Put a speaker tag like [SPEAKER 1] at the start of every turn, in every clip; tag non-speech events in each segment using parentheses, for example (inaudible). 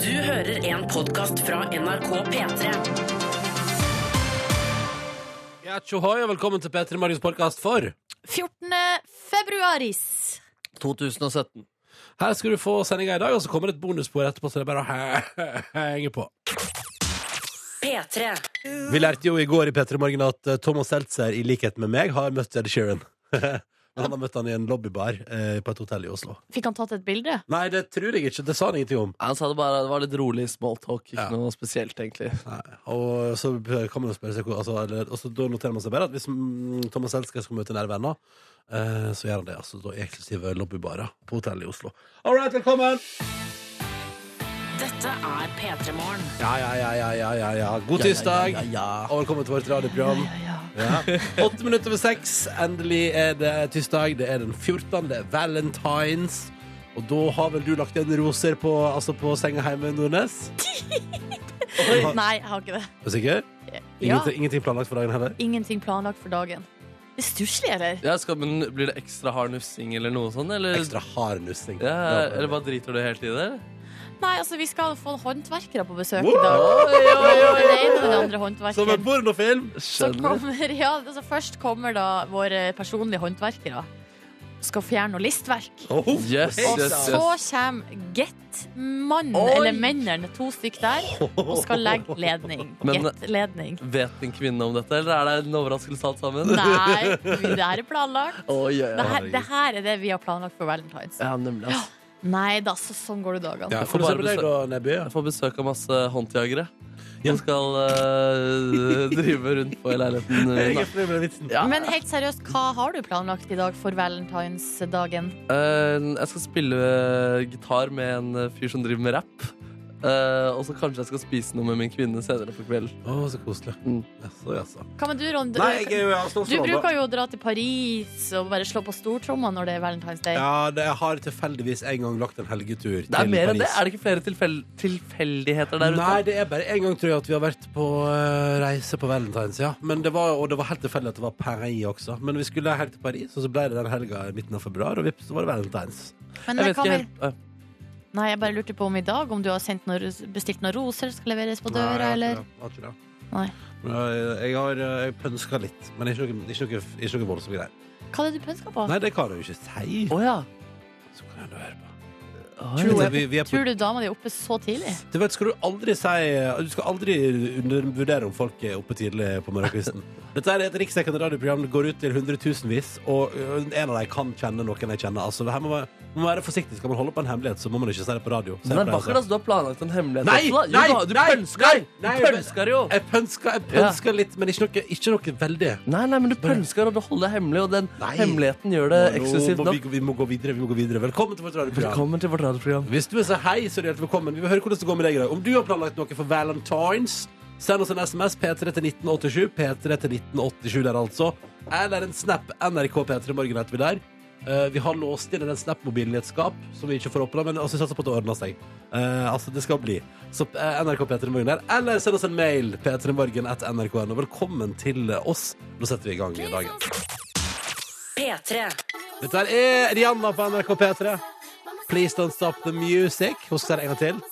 [SPEAKER 1] Du hører en podkast fra NRK P3.
[SPEAKER 2] Ja, tjohoi, og velkommen til P3 Morgens podkast for
[SPEAKER 3] 14. februaris.
[SPEAKER 4] 2017.
[SPEAKER 2] Her skal du få sendinga i dag, og så kommer det et bonusspor etterpå, så det er bare å henge på.
[SPEAKER 1] P3.
[SPEAKER 2] Vi lærte jo i går i P3 Morgen at eh, Thomas Seltzer, i likhet med meg, har møtt Ed Sheeran. (laughs) Men han har møtt han i en lobbybar eh, på et hotell i Oslo.
[SPEAKER 3] Fikk han tatt et bilde?
[SPEAKER 2] Nei, det tror jeg ikke. Det sa han ingenting om.
[SPEAKER 4] Han sa det bare, det var litt rolig smalltalk. Ikke
[SPEAKER 2] Ja.
[SPEAKER 4] noe spesielt, egentlig.
[SPEAKER 2] Nei. Og så kan man jo spørre seg hvor altså, eller, og så Da noterer man seg bare at hvis mm, Thomas Seltzer skal møte nære venner, eh, så gjør han det. Altså, da, I eksklusive lobbybarer på hotellet i Oslo. All right, velkommen!
[SPEAKER 1] Dette er P3 Morgen.
[SPEAKER 2] Ja, ja, ja, ja, ja, ja, ja. God tirsdag!
[SPEAKER 4] Ja, ja, ja, ja.
[SPEAKER 2] Og velkommen til vårt radioprogram. Ja. Åtte minutter over seks. Endelig er det tirsdag. Det er den 14. Det er Valentines. Og da har vel du lagt igjen roser på, altså på senga hjemme, Nordnes? (laughs)
[SPEAKER 3] Nei, jeg har ikke det.
[SPEAKER 2] Er du sikker?
[SPEAKER 3] Ja,
[SPEAKER 2] Ingenting, ingenting planlagt for dagen heller?
[SPEAKER 3] Ingenting planlagt for dagen. Det er stusslig, eller?
[SPEAKER 4] Ja, skal, men Blir det ekstra hard nufsing eller noe sånt? Eller,
[SPEAKER 2] Ekstra hard nussing.
[SPEAKER 4] Ja, eller bare driter du helt i det?
[SPEAKER 3] Nei, altså, vi skal få håndverkere på besøk
[SPEAKER 2] Wow!
[SPEAKER 3] i dag.
[SPEAKER 4] Oi, oi,
[SPEAKER 3] Både
[SPEAKER 4] oi,
[SPEAKER 3] Den ene og den
[SPEAKER 4] oi.
[SPEAKER 3] andre
[SPEAKER 2] Som en
[SPEAKER 3] håndverkeren.
[SPEAKER 2] pornofilm!
[SPEAKER 3] Så
[SPEAKER 4] Skjønner.
[SPEAKER 3] kommer, ja, altså, først kommer da våre personlige håndverkere. Skal fjerne noe listverk.
[SPEAKER 2] Oh,
[SPEAKER 4] Yes,
[SPEAKER 2] hey,
[SPEAKER 3] Og
[SPEAKER 4] yes,
[SPEAKER 2] da.
[SPEAKER 4] yes.
[SPEAKER 3] så kommer Get-mannen,
[SPEAKER 4] Oi!
[SPEAKER 3] eller mennene, to stykk der, og skal legge ledning.
[SPEAKER 4] Men-
[SPEAKER 3] Get-ledning.
[SPEAKER 4] Vet en kvinne om dette, eller er det en overraskelse alt sammen?
[SPEAKER 3] Nei, det her er planlagt.
[SPEAKER 4] Oi, ja,
[SPEAKER 3] Det
[SPEAKER 4] ja.
[SPEAKER 3] her, det her er det vi har planlagt for Valentine's.
[SPEAKER 4] ja, nemlig. ass.
[SPEAKER 3] Nei da, så sånn går det dagene.
[SPEAKER 2] Ja,
[SPEAKER 4] Jeg får
[SPEAKER 2] får du se
[SPEAKER 4] bare
[SPEAKER 2] på deg, da, Nebby?
[SPEAKER 4] Jeg får besøk av masse håndjagere.
[SPEAKER 2] Ja.
[SPEAKER 4] Som skal eh,
[SPEAKER 2] (laughs)
[SPEAKER 4] drive rundt på i leiligheten min.
[SPEAKER 2] Jeg
[SPEAKER 4] da.
[SPEAKER 2] er fornøyd med vitsen.
[SPEAKER 4] Ja.
[SPEAKER 3] Men helt seriøst, hva har du planlagt i dag for valentinsdagen?
[SPEAKER 4] Eh, jeg skal spille eh, gitar med en eh, fyr som driver med rap. Eh, og så kanskje jeg skal spise noe med min kvinne senere på kvelden.
[SPEAKER 2] Å, så koselig.
[SPEAKER 4] Mm.
[SPEAKER 2] Jaså, jaså.
[SPEAKER 3] Hva med du, Ron? Du,
[SPEAKER 2] Nei, jeg er jo sånn,
[SPEAKER 3] du bruker jo å dra til Paris og bare slå på stortromma når det er Valentine's Day.
[SPEAKER 2] Ja, det, jeg har tilfeldigvis en gang lagt en helgetur
[SPEAKER 4] Det er
[SPEAKER 2] til
[SPEAKER 4] mer enn
[SPEAKER 2] Paris.
[SPEAKER 4] det. Er det ikke flere tilfell tilfeldigheter der
[SPEAKER 2] Nei,
[SPEAKER 4] ute?
[SPEAKER 2] det er bare en gang tror jeg at vi har vært på eh, reise på Valentine's, ja. Men det var, og det var helt tilfeldig at det var Paris også. Men vi skulle helt til Paris, og så ble det den helga i midten av februar, og vips, så var det Valentine's.
[SPEAKER 3] Men
[SPEAKER 4] Jeg vet
[SPEAKER 3] hva
[SPEAKER 4] ikke
[SPEAKER 3] med,
[SPEAKER 4] helt. eh,
[SPEAKER 3] nei, jeg bare lurte på om i dag om du har sendt noen, ros- bestilt noen roser som skal leveres på
[SPEAKER 2] Nei, jeg
[SPEAKER 3] døra,
[SPEAKER 2] har
[SPEAKER 3] eller?
[SPEAKER 2] ikke det, jeg har ikke det.
[SPEAKER 3] Nei.
[SPEAKER 2] Men, eh, Jeg har eh, jeg pønska litt, men ikke noe, ikke noe, ikke noe voldsomt greier.
[SPEAKER 3] Hva er det du pønsker på?
[SPEAKER 2] Nei, det kan jeg jo ikke si.
[SPEAKER 4] Å ja.
[SPEAKER 2] Så kan jeg nå høre på.
[SPEAKER 4] Oi.
[SPEAKER 2] Vet du, vi, vi er på
[SPEAKER 3] Tror du dama di er oppe så tidlig?
[SPEAKER 2] du vet, skal du aldri si Du skal aldri undervurdere om folk er oppe tidlig på
[SPEAKER 4] (laughs)
[SPEAKER 2] morgenkvisten. Dette er et riksdekkende radioprogram. Det går ut til hundretusenvis, og ø, en av dem kan kjenne noen jeg kjenner. Altså, her må man, man må være forsiktig. Skal man holde på en hemmelighet, så må man ikke si det på radio. Så
[SPEAKER 4] Men det er
[SPEAKER 2] jeg pleier å
[SPEAKER 4] vakkert,
[SPEAKER 2] si-
[SPEAKER 4] altså. Du har planlagt en hemmelighet.
[SPEAKER 2] Nei,
[SPEAKER 4] også, da. Jo,
[SPEAKER 2] nei,
[SPEAKER 4] da, du
[SPEAKER 2] nei, nei,
[SPEAKER 4] pønsker! du
[SPEAKER 2] nei,
[SPEAKER 4] pønsker jo!
[SPEAKER 2] Jeg pønsker, jeg pønsker litt, men ikke noe, ikke noe veldig.
[SPEAKER 4] Nei, nei, men du pønsker, og du holder det hemmelig, og den
[SPEAKER 2] Nei.
[SPEAKER 4] hemmeligheten gjør det eksklusivt
[SPEAKER 2] Nå må vi,
[SPEAKER 4] nok.
[SPEAKER 2] vi må gå videre. Vi må gå videre. Velkommen til vårt radioprogram.
[SPEAKER 4] Velkommen til vårt radioprogram.
[SPEAKER 2] Hvis du vil si hei, så er du hjertelig velkommen. Vi vil høre hvordan det går med deg i dag. Om du har planlagt noe for Valentines, send oss en SMS P3 til 1987. P3 til 1987 der, altså. Eller en snap NRK P3 Morgen heter vi der. Eh, vi har låst inn en Snap-mobilen i et skap som vi ikke får åpna, men altså, vi satser på at det ordner seg. Eh, altså, det skal bli. Så eh, NRK P3 Morgen der. Eller send oss en mail p3morgen at nrk.no. Velkommen til oss. Nå setter vi i gang i dagen.
[SPEAKER 1] P3.
[SPEAKER 2] Dette her er Rihanna på NRK P3. Please don't stop the music. Husk det en gang til.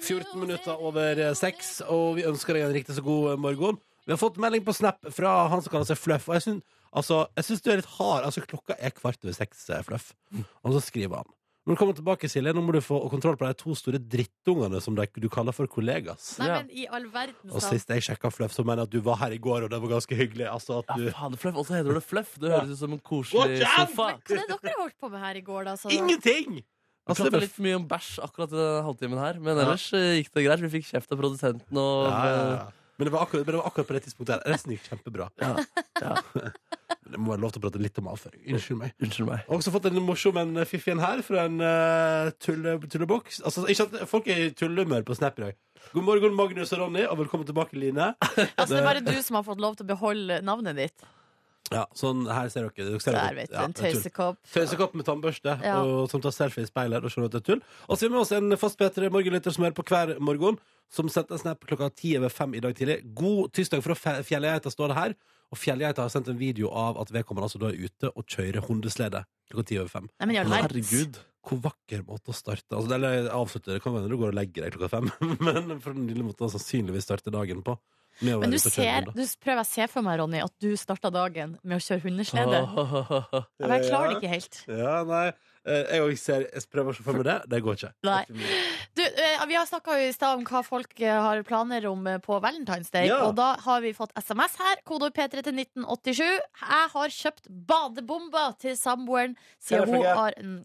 [SPEAKER 2] 14 minutter over eh, seks, og vi ønsker deg en riktig så god eh, morgen. Vi har fått melding på Snap fra han som kaller seg Fluff. Og jeg syns altså, jeg synes du er litt hard. Altså, klokka er kvart over seks, eh, Fluff. Og så skriver han. Når du kommer tilbake, Silje, nå må du få kontroll på de to store drittungene som de- du kaller for kollegas.
[SPEAKER 3] Nei,
[SPEAKER 4] Ja.
[SPEAKER 3] men i all verden,
[SPEAKER 2] Og
[SPEAKER 3] sa
[SPEAKER 2] sist jeg sjekka Fluff, så mener jeg at du var her i går, og det var ganske hyggelig. Altså at
[SPEAKER 4] Ja,
[SPEAKER 2] du
[SPEAKER 4] fader, Fluff. Og så heter det Fluff. Det høres ut som en koselig
[SPEAKER 2] Watch out!
[SPEAKER 4] sofa.
[SPEAKER 3] Hva er det dere holdt på med her i går, da? sa du?
[SPEAKER 2] Ingenting!
[SPEAKER 4] Vi
[SPEAKER 2] Altså, det
[SPEAKER 4] pratet
[SPEAKER 2] var
[SPEAKER 4] litt mye om bæsj akkurat i denne halvtimen her, men ellers eh, gikk det greit. Vi fikk kjeft av produsenten og
[SPEAKER 2] Ja, ja, ja. Men det, var akkurat, men det var akkurat på det tidspunktet her. Resten gikk kjempebra.
[SPEAKER 4] Ja,
[SPEAKER 2] (laughs)
[SPEAKER 4] ja.
[SPEAKER 2] Det må være lov til å prate litt om avføring. Unnskyld meg.
[SPEAKER 4] eh, Unnskyld meg.
[SPEAKER 2] Jeg har også fått en morsom en fiffig en her fra en eh, tulle, tulleboks. Altså, ikke at folk er i tullehumør på Snap i dag. God morgen, Magnus og Ronny, og velkommen tilbake, Line.
[SPEAKER 3] Altså, det er bare du som har fått lov til å beholde navnet ditt.
[SPEAKER 2] Ja, sånn her ser dere. dere ser
[SPEAKER 3] Der, vet du.
[SPEAKER 2] ja,
[SPEAKER 3] En
[SPEAKER 2] det er tull.
[SPEAKER 3] tøysekopp.
[SPEAKER 2] Tøysekopp med tannbørste
[SPEAKER 3] Ja.
[SPEAKER 2] og, som tar selfie i speilet og skjønner at det er tull. Og så har vi med oss en fast Peter Morgenlytter som hører på hver morgen, som sendte en snap klokka ti over fem i dag tidlig. God tirsdag fra fe- fjellgeita, står det her. Og Fjellgeita har sendt en video av at vedkommende altså da er ute og kjører hundeslede klokka ti over fem.
[SPEAKER 3] Nei, men i all verden.
[SPEAKER 4] Herregud.
[SPEAKER 2] Hvor vakker måte å starte altså, Eller avslutte det. Kan være når du går og legger deg klokka fem, (laughs) men for den lille måten å sannsynligvis starte dagen på. med å være
[SPEAKER 3] Men du
[SPEAKER 2] ute og kjøre
[SPEAKER 3] ser,
[SPEAKER 2] hunder.
[SPEAKER 3] du prøver å se for meg, Ronny, at du starta dagen med å kjøre hundeslede.
[SPEAKER 2] Ja,
[SPEAKER 3] Men jeg klarer det ikke helt.
[SPEAKER 2] Ja, nei. Eh, Jeg, også ser, jeg prøver å se for meg det. Det går ikke.
[SPEAKER 3] Nei. Du, eh, vi har snakka i stad om hva folk eh, har planer om eh, på Valentine's Day.
[SPEAKER 2] Ja.
[SPEAKER 3] Og da har vi fått SMS her. Kodeord P3 til 1987. Jeg har kjøpt badebomber til samboeren.
[SPEAKER 2] Hva er
[SPEAKER 3] Siden
[SPEAKER 2] det for
[SPEAKER 3] hun
[SPEAKER 2] noe?
[SPEAKER 3] har mm,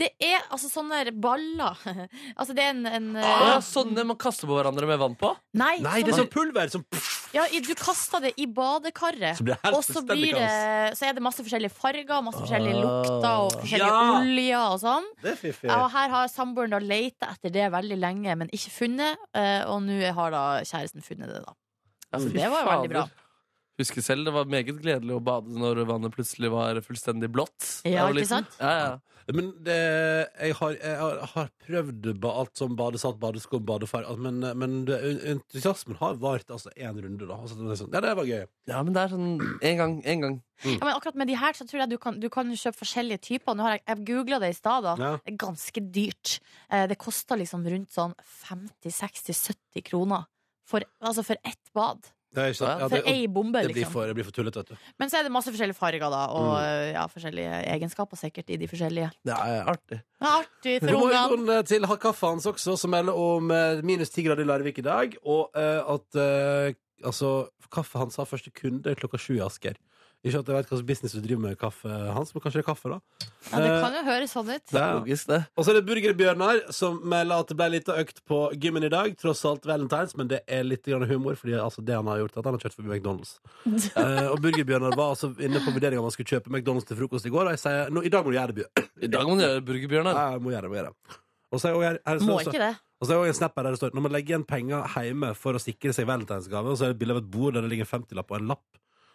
[SPEAKER 3] Det er altså sånne baller. (laughs) altså det er en, en eh,
[SPEAKER 4] Ah, sånne man kaster på hverandre med vann på?
[SPEAKER 3] Nei,
[SPEAKER 2] Nei, det er sånn pulver som pff,
[SPEAKER 3] ja, i- du kaster det i badekaret.
[SPEAKER 2] Så blir det helt
[SPEAKER 3] Og så,
[SPEAKER 2] fullstendig
[SPEAKER 3] blir
[SPEAKER 2] kaos.
[SPEAKER 3] det, så er det masse forskjellige farger, masse forskjellige
[SPEAKER 4] Ah.
[SPEAKER 3] lukter og forskjellige
[SPEAKER 2] Ja.
[SPEAKER 3] oljer og sånn.
[SPEAKER 2] Det er fiffig.
[SPEAKER 3] Ja, og her har samboeren da leita etter det veldig lenge, men ikke funnet. eh, Og nå har da kjæresten funnet det, da. Så
[SPEAKER 4] Ja, fy
[SPEAKER 3] Altså, det var jo veldig bra.
[SPEAKER 4] fader. Husker selv, det var meget gledelig å bade når vannet plutselig var fullstendig blått.
[SPEAKER 3] Ja,
[SPEAKER 4] Jeg var
[SPEAKER 3] ikke
[SPEAKER 4] liten.
[SPEAKER 3] sant?
[SPEAKER 4] Ja, ja.
[SPEAKER 2] Men det, jeg, har, jeg har- har prøvd ba, alt som badesatt, badesko, badefar altså, Men, men det, entusiasmen har vart altså én runde, da. Altså, det er sånn, ja, det var gøy.
[SPEAKER 4] ja, men det er sånn en gang, en gang.
[SPEAKER 2] Mm.
[SPEAKER 3] Ja, men akkurat med de her så tror jeg du kan, du kan kjøpe forskjellige typer. Nå har jeg, jeg googla det i stad. da
[SPEAKER 2] Ja.
[SPEAKER 3] Det er Ganske dyrt. Eh, Det kosta liksom rundt sånn 50-60-70 kroner. For, altså for ett bad.
[SPEAKER 2] Det, er ikke sant. Ja,
[SPEAKER 3] For
[SPEAKER 2] det, og,
[SPEAKER 3] ei bombe,
[SPEAKER 2] det, blir
[SPEAKER 3] liksom.
[SPEAKER 2] for, det blir for tullete, vet du.
[SPEAKER 3] Men så er det masse forskjellige farger, da, og
[SPEAKER 2] Mm.
[SPEAKER 3] eh, ja, forskjellige egenskaper sikkert i de forskjellige.
[SPEAKER 4] Det er artig.
[SPEAKER 3] Det er Artig
[SPEAKER 2] (laughs)
[SPEAKER 3] for
[SPEAKER 2] God
[SPEAKER 3] ungene!
[SPEAKER 2] morgen til Hakaffans også, som melder om eh, minus ti grader i Larvik i dag. Og eh, at eh, altså, kaffe hans har første kunde klokka sju i Asker. Ikke at jeg vet hva slags business du driver med, kaffe hans, men kanskje det er kaffe, da.
[SPEAKER 3] Ja, det kan jo høres sånn ut.
[SPEAKER 2] Det er-
[SPEAKER 4] Logisk, det.
[SPEAKER 2] Og så er det Burgerbjørnar som melder at det ble litt økt på gymmen i dag. Tross alt valentines, men det er litt grann humor, fordi altså, det han har gjort, er at han har kjørt forbi McDonald's.
[SPEAKER 3] (laughs)
[SPEAKER 2] Eh, og Burgerbjørnar var altså inne på vurderinga om han skulle kjøpe McDonald's til frokost i går, og jeg sier nå, i dag må du gjøre det, Bjørn.
[SPEAKER 4] I dag må du gjøre burgerbjørner.
[SPEAKER 2] Ja, jeg må gjøre det, må gjøre det. sånn Og så er jeg, også her- her,
[SPEAKER 3] Må
[SPEAKER 2] står også-
[SPEAKER 3] ikke det.
[SPEAKER 2] Og så er det også en snap her der det står Når man legger igjen penger hjemme for å sikre seg valentinsgave, og så er det et bilde av et bord der det ligger en 50-lapp og en lapp,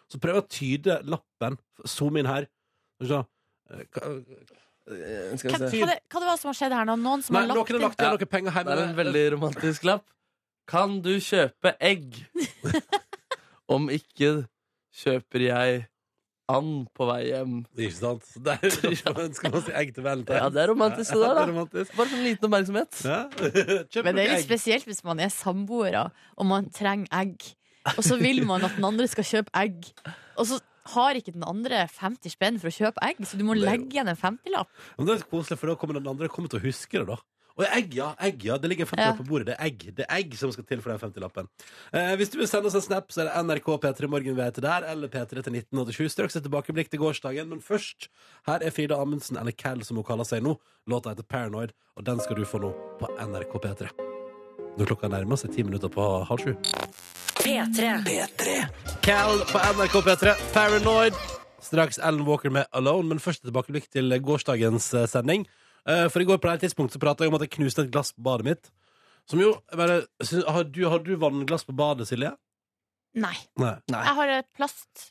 [SPEAKER 2] så prøv å tyde lappen. Zoom inn her. Skal vi se. Eh, hva-
[SPEAKER 4] Eh,
[SPEAKER 3] Hva,
[SPEAKER 4] Skal vi se.
[SPEAKER 3] hva, det, hva det var som har skjedd her nå? Noen som
[SPEAKER 2] Nei,
[SPEAKER 3] har
[SPEAKER 2] noen
[SPEAKER 3] lagt
[SPEAKER 2] har
[SPEAKER 3] inn
[SPEAKER 2] lagt igjen
[SPEAKER 4] Ja.
[SPEAKER 2] noen penger
[SPEAKER 4] Det er
[SPEAKER 2] hjemme.
[SPEAKER 4] en veldig romantisk lapp. Kan du kjøpe egg?
[SPEAKER 3] (laughs)
[SPEAKER 4] Om ikke kjøper jeg and på vei hjem.
[SPEAKER 2] Ikke sant? Det er
[SPEAKER 4] (laughs)
[SPEAKER 2] derfor ønsker man seg egg til valentine.
[SPEAKER 4] Ja, det er romantisk, det
[SPEAKER 2] (laughs)
[SPEAKER 4] der,
[SPEAKER 2] Ja,
[SPEAKER 4] da.
[SPEAKER 2] det er romantisk.
[SPEAKER 4] Bare sånn liten oppmerksomhet.
[SPEAKER 2] Ja. (laughs) Kjøp
[SPEAKER 3] Men det er
[SPEAKER 2] noen
[SPEAKER 3] litt
[SPEAKER 2] egg.
[SPEAKER 3] spesielt hvis man er samboere og man trenger egg. Og så vil man at den andre skal kjøpe egg. Og så har ikke den andre 50 spenn for å kjøpe egg, så du må
[SPEAKER 2] er jo-
[SPEAKER 3] legge igjen en 50-lapp.
[SPEAKER 2] Men det er koselig, for da kommer den andre kommer til å huske det, da. Og egg, ja. egg, ja Det ligger en 50-lapp på bordet. Det er egg Det er egg som skal til for den 50-lappen. Eh, hvis du vil sende oss en snap, så er det NRK P3 Morgen vi heter der, eller P3 til 1987. Straks et tilbakeblikk til gårsdagen, men først Her er Frida Amundsen, eller Cal som hun kaller seg nå. Låta heter Paranoid, og den skal du få nå på NRK P3. Når klokka nærmer seg ti minutter på halv sju.
[SPEAKER 1] P3.
[SPEAKER 2] Cal på NRK P3, Paranoid. Straks Alan Walker med Alone, men først et tilbakeblikk til gårsdagens eh, sending. Eh, For i går på det her tidspunktet så prata jeg om at jeg knuste et glass på badet mitt. Som jo, jeg bare, sy- har, du, har du vannglass på badet, Silje?
[SPEAKER 3] Nei.
[SPEAKER 2] Nei.
[SPEAKER 3] Jeg har et plast.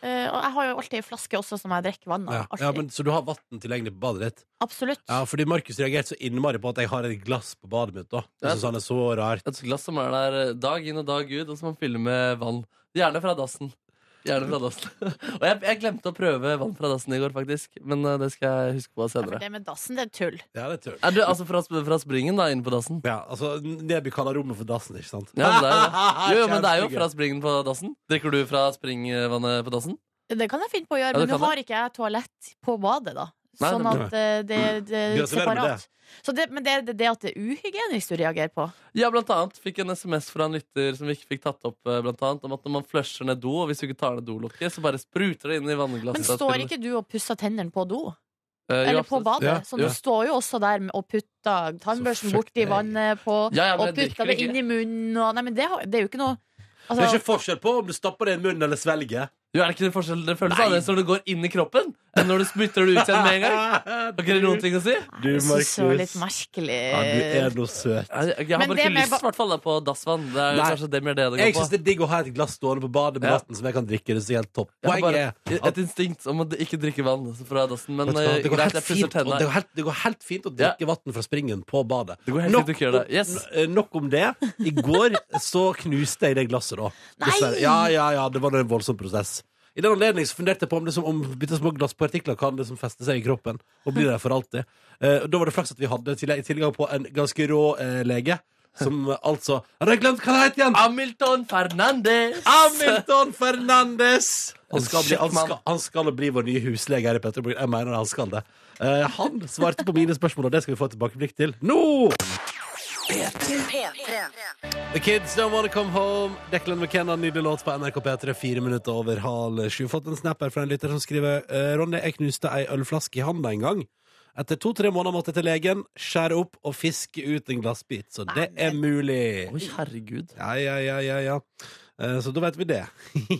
[SPEAKER 3] Eh, og jeg har jo alltid ei flaske også som jeg drikker vann
[SPEAKER 2] Ja.
[SPEAKER 3] av.
[SPEAKER 2] Ja,
[SPEAKER 3] Alltid.
[SPEAKER 2] men, så du har vann tilgjengelig på badet ditt?
[SPEAKER 3] Absolutt.
[SPEAKER 2] Ja, fordi Markus reagerte så innmari på at jeg har et glass på badet mitt. da Jeg synes han er så rart
[SPEAKER 4] Et glass som er der eh, dag inn og dag ut, og som man fyller med vann. Gjerne fra dassen. Gjerne fra dassen. (laughs) og jeg, jeg glemte å prøve vann fra dassen i går, faktisk. Men eh, det skal jeg huske på
[SPEAKER 3] Ja, for
[SPEAKER 4] senere.
[SPEAKER 3] det med dassen, det er tull.
[SPEAKER 2] Ja, det er tull.
[SPEAKER 4] Er du altså fra, sp- fra springen, da, inne på dassen?
[SPEAKER 2] Ja, altså, Neby kaller rommet for dassen, ikke sant?
[SPEAKER 4] Ja, men det
[SPEAKER 2] (laughs)
[SPEAKER 4] er jo det. Jo, jo, men det er jo fra springen på dassen. Drikker du fra springvannet på dassen?
[SPEAKER 3] Det kan jeg finne på å gjøre,
[SPEAKER 4] Ja, det
[SPEAKER 3] men nå
[SPEAKER 4] kan
[SPEAKER 3] har ikke jeg toalett på badet, da.
[SPEAKER 4] Nei,
[SPEAKER 3] Sånn
[SPEAKER 4] det-
[SPEAKER 3] at eh, det, det er
[SPEAKER 2] Mm. Gratulerer med
[SPEAKER 3] separat. Så det, men det er det, det at det er uhygienisk du reagerer på.
[SPEAKER 4] Ja, blant annet fikk en SMS fra en lytter som vi ikke fikk tatt opp, eh, blant annet, om at når man flusher ned do, og hvis du ikke tar ned dolokket, så bare spruter det inn i vannglasset.
[SPEAKER 3] Men står ikke du og pusser tennene på do?
[SPEAKER 4] Eh, jo,
[SPEAKER 3] Eller på
[SPEAKER 4] absolutt.
[SPEAKER 3] badet.
[SPEAKER 2] Ja,
[SPEAKER 3] så
[SPEAKER 4] ja.
[SPEAKER 3] du står jo også der med- og
[SPEAKER 2] Så
[SPEAKER 3] putter tannbørsten
[SPEAKER 2] fuck
[SPEAKER 3] borti
[SPEAKER 2] deg.
[SPEAKER 3] vannet på,
[SPEAKER 4] Ja, ja, men
[SPEAKER 3] og
[SPEAKER 4] jeg drikker
[SPEAKER 3] putter det
[SPEAKER 4] ikke.
[SPEAKER 3] inn i munnen og Nei, men det, har- det er jo ikke noe
[SPEAKER 2] Det er
[SPEAKER 3] altså,
[SPEAKER 2] ikke forskjell på om du stapper det i munnen eller svelger.
[SPEAKER 4] Jo, er det ikke det forskjell det føles annerledes når det går inn i kroppen, enn når du spytter det ut igjen med en gang?
[SPEAKER 2] (laughs)
[SPEAKER 4] Har ikke det noen ting å si? Jeg,
[SPEAKER 2] Du,
[SPEAKER 3] Altså, Jeg synes det var litt
[SPEAKER 2] Markus.
[SPEAKER 3] merkelig.
[SPEAKER 2] Ja, du er noe søt.
[SPEAKER 4] jeg har
[SPEAKER 3] Men
[SPEAKER 4] bare
[SPEAKER 3] det
[SPEAKER 4] ikke
[SPEAKER 3] med
[SPEAKER 4] lyst
[SPEAKER 3] ba-
[SPEAKER 4] i hvert fall da, på dassvann. Det er jo
[SPEAKER 2] Nei.
[SPEAKER 4] kanskje det mer det det
[SPEAKER 2] Jeg
[SPEAKER 4] går
[SPEAKER 2] syns
[SPEAKER 4] på.
[SPEAKER 2] det er digg å ha et glass stående på badet med
[SPEAKER 4] Ja.
[SPEAKER 2] vann som jeg kan drikke. Det er så helt topp.
[SPEAKER 4] Jeg har
[SPEAKER 2] Poenget er
[SPEAKER 4] bare
[SPEAKER 2] at
[SPEAKER 4] et instinkt om å ikke drikke vann fra dassen, men
[SPEAKER 2] Vet du hva,
[SPEAKER 4] eh,
[SPEAKER 2] det, går
[SPEAKER 4] greit,
[SPEAKER 2] helt
[SPEAKER 4] jeg
[SPEAKER 2] fint,
[SPEAKER 4] pusser
[SPEAKER 2] å- det,
[SPEAKER 4] tenna.
[SPEAKER 2] går helt, det går helt fint å drikke vann fra springen på badet.
[SPEAKER 4] Det går helt
[SPEAKER 2] Nok
[SPEAKER 4] fint å ikke gjøre det.
[SPEAKER 2] om-
[SPEAKER 4] Yes.
[SPEAKER 2] n- eh, Nok om det. I går så knuste jeg det glasset, da.
[SPEAKER 3] Nei!
[SPEAKER 2] Dessverre. Ja, ja, ja. Det var en voldsom prosess. I den anledning så funderte jeg på om, liksom, om bitte små glasspartikler kan liksom feste seg i kroppen og bli der for alltid. Eh, da var det flaks at vi hadde tillegg- tilgang på en ganske rå eh, lege, som eh, altså Jeg har glemt hva han het igjen!
[SPEAKER 4] Hamilton Fernandez!
[SPEAKER 2] Hamilton Fernandes! Han
[SPEAKER 4] Han
[SPEAKER 2] skal, bli, han,
[SPEAKER 4] kjekk mann.
[SPEAKER 2] skal, han skal bli vår nye huslege her i Petrobyen. Jeg mener han skal det. Eh, han svarte på mine spørsmål, og det skal vi få et tilbakeblikk til nå! The Kids Don't Wanna Come Home. Declan McKenna, nydelig låt på NRK P3, fire minutter over halv sju. Fått en snap her fra en lytter som skriver eh, Ronny, jeg knuste ei ølflaske i handa en gang. Etter to-tre måneder måtte jeg til legen, skjære opp og fiske ut en glassbit. Så det er mulig.
[SPEAKER 4] Oi, herregud.
[SPEAKER 2] Ja, ja, ja, ja, ja. Eh, Så da vet vi det. (laughs)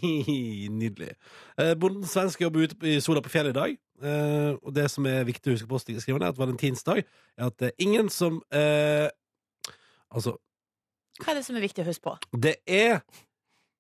[SPEAKER 2] Nydelig. Eh, Bonden svensk jobber ute i sola på fjellet i dag. Eh, Og det som er viktig å huske på, skriver han, er at valentinsdag er at det er ingen som eh, Altså,
[SPEAKER 3] Hva er det som er viktig å huske på?
[SPEAKER 2] det er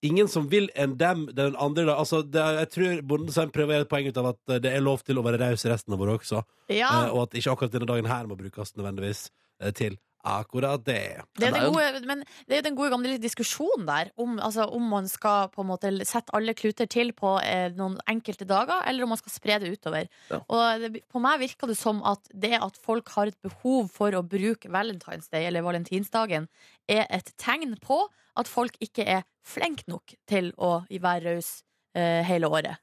[SPEAKER 2] ingen som vil enn dem den andre da. Altså, det er, jeg tror Bonden Svenn prøver å gjøre et poeng ut av at eh, det er lov til å være raus resten av året også.
[SPEAKER 3] Ja,
[SPEAKER 2] Eh, Og at ikke akkurat denne dagen her må brukes nødvendigvis eh, til akkurat det.
[SPEAKER 3] det er
[SPEAKER 4] det er
[SPEAKER 3] den
[SPEAKER 4] jo-
[SPEAKER 3] gode, men det er jo den gode gamle diskusjonen der, om, altså, om man skal på en måte sette alle kluter til på eh, noen enkelte dager, eller om man skal spre det utover.
[SPEAKER 4] Ja.
[SPEAKER 3] Og det, på meg virker det som at det at folk har et behov for å bruke Valentine's Day eller valentinsdagen, er et tegn på at folk ikke er flinke nok til å være raus eh, hele året.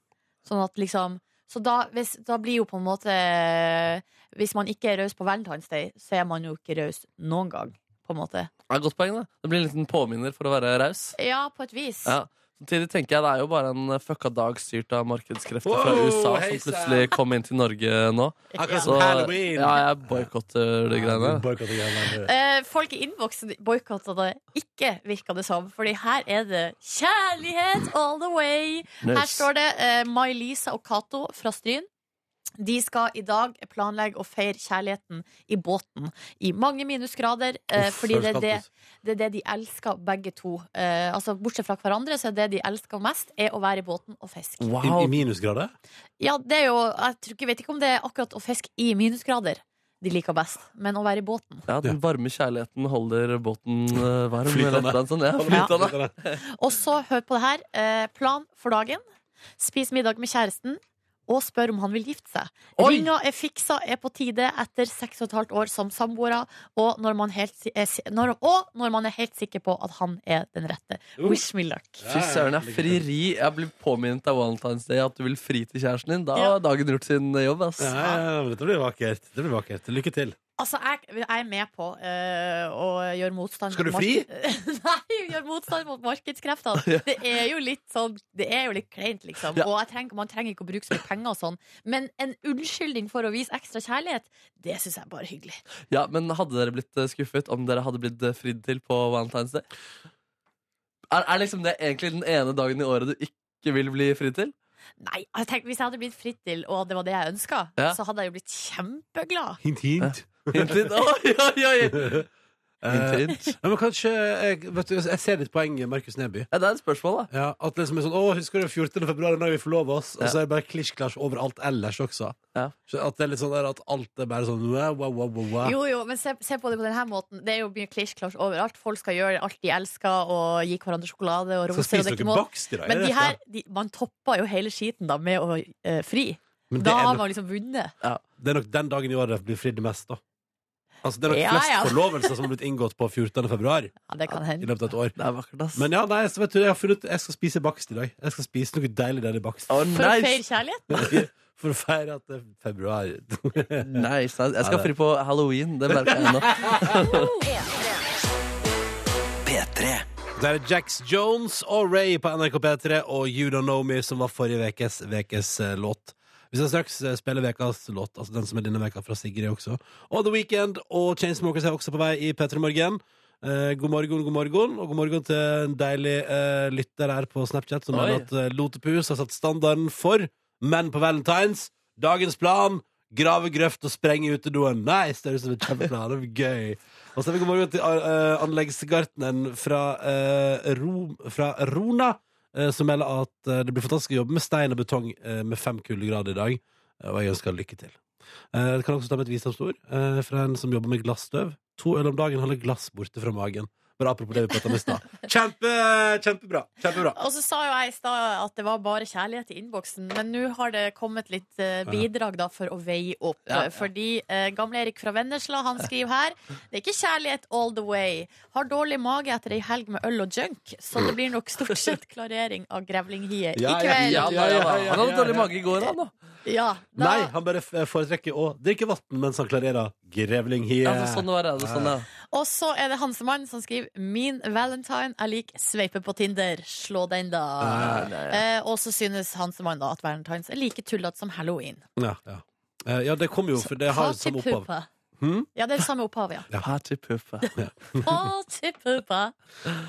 [SPEAKER 3] Sånn at liksom så da, hvis, da blir jo på en måte eh, Hvis man ikke er raus på Valentine's Day, så er man jo ikke raus noen gang på en måte.
[SPEAKER 4] Det er godt poeng, da. Det blir en liten påminner for å være raus.
[SPEAKER 3] Ja, på et vis.
[SPEAKER 4] Ja. Samtidig tenker jeg det er jo bare en eh, fucka dag styrt av markedskrefter fra
[SPEAKER 2] Wow,
[SPEAKER 4] USA
[SPEAKER 2] hei
[SPEAKER 4] som
[SPEAKER 2] sann.
[SPEAKER 4] plutselig kom inn til Norge nå.
[SPEAKER 2] Akkurat
[SPEAKER 4] Så
[SPEAKER 2] som Halloween.
[SPEAKER 4] ja, jeg boikotter de greiene.
[SPEAKER 2] Boykott og greiene.
[SPEAKER 3] Eh, folk i innboksen boikotta det ikke, virka det som. Fordi her er det kjærlighet all the way. Her står det eh, May-Lisa og Cato fra Stryn. De skal i dag planlegge å feire kjærligheten i båten i mange minusgrader. Eh,
[SPEAKER 2] Uff,
[SPEAKER 3] fordi det er
[SPEAKER 2] høres
[SPEAKER 3] det,
[SPEAKER 2] kaldt ut.
[SPEAKER 3] det er det de elsker, begge to. Eh, altså, bortsett fra hverandre, så er det de elsker mest, er å være i båten og fiske.
[SPEAKER 2] I,
[SPEAKER 4] Wow.
[SPEAKER 2] I minusgrader?
[SPEAKER 3] Ja, det er jo Jeg tror ikke, jeg vet ikke om det er akkurat å fiske i minusgrader de liker best, men å være i båten.
[SPEAKER 4] Ja, den varme kjærligheten holder båten eh, varm.
[SPEAKER 2] Flytende.
[SPEAKER 4] eller et eller annet sånt, ja, flytende.
[SPEAKER 3] Og så, hør på det her. Eh, plan for dagen. Spis middag med kjæresten. Og spør om han vil gifte seg.
[SPEAKER 4] Oi!
[SPEAKER 3] Ringa er fiksa, er på tide etter seks og et halvt år som samboere. Og når man helt, si- er, si- når, og når man er helt sikker på at han er den rette.
[SPEAKER 2] Uh.
[SPEAKER 3] Wish me luck.
[SPEAKER 4] Fy søren, jeg er frieri. Jeg blir påminnet av Valentine's Day at du vil fri til kjæresten din. Da
[SPEAKER 3] Ja.
[SPEAKER 4] har dagen gjort sin jobb. ass.
[SPEAKER 2] Ja, ja, ja, men dette blir vakkert. Det blir vakkert. Lykke til.
[SPEAKER 3] Altså, jeg, jeg er med på eh, å gjøre motstand
[SPEAKER 2] Skal du
[SPEAKER 3] mot mark- (laughs) Nei, gjøre motstand mot markedskreftene. Det er jo litt sånn Det er jo litt kleint, liksom.
[SPEAKER 4] Ja.
[SPEAKER 3] Og jeg trenger, man trenger ikke å bruke så mye penger og sånn. Men en unnskyldning for å vise ekstra kjærlighet, det syns jeg er bare hyggelig.
[SPEAKER 4] Ja, Men hadde dere blitt eh, skuffet om dere hadde blitt eh, fridd til på Valentine's Day? Er, er liksom det egentlig den ene dagen i året du ikke vil bli fridd til?
[SPEAKER 3] Nei, jeg tenker, Hvis jeg hadde blitt fritt til, og det var det jeg ønska,
[SPEAKER 4] Ja.
[SPEAKER 3] så hadde jeg jo blitt kjempeglad.
[SPEAKER 2] Hint, hint.
[SPEAKER 4] Hint, hint. Oi, oi, oi.
[SPEAKER 2] Eh,
[SPEAKER 4] Hint, hint.
[SPEAKER 2] ja, men kanskje jeg, vet du, jeg ser ditt poeng, Markus Neby.
[SPEAKER 4] Ja, det er et spørsmål, da.
[SPEAKER 2] Ja, at liksom er sånn, å, Husker du 14. februar, da vi forlova oss? Og så er det bare klisj-klasj overalt ellers også.
[SPEAKER 4] Ja.
[SPEAKER 2] Så At det er litt sånn der at alt er bare sånn wow, wow, wow, wow, wow.
[SPEAKER 3] Jo, jo, men se, se på det på denne måten. Det er jo mye klisj-klasj overalt. Folk skal gjøre alt de elsker, og gi hverandre sjokolade og
[SPEAKER 2] Skal
[SPEAKER 3] roser. og
[SPEAKER 2] spise
[SPEAKER 3] det er ikke
[SPEAKER 2] noe
[SPEAKER 3] måte-
[SPEAKER 2] bakst i dag?
[SPEAKER 3] Men
[SPEAKER 2] er det
[SPEAKER 3] de
[SPEAKER 2] dette?
[SPEAKER 3] her, de, man topper jo hele skiten da med å eh, fri.
[SPEAKER 2] Men det,
[SPEAKER 3] Da har
[SPEAKER 2] er nok,
[SPEAKER 3] man liksom vunnet.
[SPEAKER 2] det er nok den dagen i året det blir fridd mest, da. Altså, det er nok
[SPEAKER 3] Ja,
[SPEAKER 2] flest
[SPEAKER 3] ja.
[SPEAKER 2] forlovelser som har blitt inngått på 14. februar i
[SPEAKER 3] Ja, det kan hende.
[SPEAKER 2] løpet av et år.
[SPEAKER 4] Det er vakkert, ass.
[SPEAKER 2] Men ja, nei, så vet du, jeg har funnet Jeg skal spise bakst i dag. Jeg skal spise noe deilig deilig bakst.
[SPEAKER 3] For å
[SPEAKER 4] Å, nice.
[SPEAKER 3] feire
[SPEAKER 2] (laughs)
[SPEAKER 3] kjærlighet?
[SPEAKER 2] For å feire at det er februar.
[SPEAKER 4] Nice, nice. Jeg
[SPEAKER 2] Ja, det-
[SPEAKER 4] skal fri på halloween. Det merker jeg nå.
[SPEAKER 2] Det er Jax Jones og Ray på NRK P3 og You Don't Know Me, som var forrige ukes vekes eh, låt. Vi skal straks eh, spille ukas låt, altså den som er denne veka fra Sigrid også. Og The Weekend og Chainsmokers er også på vei i P3 Morgen. Eh, god morgen, god morgen, og god morgen til en deilig eh, lytter her på Snapchat som
[SPEAKER 4] Oi.
[SPEAKER 2] mener at eh, Lotepus har satt standarden for menn på Valentines. Dagens plan grave grøft og sprenge utedoen. Nice! Det høres ut som en kjempeplan. Det blir gøy. Og så har vi god morgen til eh, anleggsgartneren fra, eh, Ro, fra Rona, eh, som melder at eh, det blir fantastisk å jobbe med stein og betong eh, med fem kuldegrader i dag. Eh, og jeg ønsker lykke til. Eh, jeg kan også ta med et visdomsord eh, fra en som jobber med glassstøv. To øl om dagen holder glass borte fra magen. Bare apropos det vi pratet om i stad. Kjempe, kjempebra. Kjempebra.
[SPEAKER 3] Og så sa jo jeg i stad at det var bare kjærlighet i innboksen, men nå har det kommet litt eh, bidrag da for å veie opp.
[SPEAKER 4] Ja, ja.
[SPEAKER 3] Fordi eh, gamle Erik fra Vennesla han skriver her Det er ikke kjærlighet all the way. Har dårlig mage etter ei helg med øl og junk, så det blir nok stort sett klarering av grevlinghiet i
[SPEAKER 2] Ja, ja,
[SPEAKER 3] kveld. Ja,
[SPEAKER 4] Ja, da, ja, da. Han
[SPEAKER 2] ja,
[SPEAKER 4] hadde
[SPEAKER 2] ja,
[SPEAKER 4] dårlig
[SPEAKER 2] ja.
[SPEAKER 4] mage i går, han, da.
[SPEAKER 3] da,
[SPEAKER 2] Nei, han bare f- eh, foretrekker å drikke vann mens han klarerer grevlinghiet.
[SPEAKER 4] Ja, for sånn var det. det var sånn, ja.
[SPEAKER 3] Og så er det Hansemann som skriver Min valentine er lik sveipe på Tinder. Slå den, da. Eh, og så synes Hansemann da at valentines er like tullete som halloween.
[SPEAKER 2] Ja, ja. Eh, ja, det kom jo, for det har jo samme opphav.
[SPEAKER 3] Partypooper.
[SPEAKER 2] Hmm?
[SPEAKER 3] Ja, det er samme opphav, ja.
[SPEAKER 4] Partypuffe.
[SPEAKER 3] Partypooper.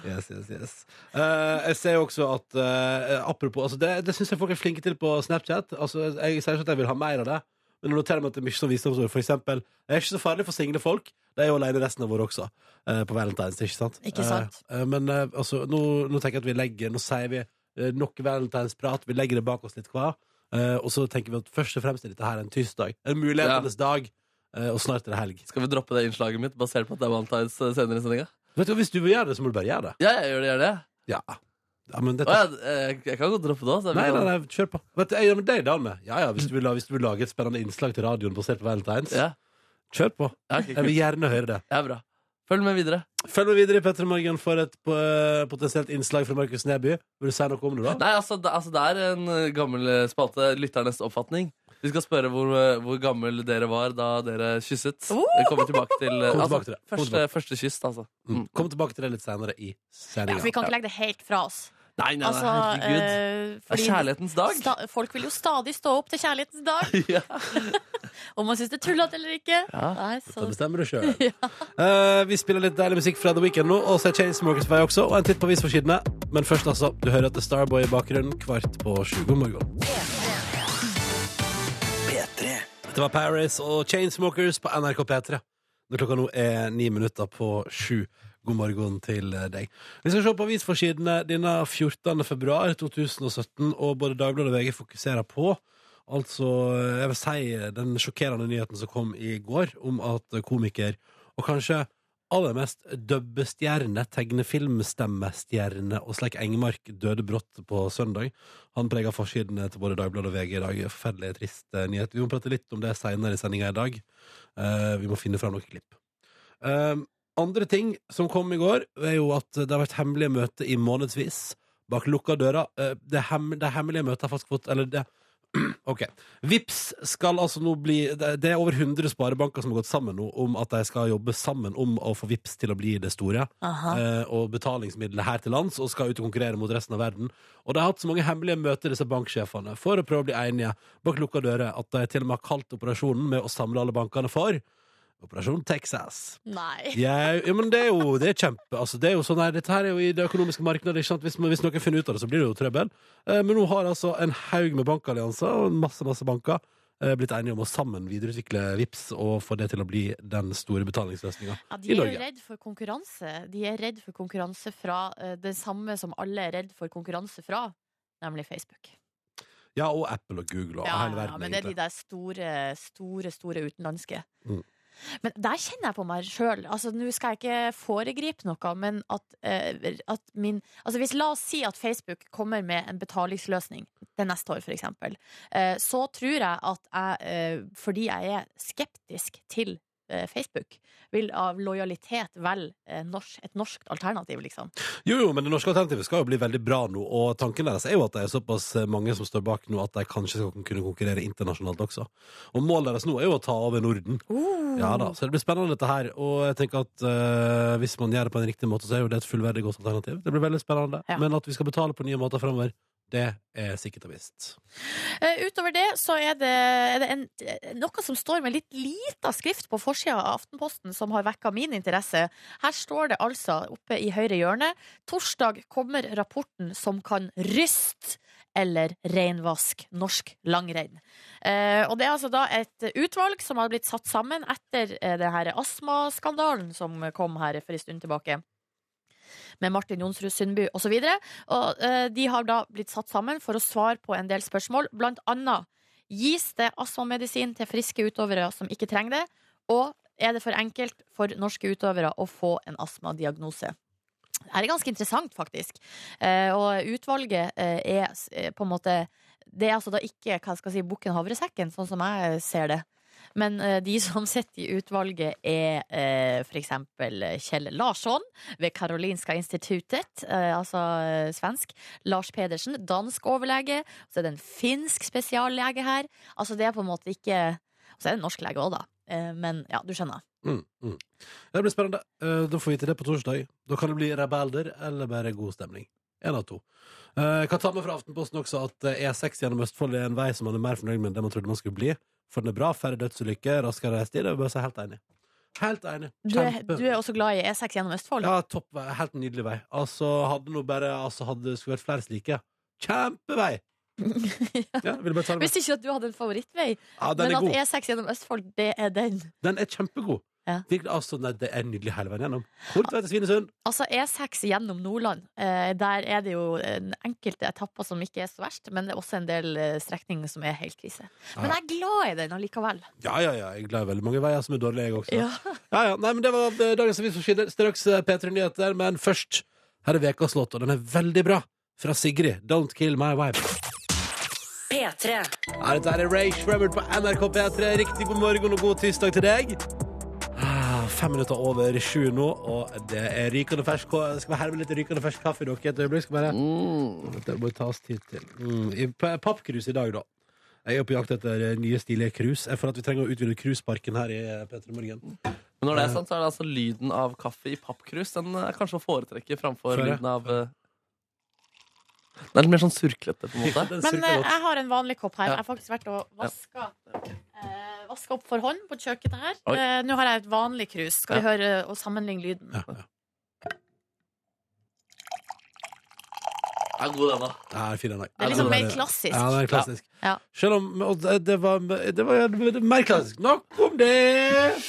[SPEAKER 2] Yes, yes, yes. Eh, jeg ser jo også at eh, Apropos, altså det, det syns jeg folk er flinke til på Snapchat. Altså, jeg sier ikke at jeg vil ha mer av det, men jeg noterer meg at det er mye som visdomsord. For eksempel, det er ikke så farlig for single folk. De er jo alene resten av året også, eh, på Valentine's, ikke sant?
[SPEAKER 3] Ikke sant.
[SPEAKER 2] Eh, eh, men eh, altså, nå, nå tenker jeg at vi legger Nå sier vi eh, nok valentinesprat, vi legger det bak oss litt hver. eh, og så tenker vi at først og fremst er dette her en tirsdag. En mulighetenes dag. eh, og snart er det helg.
[SPEAKER 4] Skal vi droppe det innslaget mitt, basert på at det er Valentine's eh, senere i sendinga?
[SPEAKER 2] Vet du, hva, Hvis du vil gjøre det, så må du bare gjøre det.
[SPEAKER 4] Ja, jeg gjør det gjerne.
[SPEAKER 2] Ja, ja men dette
[SPEAKER 4] Å, ja, eh, jeg, jeg kan godt droppe det òg.
[SPEAKER 2] Nei, nei, nei, kjør på. Vet du, jeg, men det er Dan med. Ja, ja, hvis du, vil, la- hvis du vil lage et spennende innslag til radioen basert på Valentine's,
[SPEAKER 4] Ja,
[SPEAKER 2] kjør på.
[SPEAKER 4] ja,
[SPEAKER 2] Jeg
[SPEAKER 4] ok,
[SPEAKER 2] vil
[SPEAKER 4] kult.
[SPEAKER 2] gjerne høre det.
[SPEAKER 4] ja, bra. Følg med videre.
[SPEAKER 2] Følg med videre i Petter Morgen for et eh, potensielt innslag fra Markus Neby. Vil du si noe om det, da?
[SPEAKER 4] Nei, altså, det, altså, det er en eh, gammel eh, spalte, lytternes oppfatning. Vi skal spørre hvor, eh, hvor gammel dere var da dere kysset. Vi Oh! kommer tilbake til, eh,
[SPEAKER 2] Kom
[SPEAKER 4] altså,
[SPEAKER 2] tilbake til det. Kom
[SPEAKER 4] første,
[SPEAKER 2] tilbake.
[SPEAKER 4] første kyss, altså.
[SPEAKER 2] Mm.
[SPEAKER 4] Mm.
[SPEAKER 2] Kom tilbake til det litt senere i
[SPEAKER 3] Ja, for vi
[SPEAKER 2] sendinga.
[SPEAKER 3] kan ikke legge det helt fra oss.
[SPEAKER 4] Nei, nei, nei,
[SPEAKER 3] Altså,
[SPEAKER 4] herregud.
[SPEAKER 3] eh,
[SPEAKER 4] Det er
[SPEAKER 3] fordi
[SPEAKER 4] kjærlighetens dag.
[SPEAKER 3] sta folk vil jo stadig stå opp til kjærlighetens dag,
[SPEAKER 4] (laughs) Ja.
[SPEAKER 3] om man syns det er tullete eller ikke.
[SPEAKER 4] Ja.
[SPEAKER 3] Nei,
[SPEAKER 2] Da
[SPEAKER 3] så
[SPEAKER 2] bestemmer du
[SPEAKER 3] (laughs)
[SPEAKER 2] sjøl. Eh, vi spiller litt deilig musikk fra The Weekend nå, og så er Chainsmokers på vei også. Og en titt på avisforsidene. Men først, altså. Du hører at det er Starboy i bakgrunnen kvart på sju. God morgen. Dette var Paris og Chainsmokers på NRK P3. Når klokka nå er ni minutter på sju. God morgen til eh, deg. Vi skal se på avisforsidene denne 14. februar 2017, og både Dagbladet og VG fokuserer på altså, jeg vil si, eh, den sjokkerende nyheten som kom i går, om at komiker, og kanskje aller mest dubbestjerne, tegnefilmstemmestjerne og slik Engmark døde brått på søndag. Han preger forsidene til både Dagbladet og VG i dag. Forferdelig trist eh, nyhet. Vi må prate litt om det seinere i sendinga i dag. Eh, vi må finne fram noen klipp. Eh, andre ting som kom i går, er jo at det har vært hemmelige møter i månedsvis. Bak lukka dører. Eh, det, hem, det hemmelige møtet har faktisk fått Eller det (clears throat) OK. Vips skal altså nå bli Det det er over 100 sparebanker som har gått sammen nå om at de skal jobbe sammen om å få Vips til å bli det store
[SPEAKER 3] Aha.
[SPEAKER 2] eh, og betalingsmidler her til lands og skal ut og konkurrere mot resten av verden. Og de har hatt så mange hemmelige møter, disse banksjefene, for å prøve å bli enige bak lukka dører at de til og med har kalt operasjonen med å samle alle bankene for Operasjon Texas.
[SPEAKER 3] Nei.
[SPEAKER 2] Jeg, ja, men det er jo det er kjempe altså, det er jo sånn, nei, Dette her er jo i det økonomiske markedet. Ikke sant? Hvis, man- hvis noen finner ut av det, så blir det jo trøbbel. Eh, men nå har altså en haug med bankallianser og masse masse banker eh, blitt enige om å sammen videreutvikle VIPS og få det til å bli den store betalingsløsninga.
[SPEAKER 3] Ja,
[SPEAKER 2] I
[SPEAKER 3] de er
[SPEAKER 2] Norge.
[SPEAKER 3] jo redd for konkurranse. De er redd for konkurranse fra eh, det samme som alle er redd for konkurranse fra, nemlig Facebook.
[SPEAKER 2] Ja, og Apple og Google og
[SPEAKER 3] Ja,
[SPEAKER 2] hele
[SPEAKER 3] ja,
[SPEAKER 2] verden.
[SPEAKER 3] ja, men det er
[SPEAKER 2] egentlig.
[SPEAKER 3] de der store, store, store utenlandske.
[SPEAKER 2] Mm.
[SPEAKER 3] Men der kjenner jeg på meg sjøl. Altså, nå skal jeg ikke foregripe noe, men at, eh, at min Altså, hvis la oss si at Facebook kommer med en betalingsløsning det neste år, for eksempel, eh, så tror jeg at jeg, eh, fordi jeg er skeptisk til eh, Facebook, vil av lojalitet velge eh, norsk, et norskt alternativ, liksom.
[SPEAKER 2] Jo, jo, men det norske alternativet skal jo bli veldig bra nå, og tanken deres er jo at det er såpass eh, mange som står bak nå at de kanskje skal kunne konkurrere internasjonalt også. Og målet deres nå er jo å ta over Norden.
[SPEAKER 3] Mm.
[SPEAKER 2] Ja da, Så det blir spennende dette her, og jeg tenker at eh, hvis man gjør det på en riktig måte, så er jo det et fullverdig godt alternativ. Det blir veldig spennende.
[SPEAKER 3] Ja.
[SPEAKER 2] Men at vi skal betale på nye måter fremover, det er sikkert og visst.
[SPEAKER 3] Eh, utover det så er det, er det en, eh, noe som står med litt lita skrift på forsida av Aftenposten, som har vekka min interesse. Her står det altså oppe i høyre hjørne Torsdag kommer rapporten som kan ryste eller reinvask norsk langrenn. Eh, og det er altså da et utvalg som har blitt satt sammen etter eh, det her astmaskandalen som kom her for en stund tilbake. Med Martin Jonsrud Sundby osv. Og eh, de har da blitt satt sammen for å svare på en del spørsmål. Blant annet gis det astmamedisin til friske utøvere som ikke trenger det, og er det for enkelt for norske utøvere å få en astmadiagnose? Det her er ganske interessant, faktisk. Eh, og utvalget eh, er s- eh, på en måte Det er altså da ikke hva skal jeg si, bukken havresekken, sånn som jeg ser det. Men eh, de som sitter i utvalget, er eh, f.eks. Kjell Larsson ved Karolinska institutet, eh, altså eh, svensk. Lars Pedersen, dansk overlege. Så er det en finsk spesiallege her. Altså det er på en måte ikke Og så er det en norsk lege òg, da. Eh, men ja, du skjønner.
[SPEAKER 2] Mm, mm. Det blir spennende. Eh, da får vi til det på torsdag. Da kan det bli rebelder eller bare god stemning. En av to. Eh, Jeg kan ta med fra Aftenposten også at eh, E6 gjennom Østfold er en vei som man er mer fornøyd med enn det man trodde man skulle bli. For den er bra, færre dødsulykker, raskere reistid. Jeg er bare så helt enig. Helt enig.
[SPEAKER 3] Du er,
[SPEAKER 2] Kjempe-
[SPEAKER 3] du er også glad i E6 gjennom Østfold?
[SPEAKER 2] Ja, topp vei. Helt nydelig vei. Altså, hadde nå bare Altså, hadde skulle vært flere slike. Kjempevei!
[SPEAKER 3] (laughs)
[SPEAKER 2] Ja, ville bare ta det med.
[SPEAKER 3] Hvis ikke at du hadde en favorittvei,
[SPEAKER 2] Ja, den
[SPEAKER 3] men
[SPEAKER 2] er
[SPEAKER 3] at
[SPEAKER 2] god.
[SPEAKER 3] E6 gjennom Østfold, det er den.
[SPEAKER 2] Den er kjempegod.
[SPEAKER 3] Ja.
[SPEAKER 2] Virkelig, altså, nei, det er nydelig hele veien gjennom. Kort vei til Svinesund.
[SPEAKER 3] Altså E6 gjennom Nordland, eh, der er det jo eh, enkelte etapper som ikke er så verst, men det er også en del eh, strekninger som er helt krise. Men jeg er glad i den allikevel.
[SPEAKER 2] Ja, ja, ja. Jeg er glad i veldig mange veier som er dårlige, jeg også.
[SPEAKER 3] Ja.
[SPEAKER 2] Ja, ja. Nei, men det var eh, dagens avis for skiller. Straks eh, P3 Nyheter, men først her er Vekas låt, og den er veldig bra. Fra Sigrid. Don't kill my wife.
[SPEAKER 1] P3.
[SPEAKER 2] Ja, dette er Ray Shrebbert på NRK P3. Riktig god morgen og god tirsdag til deg. Ah, Fem minutter over sju nå, og det er rykende fersk ka- Skal vi herme litt rykende fersk kaffe i dere et øyeblikk? Skal bare
[SPEAKER 4] Mm.
[SPEAKER 2] Dette må vi ta oss tid til. Mm. I pa- pappkrus i dag, da. Jeg er på jakt etter eh, nye, stilige krus. Jeg føler at vi trenger å utvide krusparken her i eh, P3 Morgen.
[SPEAKER 4] Men når det er sant, så er det altså lyden av kaffe i pappkrus Den er kanskje å foretrekke framfor
[SPEAKER 2] Før, ja.
[SPEAKER 4] lyden av eh, Den er litt mer sånn surklete, på en måte.
[SPEAKER 2] (laughs) Den
[SPEAKER 3] Men
[SPEAKER 2] surker
[SPEAKER 3] eh,
[SPEAKER 2] godt.
[SPEAKER 3] jeg har en vanlig kopp her.
[SPEAKER 4] Ja.
[SPEAKER 3] Jeg har faktisk vært og vaska. eh, vaska opp for hånd på kjøkkenet her.
[SPEAKER 4] Oi.
[SPEAKER 3] Eh, Nå har jeg et vanlig krus. Skal vi høre eh, og sammenligne lyden?
[SPEAKER 2] Ja, ja.
[SPEAKER 4] Ja, god den, da.
[SPEAKER 2] Det er fin den dag.
[SPEAKER 3] Det er liksom mer klassisk.
[SPEAKER 2] Ja, det er klassisk.
[SPEAKER 3] Ja.
[SPEAKER 2] Selv om og det det var, det var, det var mer klassisk. Nok om det!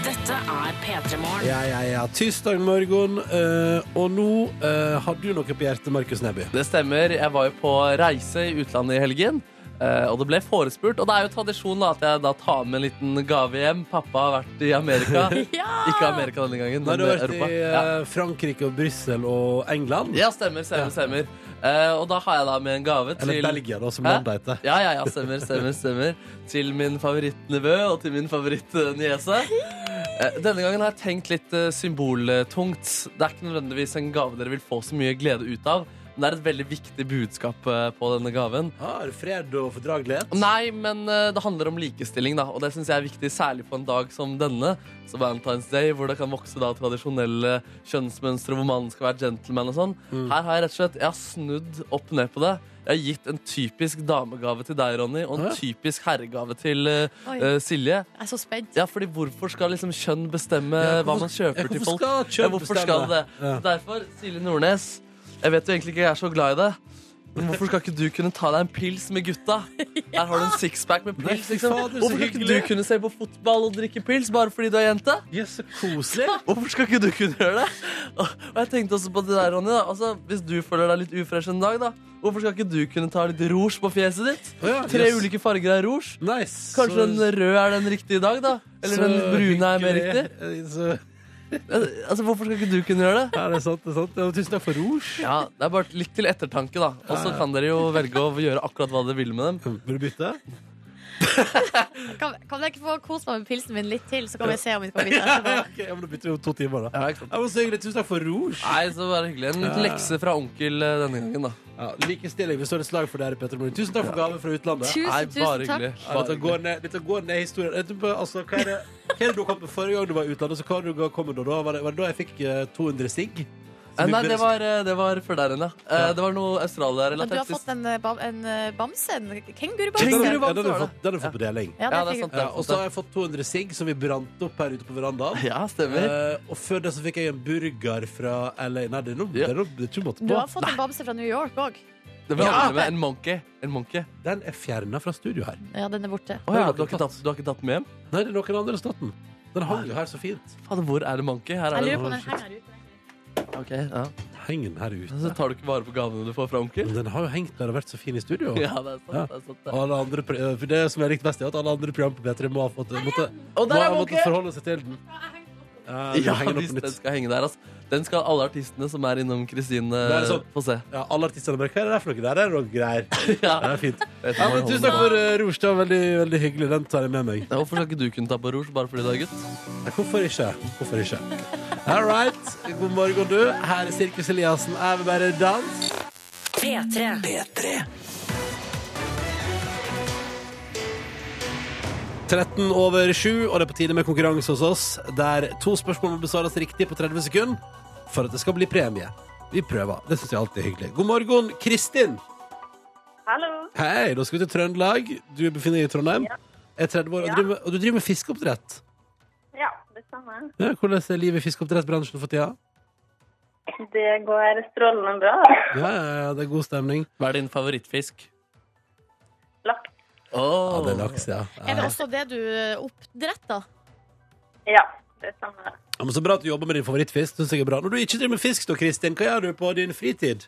[SPEAKER 1] Dette er P3 Morgen.
[SPEAKER 2] Ja, ja, ja. Tirsdag morgen, eh, og nå eh, har du noe på hjertet, Markus Neby.
[SPEAKER 4] Det stemmer. Jeg var jo på reise i utlandet i helgen. eh, Og det ble forespurt, og det er jo tradisjon da at jeg da tar med en liten gave hjem. Pappa har vært i Amerika.
[SPEAKER 2] (laughs)
[SPEAKER 3] Ja!
[SPEAKER 4] Ikke Amerika denne gangen,
[SPEAKER 2] Nå har
[SPEAKER 4] men
[SPEAKER 2] du vært i
[SPEAKER 4] Europa. Ja.
[SPEAKER 2] eh, Frankrike og Brussel og England.
[SPEAKER 4] ja, stemmer,
[SPEAKER 2] Ja.
[SPEAKER 4] stemmer, stemmer. Eh, Og da har jeg da med en gave til
[SPEAKER 2] Eller Belgia, da, som
[SPEAKER 4] Hæ?
[SPEAKER 2] landet heter.
[SPEAKER 4] Ja, ja, ja, stemmer, stemmer, stemmer. Til min favorittnevø og til min favorittniese. Eh, Denne gangen har jeg tenkt litt eh, symboltungt. Det er ikke nødvendigvis en gave dere vil få så mye glede ut av, men det er et veldig viktig budskap eh, på denne gaven.
[SPEAKER 2] Har fred og fordragelighet.
[SPEAKER 4] Nei, men eh, det handler om likestilling, da, og det syns jeg er viktig, særlig på en dag som denne, som Valentine's Day, hvor det kan vokse da tradisjonelle kjønnsmønstre hvor mannen skal være gentleman og sånn.
[SPEAKER 2] Mm.
[SPEAKER 4] Her har jeg rett og slett jeg har snudd opp ned på det. Jeg har gitt en typisk damegave til deg, Ronny, og en
[SPEAKER 2] Hæ?
[SPEAKER 4] typisk herregave til eh,
[SPEAKER 3] Oi, jeg
[SPEAKER 4] eh, Silje.
[SPEAKER 3] er så spent.
[SPEAKER 4] Ja, fordi hvorfor skal liksom kjønn bestemme
[SPEAKER 2] Ja, hvorfor-
[SPEAKER 4] hva man
[SPEAKER 2] ja,
[SPEAKER 4] kjøper til
[SPEAKER 2] hvorfor
[SPEAKER 4] folk?
[SPEAKER 2] skal kjønn
[SPEAKER 4] ja, hvorfor skal
[SPEAKER 2] bestemme?
[SPEAKER 4] det?
[SPEAKER 2] Ja.
[SPEAKER 4] Så Derfor, Silje Nordnes, jeg vet jo egentlig ikke jeg er så glad i det. Men hvorfor skal ikke du kunne ta deg en pils med gutta? Her har du en sixpack med
[SPEAKER 2] Nei,
[SPEAKER 4] pils.
[SPEAKER 2] fy
[SPEAKER 4] Liksom.
[SPEAKER 2] fader, så
[SPEAKER 4] Hvorfor skal ikke du
[SPEAKER 2] hyggelig.
[SPEAKER 4] kunne se på fotball og drikke pils bare fordi du er jente?
[SPEAKER 2] Jøss, så koselig.
[SPEAKER 4] Hvorfor skal ikke du kunne gjøre det? Og og jeg tenkte også på det der, Ronny. Da. Altså, hvis du føler deg litt ufresh en dag, da, hvorfor skal ikke du kunne ta litt rouge på fjeset ditt?
[SPEAKER 2] Å ja,
[SPEAKER 4] Tre
[SPEAKER 2] jøss.
[SPEAKER 4] ulike farger av rouge.
[SPEAKER 2] Nice.
[SPEAKER 4] Kanskje
[SPEAKER 2] Så-
[SPEAKER 4] den røde er den riktige i dag, da? Eller
[SPEAKER 2] så
[SPEAKER 4] den brune er mer
[SPEAKER 2] hyggelig.
[SPEAKER 4] riktig?
[SPEAKER 2] Eh, Så,
[SPEAKER 4] Altså, Hvorfor skal ikke du kunne gjøre det?
[SPEAKER 2] ja, det er sant. det er sant. Ja, Tusen takk for rouge.
[SPEAKER 4] Ja, Det er bare litt til ettertanke, da. Og så kan dere jo velge å gjøre akkurat hva dere vil med dem.
[SPEAKER 2] Vil du bytte?
[SPEAKER 3] Kan, kan jeg ikke få kose meg med pilsen min litt til, så kan vi se om vi kan bytte etterpå?
[SPEAKER 2] (laughs)
[SPEAKER 4] (laughs)
[SPEAKER 2] Ok, ja, men Da bytter vi om to timer, da.
[SPEAKER 4] Ja, ikke sant?
[SPEAKER 2] Jeg må si hyggelig. Tusen takk for rouge.
[SPEAKER 4] Nei, så bare hyggelig. En liten lekse fra onkel eh, denne gangen, da.
[SPEAKER 2] Ja, Likestilling. Vi står et slag for dere, Petter Morin. Tusen takk for gaven fra utlandet.
[SPEAKER 4] Nei,
[SPEAKER 3] Tusen,
[SPEAKER 4] bare
[SPEAKER 3] tusen takk.
[SPEAKER 4] hyggelig.
[SPEAKER 2] Ja,
[SPEAKER 4] Bare
[SPEAKER 2] dette,
[SPEAKER 4] hyggelig.
[SPEAKER 2] går ned, dette går ned i historien. Dette bare- Altså, hva er det, hva er det du kom med forrige gang du var i utlandet? Så hva er det du kom med da? da? Var det, var det da jeg fikk eh, 200 sigg?
[SPEAKER 4] Eh, Nei, det var, eh, det var før der igjen, ja. Eh, Det var noe
[SPEAKER 3] Men du har
[SPEAKER 4] Australia-relatert.
[SPEAKER 3] fått en, eh, bam, en eh, bamse? En
[SPEAKER 2] Den har
[SPEAKER 3] kengurubamse?
[SPEAKER 2] du
[SPEAKER 4] Kenguru-
[SPEAKER 2] fått, den har
[SPEAKER 4] var
[SPEAKER 2] du
[SPEAKER 4] det.
[SPEAKER 2] fått, den har du fått på deling.
[SPEAKER 3] Ja,
[SPEAKER 4] Ja,
[SPEAKER 3] det
[SPEAKER 4] det
[SPEAKER 3] fikk
[SPEAKER 4] er sant,
[SPEAKER 3] jeg.
[SPEAKER 4] det.
[SPEAKER 2] Ja, og så har jeg fått 200 sigg som vi brant opp her ute på verandaen.
[SPEAKER 4] Ja, stemmer.
[SPEAKER 2] Eh, og før det så fikk jeg en burger fra LA. Nei, det er noe, det er noe det tror jeg måtte
[SPEAKER 3] Du har
[SPEAKER 2] på.
[SPEAKER 3] fått en bamse fra New York òg.
[SPEAKER 4] Det var
[SPEAKER 2] ja.
[SPEAKER 4] aldri med en monkey. En monkey.
[SPEAKER 2] Den er fjerna fra studio her.
[SPEAKER 3] Ja, den er borte.
[SPEAKER 4] Å, ja, du, har ikke tatt, du har ikke tatt den med hjem?
[SPEAKER 2] Nei, det er noen andre som har tatt den. Den hang jo her så fint.
[SPEAKER 4] Fader, hvor er det monkey? Her
[SPEAKER 3] Jeg
[SPEAKER 4] er det
[SPEAKER 3] lurer på om den henger her ute.
[SPEAKER 4] Ok, ja.
[SPEAKER 2] Heng den her ute.
[SPEAKER 4] Så tar du ikke vare på gavene du får fra onkel?
[SPEAKER 2] Men den har jo hengt der og vært så fin i studio.
[SPEAKER 4] Ja, det er sant.
[SPEAKER 2] Ja.
[SPEAKER 4] Det er sant det.
[SPEAKER 2] Alle andre, pro- eh, for det som jeg likte best, er at alle andre program på P3 må ha fått måtte,
[SPEAKER 4] Og
[SPEAKER 2] må
[SPEAKER 4] der er
[SPEAKER 2] ha måttet
[SPEAKER 4] Monkey!
[SPEAKER 2] forholde seg til den. Ja, du
[SPEAKER 4] Ja,
[SPEAKER 2] henger den opp
[SPEAKER 4] hvis
[SPEAKER 2] på
[SPEAKER 4] den
[SPEAKER 2] nytt.
[SPEAKER 4] skal henge der, altså. Den skal alle artistene som er innom Kristine,
[SPEAKER 2] Det er sånn.
[SPEAKER 4] få se.
[SPEAKER 2] Ja, alle artistene bare Hva er det der for noe? Der er det noe greier. Det
[SPEAKER 4] Ja.
[SPEAKER 2] er fint.
[SPEAKER 4] Vet
[SPEAKER 2] (laughs)
[SPEAKER 4] du
[SPEAKER 2] Ja,
[SPEAKER 4] hva
[SPEAKER 2] men
[SPEAKER 4] jeg
[SPEAKER 2] tusen takk
[SPEAKER 4] holder
[SPEAKER 2] for uh, Rouge. Det var veldig, veldig hyggelig. Den tar jeg med meg.
[SPEAKER 4] med? Ja, Hvorfor skal ikke du kunne ta på rouge bare fordi du er gutt?
[SPEAKER 2] Nei, Hvorfor ikke? Hvorfor ikke? All right. God morgen, du. Her er Sirkus Eliassen. Jeg vil bare danse.
[SPEAKER 1] P3.
[SPEAKER 2] P3. 13 over 7, og det er på tide med konkurranse hos oss, der to spørsmål må besvares riktig på 30 sekunder for at det skal bli premie. Vi prøver. Det syns jeg alltid er hyggelig. God morgen, Kristin.
[SPEAKER 5] Hallo.
[SPEAKER 2] Hei, da skal vi til Trøndelag. Du befinner deg i Trondheim.
[SPEAKER 5] Ja.
[SPEAKER 2] Er 30 år, og, du driver med, og du driver med fiskeoppdrett.
[SPEAKER 5] Ja, det stemmer.
[SPEAKER 2] Ja, hvordan er livet i fiskeoppdrettsbransjen for tida?
[SPEAKER 5] Det går strålende bra.
[SPEAKER 2] Ja, ja, ja, det er god stemning.
[SPEAKER 4] Hva er din favorittfisk?
[SPEAKER 5] Laks.
[SPEAKER 2] Ja,
[SPEAKER 4] Oh.
[SPEAKER 2] det er laks, ja.
[SPEAKER 3] Er det
[SPEAKER 2] ja.
[SPEAKER 3] også det du eh, oppdretter?
[SPEAKER 5] Ja, det stemmer.
[SPEAKER 2] Ja, men så bra at du jobber med din favorittfisk. Synes jeg er bra. Når du ikke driver med fisk, da, Kristin, hva gjør du på din fritid?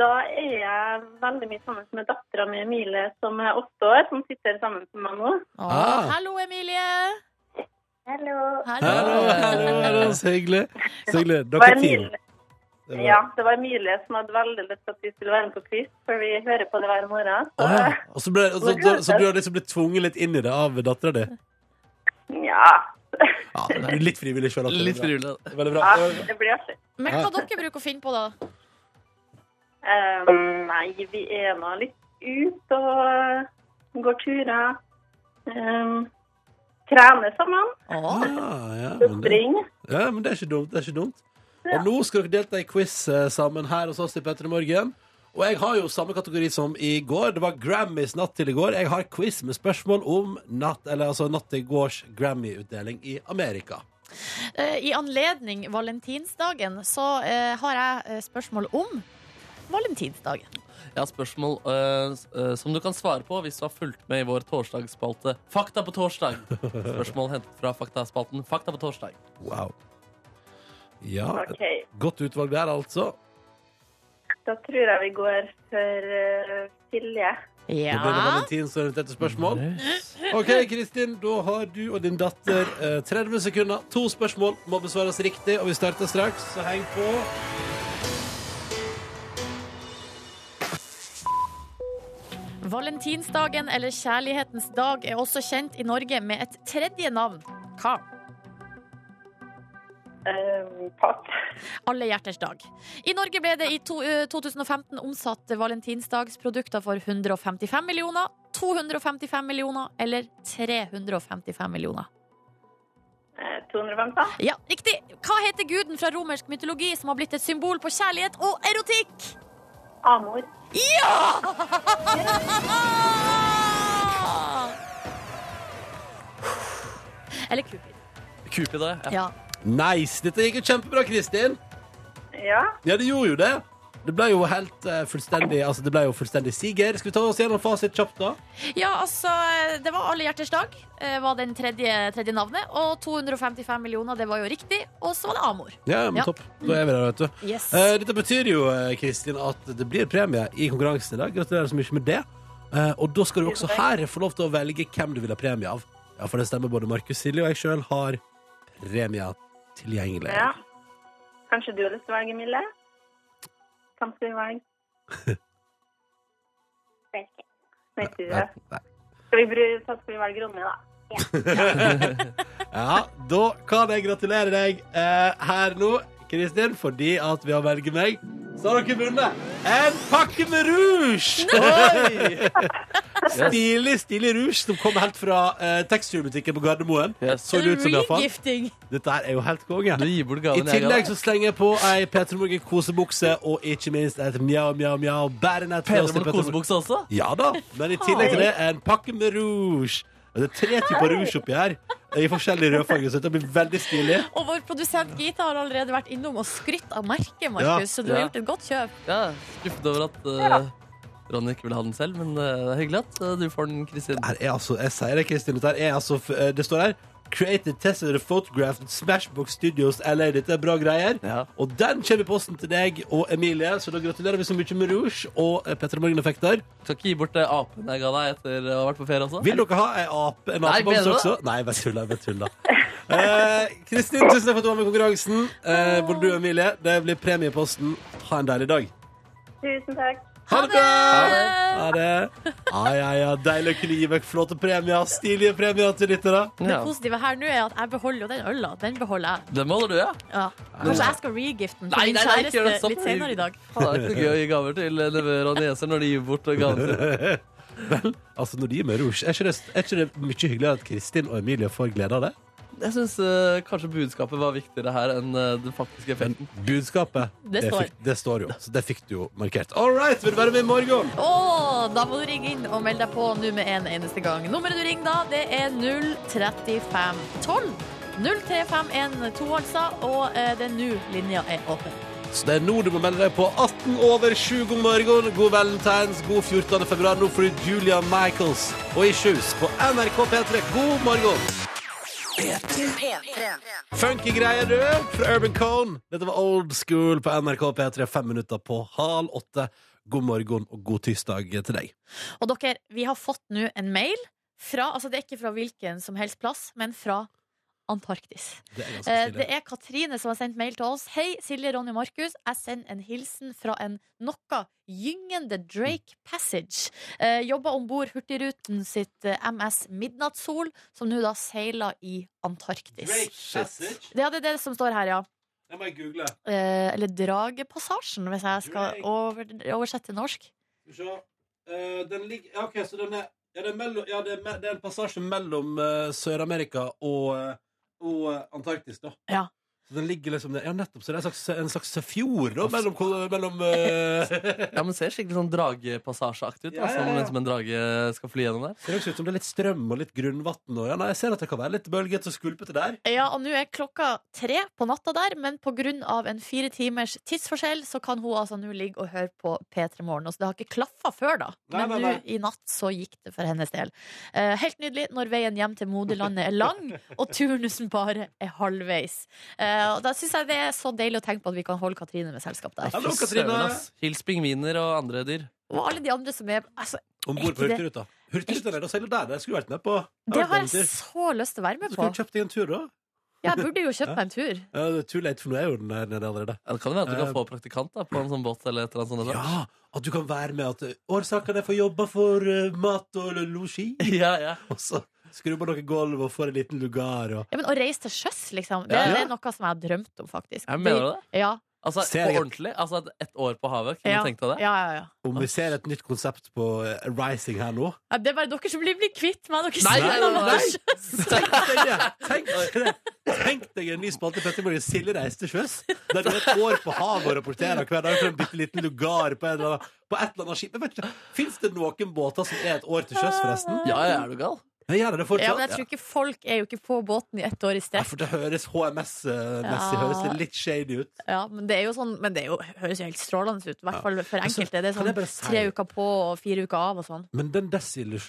[SPEAKER 5] Da er jeg veldig mye sammen med dattera mi Emilie, som er åtte år, som sitter sammen med meg nå.
[SPEAKER 3] Å,
[SPEAKER 2] Ah.
[SPEAKER 3] Hallo, Emilie!
[SPEAKER 5] Hallo.
[SPEAKER 3] Hallo.
[SPEAKER 2] Hallo, hallo, hallo. Så hyggelig. Så hyggelig.
[SPEAKER 5] Det var
[SPEAKER 2] Dere er team.
[SPEAKER 5] Emilie. Ja, det var Emilie som hadde veldig lyst til at vi skulle være med på quiz, for vi hører på det hver morgen.
[SPEAKER 2] Å,
[SPEAKER 5] Så
[SPEAKER 2] ja. Og så, ble, og så, så, så du har liksom blitt tvunget litt inn i det av dattera di?
[SPEAKER 5] (laughs) ja.
[SPEAKER 2] Ja, det er litt frivillig sjøl.
[SPEAKER 4] Litt frivillig.
[SPEAKER 2] Veldig bra.
[SPEAKER 5] ja
[SPEAKER 2] Det var-
[SPEAKER 5] det blir artig.
[SPEAKER 3] (laughs) Men hva dere bruker å finne på, da?
[SPEAKER 5] Eh, nei, vi er nå litt ute og går turer. Um, trener sammen.
[SPEAKER 2] Ah, ja, men det,
[SPEAKER 5] Spring.
[SPEAKER 2] ja, men det er ikke dumt. Det er ikke dumt. Og nå skal dere delta i quiz eh, sammen her hos oss i Petter i morgen. Og jeg har jo samme kategori som i går. Det var Grammys natt til i går. Jeg har quiz med spørsmål om natt, eller altså natt til i gårs Grammy-utdeling i Amerika.
[SPEAKER 3] Eh, I anledning valentinsdagen så eh, har jeg eh, spørsmål om valentinsdagen.
[SPEAKER 4] Jeg har spørsmål eh, s- eh, som du kan svare på hvis du har fulgt med i vår torsdagsspalte Fakta på torsdag. Spørsmål hentet fra faktaspalten Fakta på torsdag.
[SPEAKER 2] Wow. Ja,
[SPEAKER 5] OK.
[SPEAKER 2] godt utvalg der, altså.
[SPEAKER 5] Da tror jeg vi går for eh, Silje.
[SPEAKER 2] Det blir
[SPEAKER 3] Ja.
[SPEAKER 2] valentinsorienterte spørsmål. OK, Kristin, da har du og din datter eh, 30 sekunder. To spørsmål må besvares riktig, og vi starter straks, så heng på.
[SPEAKER 3] Valentinsdagen, eller kjærlighetens dag, er også kjent i Norge med et tredje navn. Hva?
[SPEAKER 5] Um, (laughs) pass.
[SPEAKER 3] Alle hjerters dag. I Norge ble det i to, eh, 2015 omsatt valentinsdagsprodukter for 155 millioner, 255 millioner eller 355 millioner.
[SPEAKER 5] Eh, 250.
[SPEAKER 3] Ja, riktig! Hva heter guden fra romersk mytologi som har blitt et symbol på kjærlighet og erotikk?
[SPEAKER 5] Amor.
[SPEAKER 3] Ah! (sighs) Eller Cupid.
[SPEAKER 4] Cupid, da. Ja.
[SPEAKER 3] Ja.
[SPEAKER 2] Nice! Dette gikk jo kjempebra, Kristin.
[SPEAKER 5] Ja.
[SPEAKER 2] Ja, det gjorde jo det. Det ble jo helt eh, fullstendig altså det ble jo fullstendig siger. Skal vi ta oss gjennom fasit kjapt, da?
[SPEAKER 3] ja, altså Det var Alle hjerters dag, eh, var den tredje, tredje navnet. Og 255 millioner, det var jo riktig. Og så var det Amor.
[SPEAKER 2] Ja, men
[SPEAKER 3] Ja.
[SPEAKER 2] topp. Da er vi der, vet du.
[SPEAKER 3] Yes.
[SPEAKER 2] Eh, dette betyr jo eh, Kristin, at det blir premie i konkurransen i dag. Gratulerer så mye med det. Eh, og da skal du også her få lov til å velge hvem du vil ha premie av. Ja, For det stemmer både Markus Silje og jeg sjøl har premie tilgjengelig.
[SPEAKER 5] ja. Kanskje du har lyst til å velge, Mille? Hvem skal vi
[SPEAKER 6] (laughs)
[SPEAKER 5] velge? Vet ikke. Vet du
[SPEAKER 2] Nei,
[SPEAKER 5] det?
[SPEAKER 2] nei.
[SPEAKER 5] Skal vi, bru- så skal vi velge Ronny, da?
[SPEAKER 2] Ja, da kan jeg gratulere deg eh, her nå, Kristin, fordi at ved å velge meg, så har dere vunnet en pakke med rouge! Oi! Stilig, stilig rouge som kom helt fra eh, tekstilbutikken på Gardermoen.
[SPEAKER 4] Yes.
[SPEAKER 2] Så det ut som i hvert fall.
[SPEAKER 3] Regifting.
[SPEAKER 2] Dette her er jo helt konge.
[SPEAKER 4] Du gir bort
[SPEAKER 2] I
[SPEAKER 4] gaven jeg
[SPEAKER 2] tillegg
[SPEAKER 4] ga.
[SPEAKER 2] så slenger jeg på ei Petter Morgen kosebukse og ikke minst et mjau, mjau, mjau bærenett. til oss til
[SPEAKER 4] Peder
[SPEAKER 2] Petter Morgen.
[SPEAKER 4] kosebukse også.
[SPEAKER 2] Ja da, men i tillegg til det en pakke med rouge. Og Det er tre typer rouge oppi her, i forskjellige rødfarger, så dette blir veldig stilig.
[SPEAKER 3] Og vår produsent Gita har allerede vært innom og skrytt av merket, Markus,
[SPEAKER 2] Ja.
[SPEAKER 3] så du har
[SPEAKER 4] Ja.
[SPEAKER 3] gjort et godt kjøp.
[SPEAKER 4] Ja, Skuffet over at eh, Ronny ikke ville ha den selv, men eh, det er hyggelig at eh, du får den, Kristin.
[SPEAKER 2] Her er altså, jeg sier det, Kristin, dette her er altså, f- eh, det står her Created, tested, and photographed Smashbox Studios LA. Dette er bra greier.
[SPEAKER 4] Ja.
[SPEAKER 2] Og den kommer i posten til deg og Emilie, så da gratulerer vi så mye med rouge og eh, Petter Morgen-effekter.
[SPEAKER 4] Skal ikke gi bort eh, apen jeg ga deg etter å ha vært på ferie også.
[SPEAKER 2] Vil dere ha ei ape, en
[SPEAKER 4] Nei,
[SPEAKER 2] apebamse
[SPEAKER 4] mener du det?
[SPEAKER 2] også? Nei, bare tulla. Bare tulla. Eh, Kristin, tusen takk for at du var med i konkurransen. Eh, både du og Emilie, det blir premie i posten. Ha en deilig dag.
[SPEAKER 5] Tusen takk.
[SPEAKER 2] Ha det bra! Ha det. Ja, ja, ja. Deilig å kunne gi vekk flotte premier. Stilige premier til lyttere.
[SPEAKER 3] Det
[SPEAKER 4] Ja.
[SPEAKER 3] positive her nå er at jeg beholder jo den øla. Den beholder jeg.
[SPEAKER 4] Den holder du, ja?
[SPEAKER 3] Ja. Kanskje jeg skal regifte den
[SPEAKER 4] Nei,
[SPEAKER 3] til min
[SPEAKER 4] nei, nei, ikke gjør det.
[SPEAKER 3] kjæreste
[SPEAKER 4] Stopp.
[SPEAKER 3] litt senere i dag.
[SPEAKER 4] Det er ikke gøy å gi gaver til nevøer og nieser når de gir bort gaver.
[SPEAKER 2] Altså, når de gir meg rouge, er ikke det, er ikke det mye hyggeligere at Kristin og Emilie får glede av det?
[SPEAKER 4] Jeg syns kanskje budskapet var viktigere her enn eh, den faktiske
[SPEAKER 2] Men
[SPEAKER 4] effekten.
[SPEAKER 2] budskapet,
[SPEAKER 3] Det står.
[SPEAKER 2] fikk, det står jo. Så det fikk du jo markert. All right, vil du være med i morgen?
[SPEAKER 3] Å, da må du ringe inn og melde deg på nå med en eneste gang. Nummeret du ringer da, det er 03512. 03512, altså. Og eh, det er nå linja er åpen.
[SPEAKER 2] Så det er nå du må melde deg på 18 over 7 god morgen. God valentines, god 14. februar. Nå får du Julia Michaels og Issues på NRK P3. God morgen! Funky greier, du, fra Urban Cone. Dette var Old School på NRK P3, fem minutter på halv åtte. God morgen og god tirsdag til deg.
[SPEAKER 3] Og dere, vi har fått nå en mail fra Altså, det er ikke fra hvilken som helst plass, men fra Antarktis.
[SPEAKER 2] Det er ganske
[SPEAKER 3] Eh,
[SPEAKER 2] stilig.
[SPEAKER 3] Det er Katrine som har sendt mail til oss. Hei, Silje, Ronny og Markus. Jeg sender en hilsen fra en noe gyngende Drake Passage. Eh, Jobba om bord Hurtigruten sitt eh, MS Midnattssol, som nå da seiler i Antarktis. Det er det, det som står her, ja.
[SPEAKER 2] Det må jeg google.
[SPEAKER 3] Eh, eller Dragepassasjen, hvis jeg skal
[SPEAKER 2] Drake.
[SPEAKER 3] over, oversette til norsk.
[SPEAKER 2] Skal vi se. Eh, den ligger Ja, OK, så den er Ja, det er, mellom, ja, det er, me- det er en passasje mellom eh, Sør-Amerika og, eh, og eh, Antarktis, da.
[SPEAKER 3] Ja.
[SPEAKER 2] Så den ligger liksom der. Ja, nettopp. Så det er en slags, en slags fjord, da, mellom, ko- mellom eh,
[SPEAKER 4] (laughs) Ja, men Ser skikkelig sånn dragepassasjeaktig ut.
[SPEAKER 2] Ja,
[SPEAKER 4] da,
[SPEAKER 2] ja,
[SPEAKER 4] Som liksom
[SPEAKER 2] ja.
[SPEAKER 4] en- som en drage skal fly gjennom der.
[SPEAKER 2] Det ser også ut som det er litt strøm og litt grunnvann og Ja, nei, jeg ser at det kan være litt bølgete og skulpete der.
[SPEAKER 3] Ja, og nå er klokka tre på natta der, men pga. en fire timers tidsforskjell, så kan hun altså nå ligge og høre på P3 Morgen. Og Så det har ikke klaffa før, da.
[SPEAKER 2] Nei,
[SPEAKER 3] Men
[SPEAKER 2] nei,
[SPEAKER 3] nå
[SPEAKER 2] nei.
[SPEAKER 3] i natt så gikk det for hennes del. Eh, helt nydelig når veien hjem til moderlandet er lang, og turnusen bare er halvveis. Eh, og da syns jeg det er så deilig å tenke på at vi kan holde Katrine med selskap der.
[SPEAKER 2] Hallo,
[SPEAKER 4] Fy
[SPEAKER 2] Katrine.
[SPEAKER 4] søren, ass. Hils pingviner og andre dyr.
[SPEAKER 3] Og alle de andre som er altså,
[SPEAKER 2] Om bord på
[SPEAKER 3] Ikke det.
[SPEAKER 2] Hurtigruta. Hurtigruta er der, seiler der. Det skulle vært ned på.
[SPEAKER 3] Det har jeg så lyst til å være
[SPEAKER 2] Så
[SPEAKER 3] med på.
[SPEAKER 2] skulle du kjøpt deg en tur, da.
[SPEAKER 3] Ja, jeg burde jo kjøpt meg en tur.
[SPEAKER 2] Ja, det er too late, for nå er jo den der nede allerede.
[SPEAKER 4] Ja, det kan jo være at du kan få praktikant da, på en sånn båt eller et eller annet sånt. eller?
[SPEAKER 2] Eh. Ja, at du kan være med at eh, årsaken er for jobba for eh, mat og lo- losji.
[SPEAKER 4] (laughs) (laughs) Ja, ja.
[SPEAKER 2] Og så skrur man noe gulv og får en liten lugar og
[SPEAKER 3] Ja, men Å reise til sjøs, liksom. Det,
[SPEAKER 4] Ja.
[SPEAKER 3] det er noe som jeg har drømt om, faktisk.
[SPEAKER 4] Ja, mener du det?
[SPEAKER 3] Ja,
[SPEAKER 4] Altså,
[SPEAKER 2] Ser
[SPEAKER 4] på
[SPEAKER 2] jeg-
[SPEAKER 4] ordentlig? Altså, et- et år på havet? Kunne
[SPEAKER 3] ja.
[SPEAKER 4] du tenkt deg det?
[SPEAKER 3] Ja, ja, ja.
[SPEAKER 2] Om vi ser et nytt konsept på eh, Rising her nå
[SPEAKER 3] Ja, det er bare dere som blir, blir kvitt meg. Dere sier
[SPEAKER 4] Nei, nei, nei,
[SPEAKER 3] noe
[SPEAKER 4] nei.
[SPEAKER 3] sjø.
[SPEAKER 2] Tenk deg det! Tenk deg, det. Tenk deg en ny spalte i Petterborg Silje reiser til sjøs Der du er et år på havet og rapporterer hver dag For en bitte liten lugar på, en eller annen, på et eller annet skip Jeg vet ikke, Finnes det noen båter som er et år til sjøs forresten?
[SPEAKER 4] (laughs) Ja, ja, er du gal?
[SPEAKER 2] Jeg gjør det
[SPEAKER 3] Ja,
[SPEAKER 2] fortsatt
[SPEAKER 3] men jeg tror ikke folk er jo ikke på båten i ett år i
[SPEAKER 2] Ja,
[SPEAKER 3] strekk.
[SPEAKER 2] for det høres HMS-messig
[SPEAKER 3] Ja.
[SPEAKER 2] eh, Høres det litt shady ut
[SPEAKER 3] Ja, men det er jo sånn Men det er jo, høres jo helt strålende ut, i hvert fall for
[SPEAKER 2] Altså,
[SPEAKER 3] enkelte. Det er
[SPEAKER 2] kan jeg bare
[SPEAKER 3] sånn
[SPEAKER 2] si-
[SPEAKER 3] tre uker på og fire uker av og sånn.
[SPEAKER 2] Men den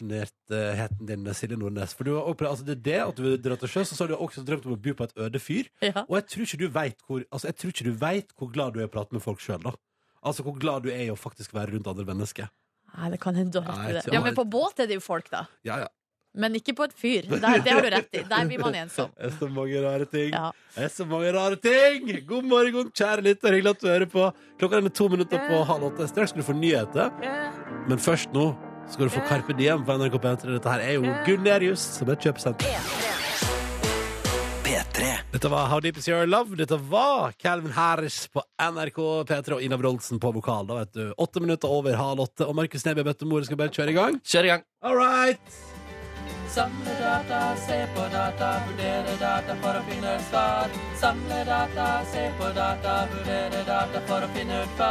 [SPEAKER 2] desillusjonertheten din, Silje Nordnes For du har også, altså det er det at du drar til sjøs, og så har du også drømt om å bo på et øde fyr.
[SPEAKER 3] Ja.
[SPEAKER 2] Og jeg tror ikke du vet hvor, altså jeg tror ikke du vet hvor glad du er i å prate med folk sjøl, da. Altså hvor glad du er i å faktisk være rundt andre mennesker.
[SPEAKER 3] Nei, det kan hende du har
[SPEAKER 2] Nei,
[SPEAKER 3] rett i det.
[SPEAKER 2] jeg tror-
[SPEAKER 3] Ja, men på båt er det jo folk, da.
[SPEAKER 2] Ja, ja.
[SPEAKER 3] Men ikke på et fyr.
[SPEAKER 2] (laughs)
[SPEAKER 3] Der, det har du rett i. Der blir man ensom.
[SPEAKER 2] Det er så mange rare ting.
[SPEAKER 3] Ja.
[SPEAKER 2] Det er så mange rare ting! God morgen, kjære lytter. Hyggelig at du hører på. Klokka den er to minutter på halv åtte. Straks skal du få nyheter. Men først nå skal du få Carpe Diem på NRK P3. Dette her er jo Gunerius, som er et kjøpesenter. Dette var How Deep Is Your Love. Dette var Calvin Harris på NRK P3 og Ina Wroldsen på vokal. Da vet du, Åtte minutter over halv åtte, og Markus Neby og Bette Mor skal bare kjøre i gang.
[SPEAKER 4] Kjør i gang.
[SPEAKER 2] All right!
[SPEAKER 4] Samle data, se på data, vurdere data for å finne ut svar. Samle data, se på data, vurdere data for å finne ut hva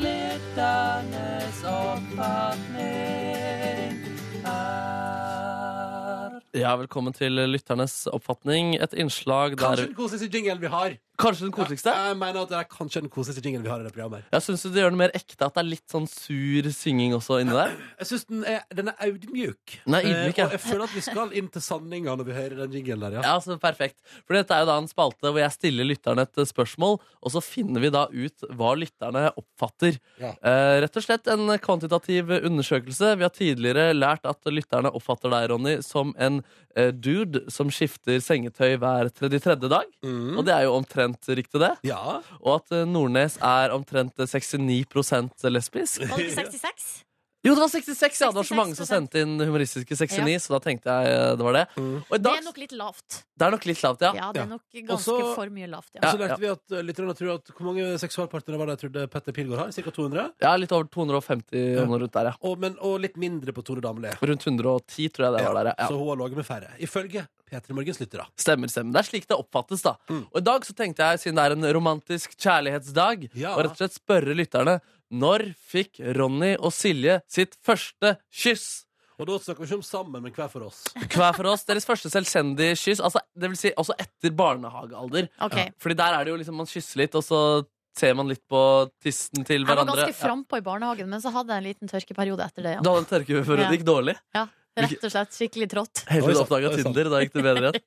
[SPEAKER 4] lytternes oppfatning er. Ja, velkommen til Lytternes oppfatning. Et innslag der
[SPEAKER 2] Kanskje den koseligste jinglen vi har.
[SPEAKER 4] Kanskje den koseligste?
[SPEAKER 2] Jeg mener at det er kanskje den koseligste jinglen vi har i det programmet. her.
[SPEAKER 4] Jeg syns det gjør det mer ekte at det er litt sånn sur synging også inni der.
[SPEAKER 2] Jeg synes den er, den er audmjuk.
[SPEAKER 4] Den er
[SPEAKER 2] Eh,
[SPEAKER 4] ydmyk, ja.
[SPEAKER 2] og jeg føler at vi skal inn til sanninga når vi hører den jinglen der, ja.
[SPEAKER 4] Ja, så perfekt. For dette er jo da en spalte hvor jeg stiller lytterne et eh, spørsmål, og så finner vi da ut hva lytterne oppfatter.
[SPEAKER 2] Ja.
[SPEAKER 4] Eh, rett og slett en kvantitativ undersøkelse. Vi har tidligere lært at lytterne oppfatter deg, Ronny, som en eh, dude som skifter sengetøy hver 33. dag.
[SPEAKER 2] Mm.
[SPEAKER 4] Og det er jo omtrent riktig, det.
[SPEAKER 2] ja.
[SPEAKER 4] Og at eh, Nordnes er omtrent eh, 69 lesbisk.
[SPEAKER 3] Var det ikke 66?
[SPEAKER 4] Jo, det var 66! Ja, det var så mange som
[SPEAKER 3] 66%.
[SPEAKER 4] sendte inn humoristiske 69, så da tenkte jeg eh, det var det. Og i
[SPEAKER 3] Det
[SPEAKER 4] dag,
[SPEAKER 3] er nok litt lavt.
[SPEAKER 4] det er nok litt lavt, ja.
[SPEAKER 3] Ja, det
[SPEAKER 2] Ja.
[SPEAKER 3] er nok ganske
[SPEAKER 2] Også-
[SPEAKER 3] for mye lavt.
[SPEAKER 2] Og
[SPEAKER 3] Ja.
[SPEAKER 2] så lærte vi at eh, lytterne tror at hvor mange seksualpartnere var det jeg trodde Petter Pilgaard har? Cirka 200?
[SPEAKER 4] Ja, litt over 250 og noe rundt der, ja.
[SPEAKER 2] Og, men, og litt mindre på Tore Damli.
[SPEAKER 4] Rundt 110, tror jeg det var der, ja.
[SPEAKER 2] Så hun har ligget med færre. Ifølge P3 Morgens lyttere.
[SPEAKER 4] Stemmer, stemmer. Det er slik det oppfattes, da.
[SPEAKER 2] Mm.
[SPEAKER 4] Og i dag så tenkte jeg, siden det er en romantisk kjærlighetsdag,
[SPEAKER 2] Ja.
[SPEAKER 4] å rett og slett spørre lytterne når fikk Ronny og Silje sitt første kyss?
[SPEAKER 2] Og da snakker vi ikke om sammen, men hver for oss.
[SPEAKER 4] Hver for oss deres første selvstendige kyss. Altså, det vil si også etter barnehagealder.
[SPEAKER 3] Ok.
[SPEAKER 4] Fordi der er det jo liksom man kysser litt, og så ser man litt på tissen til
[SPEAKER 3] Jeg var
[SPEAKER 4] hverandre.
[SPEAKER 3] ganske frampå i barnehagen, men så hadde jeg en liten tørkeperiode etter det.
[SPEAKER 4] Ja.
[SPEAKER 3] Ja.
[SPEAKER 4] Du hadde en tørkeperiode,
[SPEAKER 3] Ja.
[SPEAKER 4] det gikk dårlig.
[SPEAKER 3] Rett og slett skikkelig trått.
[SPEAKER 2] Oi,
[SPEAKER 4] Helt til du
[SPEAKER 2] sant,
[SPEAKER 4] oppdaga
[SPEAKER 2] oi, sant.
[SPEAKER 4] Tinder. Da gikk det
[SPEAKER 2] (laughs)
[SPEAKER 4] bedre igjen.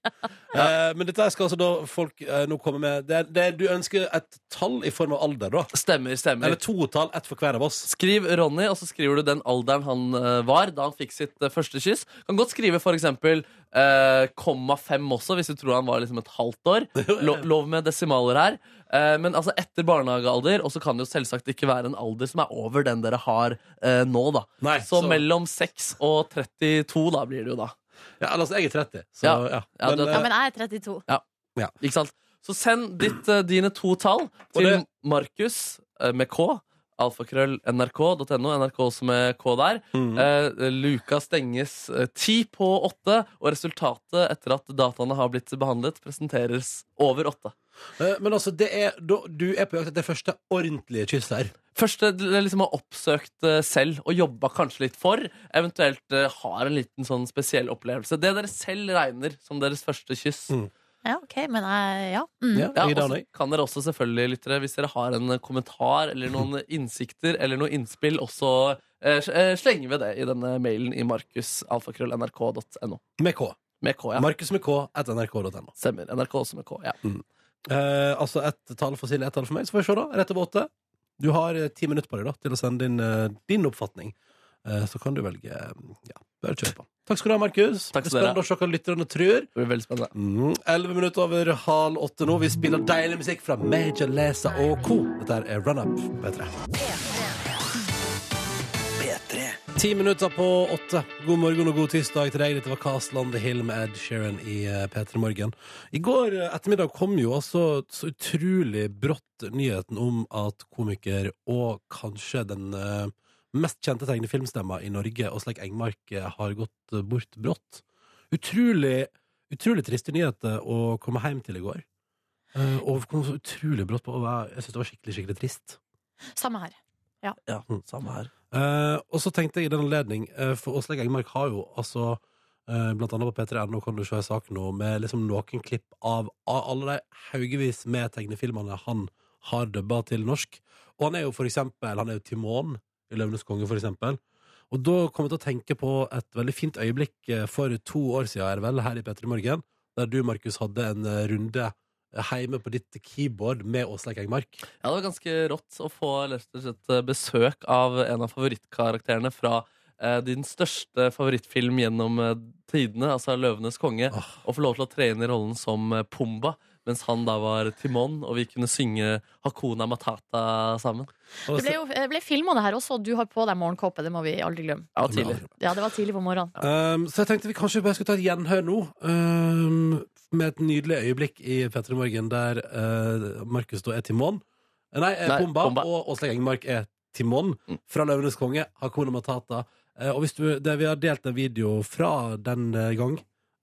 [SPEAKER 2] Eh, men dette skal altså da folk eh, nå komme med det, er- det, er- Du ønsker et tall i form av alder, da?
[SPEAKER 4] Stemmer, stemmer.
[SPEAKER 2] Eller to tall, ett for hver av oss?
[SPEAKER 4] Skriv Ronny, og så skriver du den alderen han eh, var da han fikk sitt eh, første kyss. Kan godt skrive for eksempel eh, komma fem også, hvis du tror han var liksom et halvt år. Lo lov med desimaler her. Eh, men altså etter barnehagealder, og så kan det jo selvsagt ikke være en alder som er over den dere har eh, nå, da.
[SPEAKER 2] Nei,
[SPEAKER 4] så,
[SPEAKER 2] så-
[SPEAKER 4] mellom 6 og 32, da blir det jo da.
[SPEAKER 2] Ja, altså, jeg er 30, så ja.
[SPEAKER 4] Ja. Ja, du er-
[SPEAKER 2] eh,
[SPEAKER 3] Ja, men jeg er 32.
[SPEAKER 4] Ikke sant? Så send ditt, eh, dine to tall til
[SPEAKER 2] det-
[SPEAKER 4] Markus eh, med K. Alfakrøll nrk.no. NRK også med K der.
[SPEAKER 2] Mm.
[SPEAKER 4] Eh, luka stenges eh, ti på åtte, og resultatet etter at dataene har blitt behandlet, presenteres over åtte.
[SPEAKER 2] Eh, Men altså, det er, da, du er på jakt etter det første ordentlige kyss her.
[SPEAKER 4] Første det liksom har oppsøkt eh, selv og jobba kanskje litt for. Eventuelt eh, har en liten sånn spesiell opplevelse. Det dere selv regner som deres første kyss.
[SPEAKER 2] Mm.
[SPEAKER 3] Ja, ok, men jeg Ja. Mm.
[SPEAKER 2] Ja,
[SPEAKER 4] Ja,
[SPEAKER 2] jeg er
[SPEAKER 4] og
[SPEAKER 2] enig.
[SPEAKER 4] så kan dere også selvfølgelig, lyttere, hvis dere har en kommentar eller (laughs) noen innsikter eller noe innspill, også eh, s- eh, slenge ved det i denne mailen i markusalfakrøllnrk.no.
[SPEAKER 2] Med K.
[SPEAKER 4] Med K, ja.
[SPEAKER 2] Markus med K, etter nrk.no.
[SPEAKER 4] Stemmer. NRK også med K. ja.
[SPEAKER 2] Eh, altså ett tall for Silje, ett tall for meg. Så får vi se, da. Rett over åtte. Du har eh, ti minutter på deg da til å sende inn eh, din oppfatning. Eh, så kan du velge eh, Ja, bare kjør på. Takk skal du ha, Markus.
[SPEAKER 4] Takk
[SPEAKER 2] Det er
[SPEAKER 4] skal dere ha.
[SPEAKER 2] Spennende å se hva lytterne tror.
[SPEAKER 4] Det blir veldig spennende.
[SPEAKER 2] Mm, 11 minutter over halv åtte nå. Vi spiller deilig musikk fra Major Lazer og co. Dette er Run Up P3. Ti minutter på åtte. God morgen og god tirsdag til deg. Dette var Castland The Hill med Ed Sheeran i eh, P3 Morgen. I går eh, ettermiddag kom jo altså så utrolig brått nyheten om at komiker og kanskje den eh, mest kjente tegnefilmstemma i Norge, Åsleik Engmark, eh, har gått eh, bort brått. Utrolig utrolig triste nyheter å komme hjem til i går. Eh, og kom så utrolig brått på. Og jeg- jeg syns det var skikkelig skikkelig trist.
[SPEAKER 3] Samme her.
[SPEAKER 4] Ja, samme her.
[SPEAKER 2] Eh, og så tenkte jeg i den anledning, eh, for Åsleik Engmark har jo altså eh, Blant annet på p3.no kan du se en sak nå med liksom noen klipp av, av alle de haugevis med tegnefilmene han har dubba til norsk. Og han er jo for eksempel Han er jo Timon i Løvenes konge, for eksempel. Og da kom jeg til å tenke på et veldig fint øyeblikk eh, for to år siden, er det vel, her i P3 Morgen, der du, Markus, hadde en eh, runde hjemme på ditt keyboard med Åsleik Engmark.
[SPEAKER 4] Ja, det var ganske rått å få rett og slett, eh, besøk av en av favorittkarakterene fra eh, din største favorittfilm gjennom eh, tidene, altså 'Løvenes konge',
[SPEAKER 2] Åh.
[SPEAKER 4] og få lov til å tre inn i rollen som eh, Pumba, mens han da var Timon, og vi kunne synge Hakuna Matata sammen.
[SPEAKER 2] Og
[SPEAKER 3] Det ble,
[SPEAKER 2] så-
[SPEAKER 3] jo- eh, det ble filma det her også, og du har på deg morgenkåpe. Det må vi aldri glemme.
[SPEAKER 4] Ja, tidlig.
[SPEAKER 3] Ja, det var tidlig på morgenen.
[SPEAKER 2] Um, så jeg tenkte vi kanskje bare skulle ta et gjenhør nå, um, med et nydelig øyeblikk i P3 Morgen, der eh, Markus da er Timon. Eh, Nei, eh,
[SPEAKER 4] Nei,
[SPEAKER 2] Pumba,
[SPEAKER 4] Pumba.
[SPEAKER 2] og Åsleik Engmark er Timon fra 'Løvenes konge', Hakuna Matata. Eh, og hvis du, det, vi har delt en video fra den eh, gang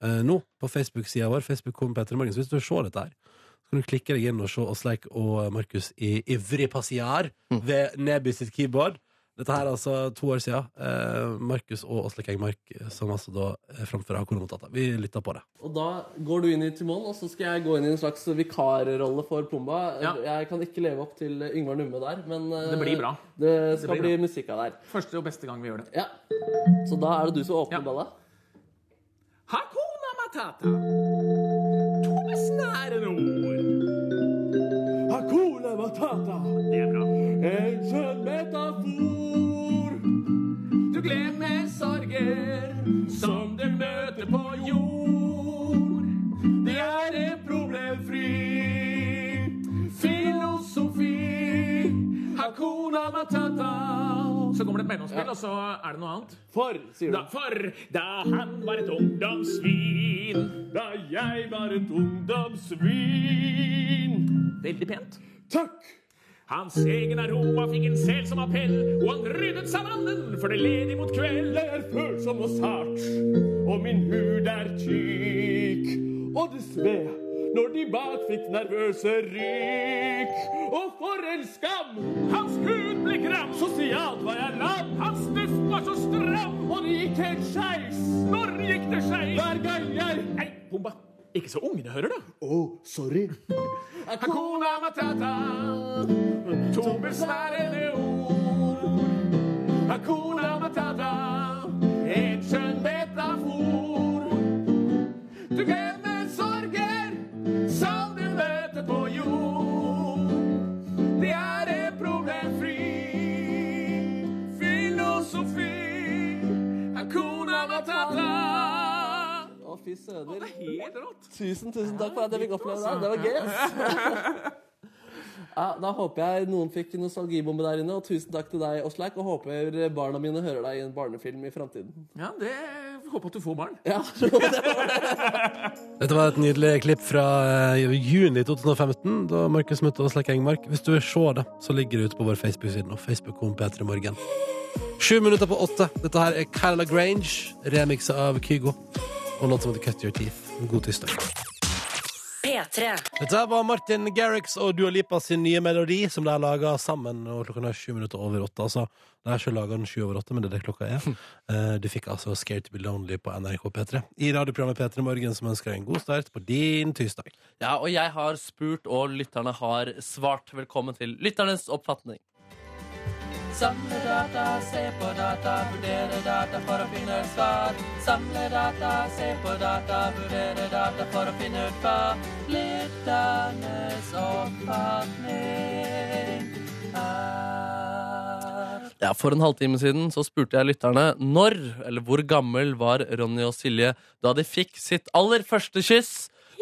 [SPEAKER 2] eh, nå, på Facebook-sida vår, Facebook kom P3 Morgen, så hvis du vil se dette her, så kan du klikke deg inn og se Åsleik og Markus i ivrig passiar ved Neby sitt keyboard. Dette her er altså to år siden. Eh, Markus og Åsle Kengmark, eh, som altså da eh, framfører Hakuna Vi lytta på det.
[SPEAKER 4] Og da går du inn i Timon, og så skal jeg gå inn i en slags vikarrolle for Pumba.
[SPEAKER 7] Ja.
[SPEAKER 4] Jeg kan ikke leve opp til Yngvar Numme der, men eh,
[SPEAKER 7] Det blir bra.
[SPEAKER 4] Det skal
[SPEAKER 7] Det blir
[SPEAKER 4] bli musikk av der.
[SPEAKER 7] Første og beste gang vi gjør det.
[SPEAKER 4] Ja. Så da er det du som åpner
[SPEAKER 7] Ja.
[SPEAKER 4] balla?
[SPEAKER 7] Hakuna matata. Tomme snære nord.
[SPEAKER 4] Hakuna matata,
[SPEAKER 7] Det er bra.
[SPEAKER 4] en skjønn metafor.
[SPEAKER 7] Du glemmer sorger som du møter på jord. Det er en problemfri filosofi. Hakuna matata. Så kommer det et mellomspill, og så er det noe annet.
[SPEAKER 4] For, sier
[SPEAKER 7] Da, for da han var et ungdomssvin, da jeg var et ungdomssvin Veldig pent.
[SPEAKER 4] Takk!
[SPEAKER 7] Hans egen aroma fikk en sel som appell, og han ryddet savannen for det ledig mot kveld.
[SPEAKER 4] Jeg er følsom og sart, og min hud er tyk. Og det sved når de bak fikk nervøse ryk. Og for en skam!
[SPEAKER 7] Hans hud ble gram,
[SPEAKER 4] Sosialt var jeg lam,
[SPEAKER 7] hans duft var så stram.
[SPEAKER 4] og det gikk helt skeis.
[SPEAKER 7] Når gikk det skeis?
[SPEAKER 4] Hver gang jeg
[SPEAKER 7] Nei, bomba. Ikke så ungene hører det.
[SPEAKER 4] Å, sorry.
[SPEAKER 7] Hakuna matata, to besnærende ord. Hakuna matata, en skjønn metafor. Du glemmer sorger som du møter på jord. Det er en problemfri filosofi. Hakuna matata.
[SPEAKER 4] Å, fy søder.
[SPEAKER 7] Helt rått.
[SPEAKER 4] Tusen, tusen takk for at jeg fikk oppleve det. Det var gøy. ass. Ja, da håper jeg noen fikk nostalgibombe der inne, og tusen takk til deg, Oslak, og håper barna mine hører deg i en barnefilm i framtiden.
[SPEAKER 7] Ja, det håper at du får barn.
[SPEAKER 4] Ja, (laughs) det var det.
[SPEAKER 2] Dette var et nydelig klipp fra eh, juni 2015, da Markus møtte Åsle Engmark. Hvis du vil se det, så ligger det ute på vår Facebook-side nå. Facebook.com P3 Morgen. Sju minutter på åtte. Dette her er Kyla Grange, remikset av Kygo. Og låt som heter Cut Your Teeth. God tirsdag.
[SPEAKER 1] P3.
[SPEAKER 2] Dette her var Martin Garrix og Dua Lipa sin nye melodi, som de har laga sammen. Og klokka er sju minutter over åtte. altså. De har ikke laga den sju over åtte, men det er det klokka er.
[SPEAKER 4] (laughs)
[SPEAKER 2] Eh, Du fikk altså Scared to be lonely på NRK P3. I radioprogrammet P3 Morgen, som ønsker deg en god start på din tirsdag.
[SPEAKER 4] Ja, og jeg har spurt, og lytterne har svart. Velkommen til lytternes oppfatning. Samle data, se på data, vurdere data for å finne ut svar. Samle data, se på data, vurdere data for å finne ut hva. Lytternes oppfatning er Ja, For en halvtime siden så spurte jeg lytterne når, eller hvor gammel, var Ronny og Silje da de fikk sitt aller første kyss.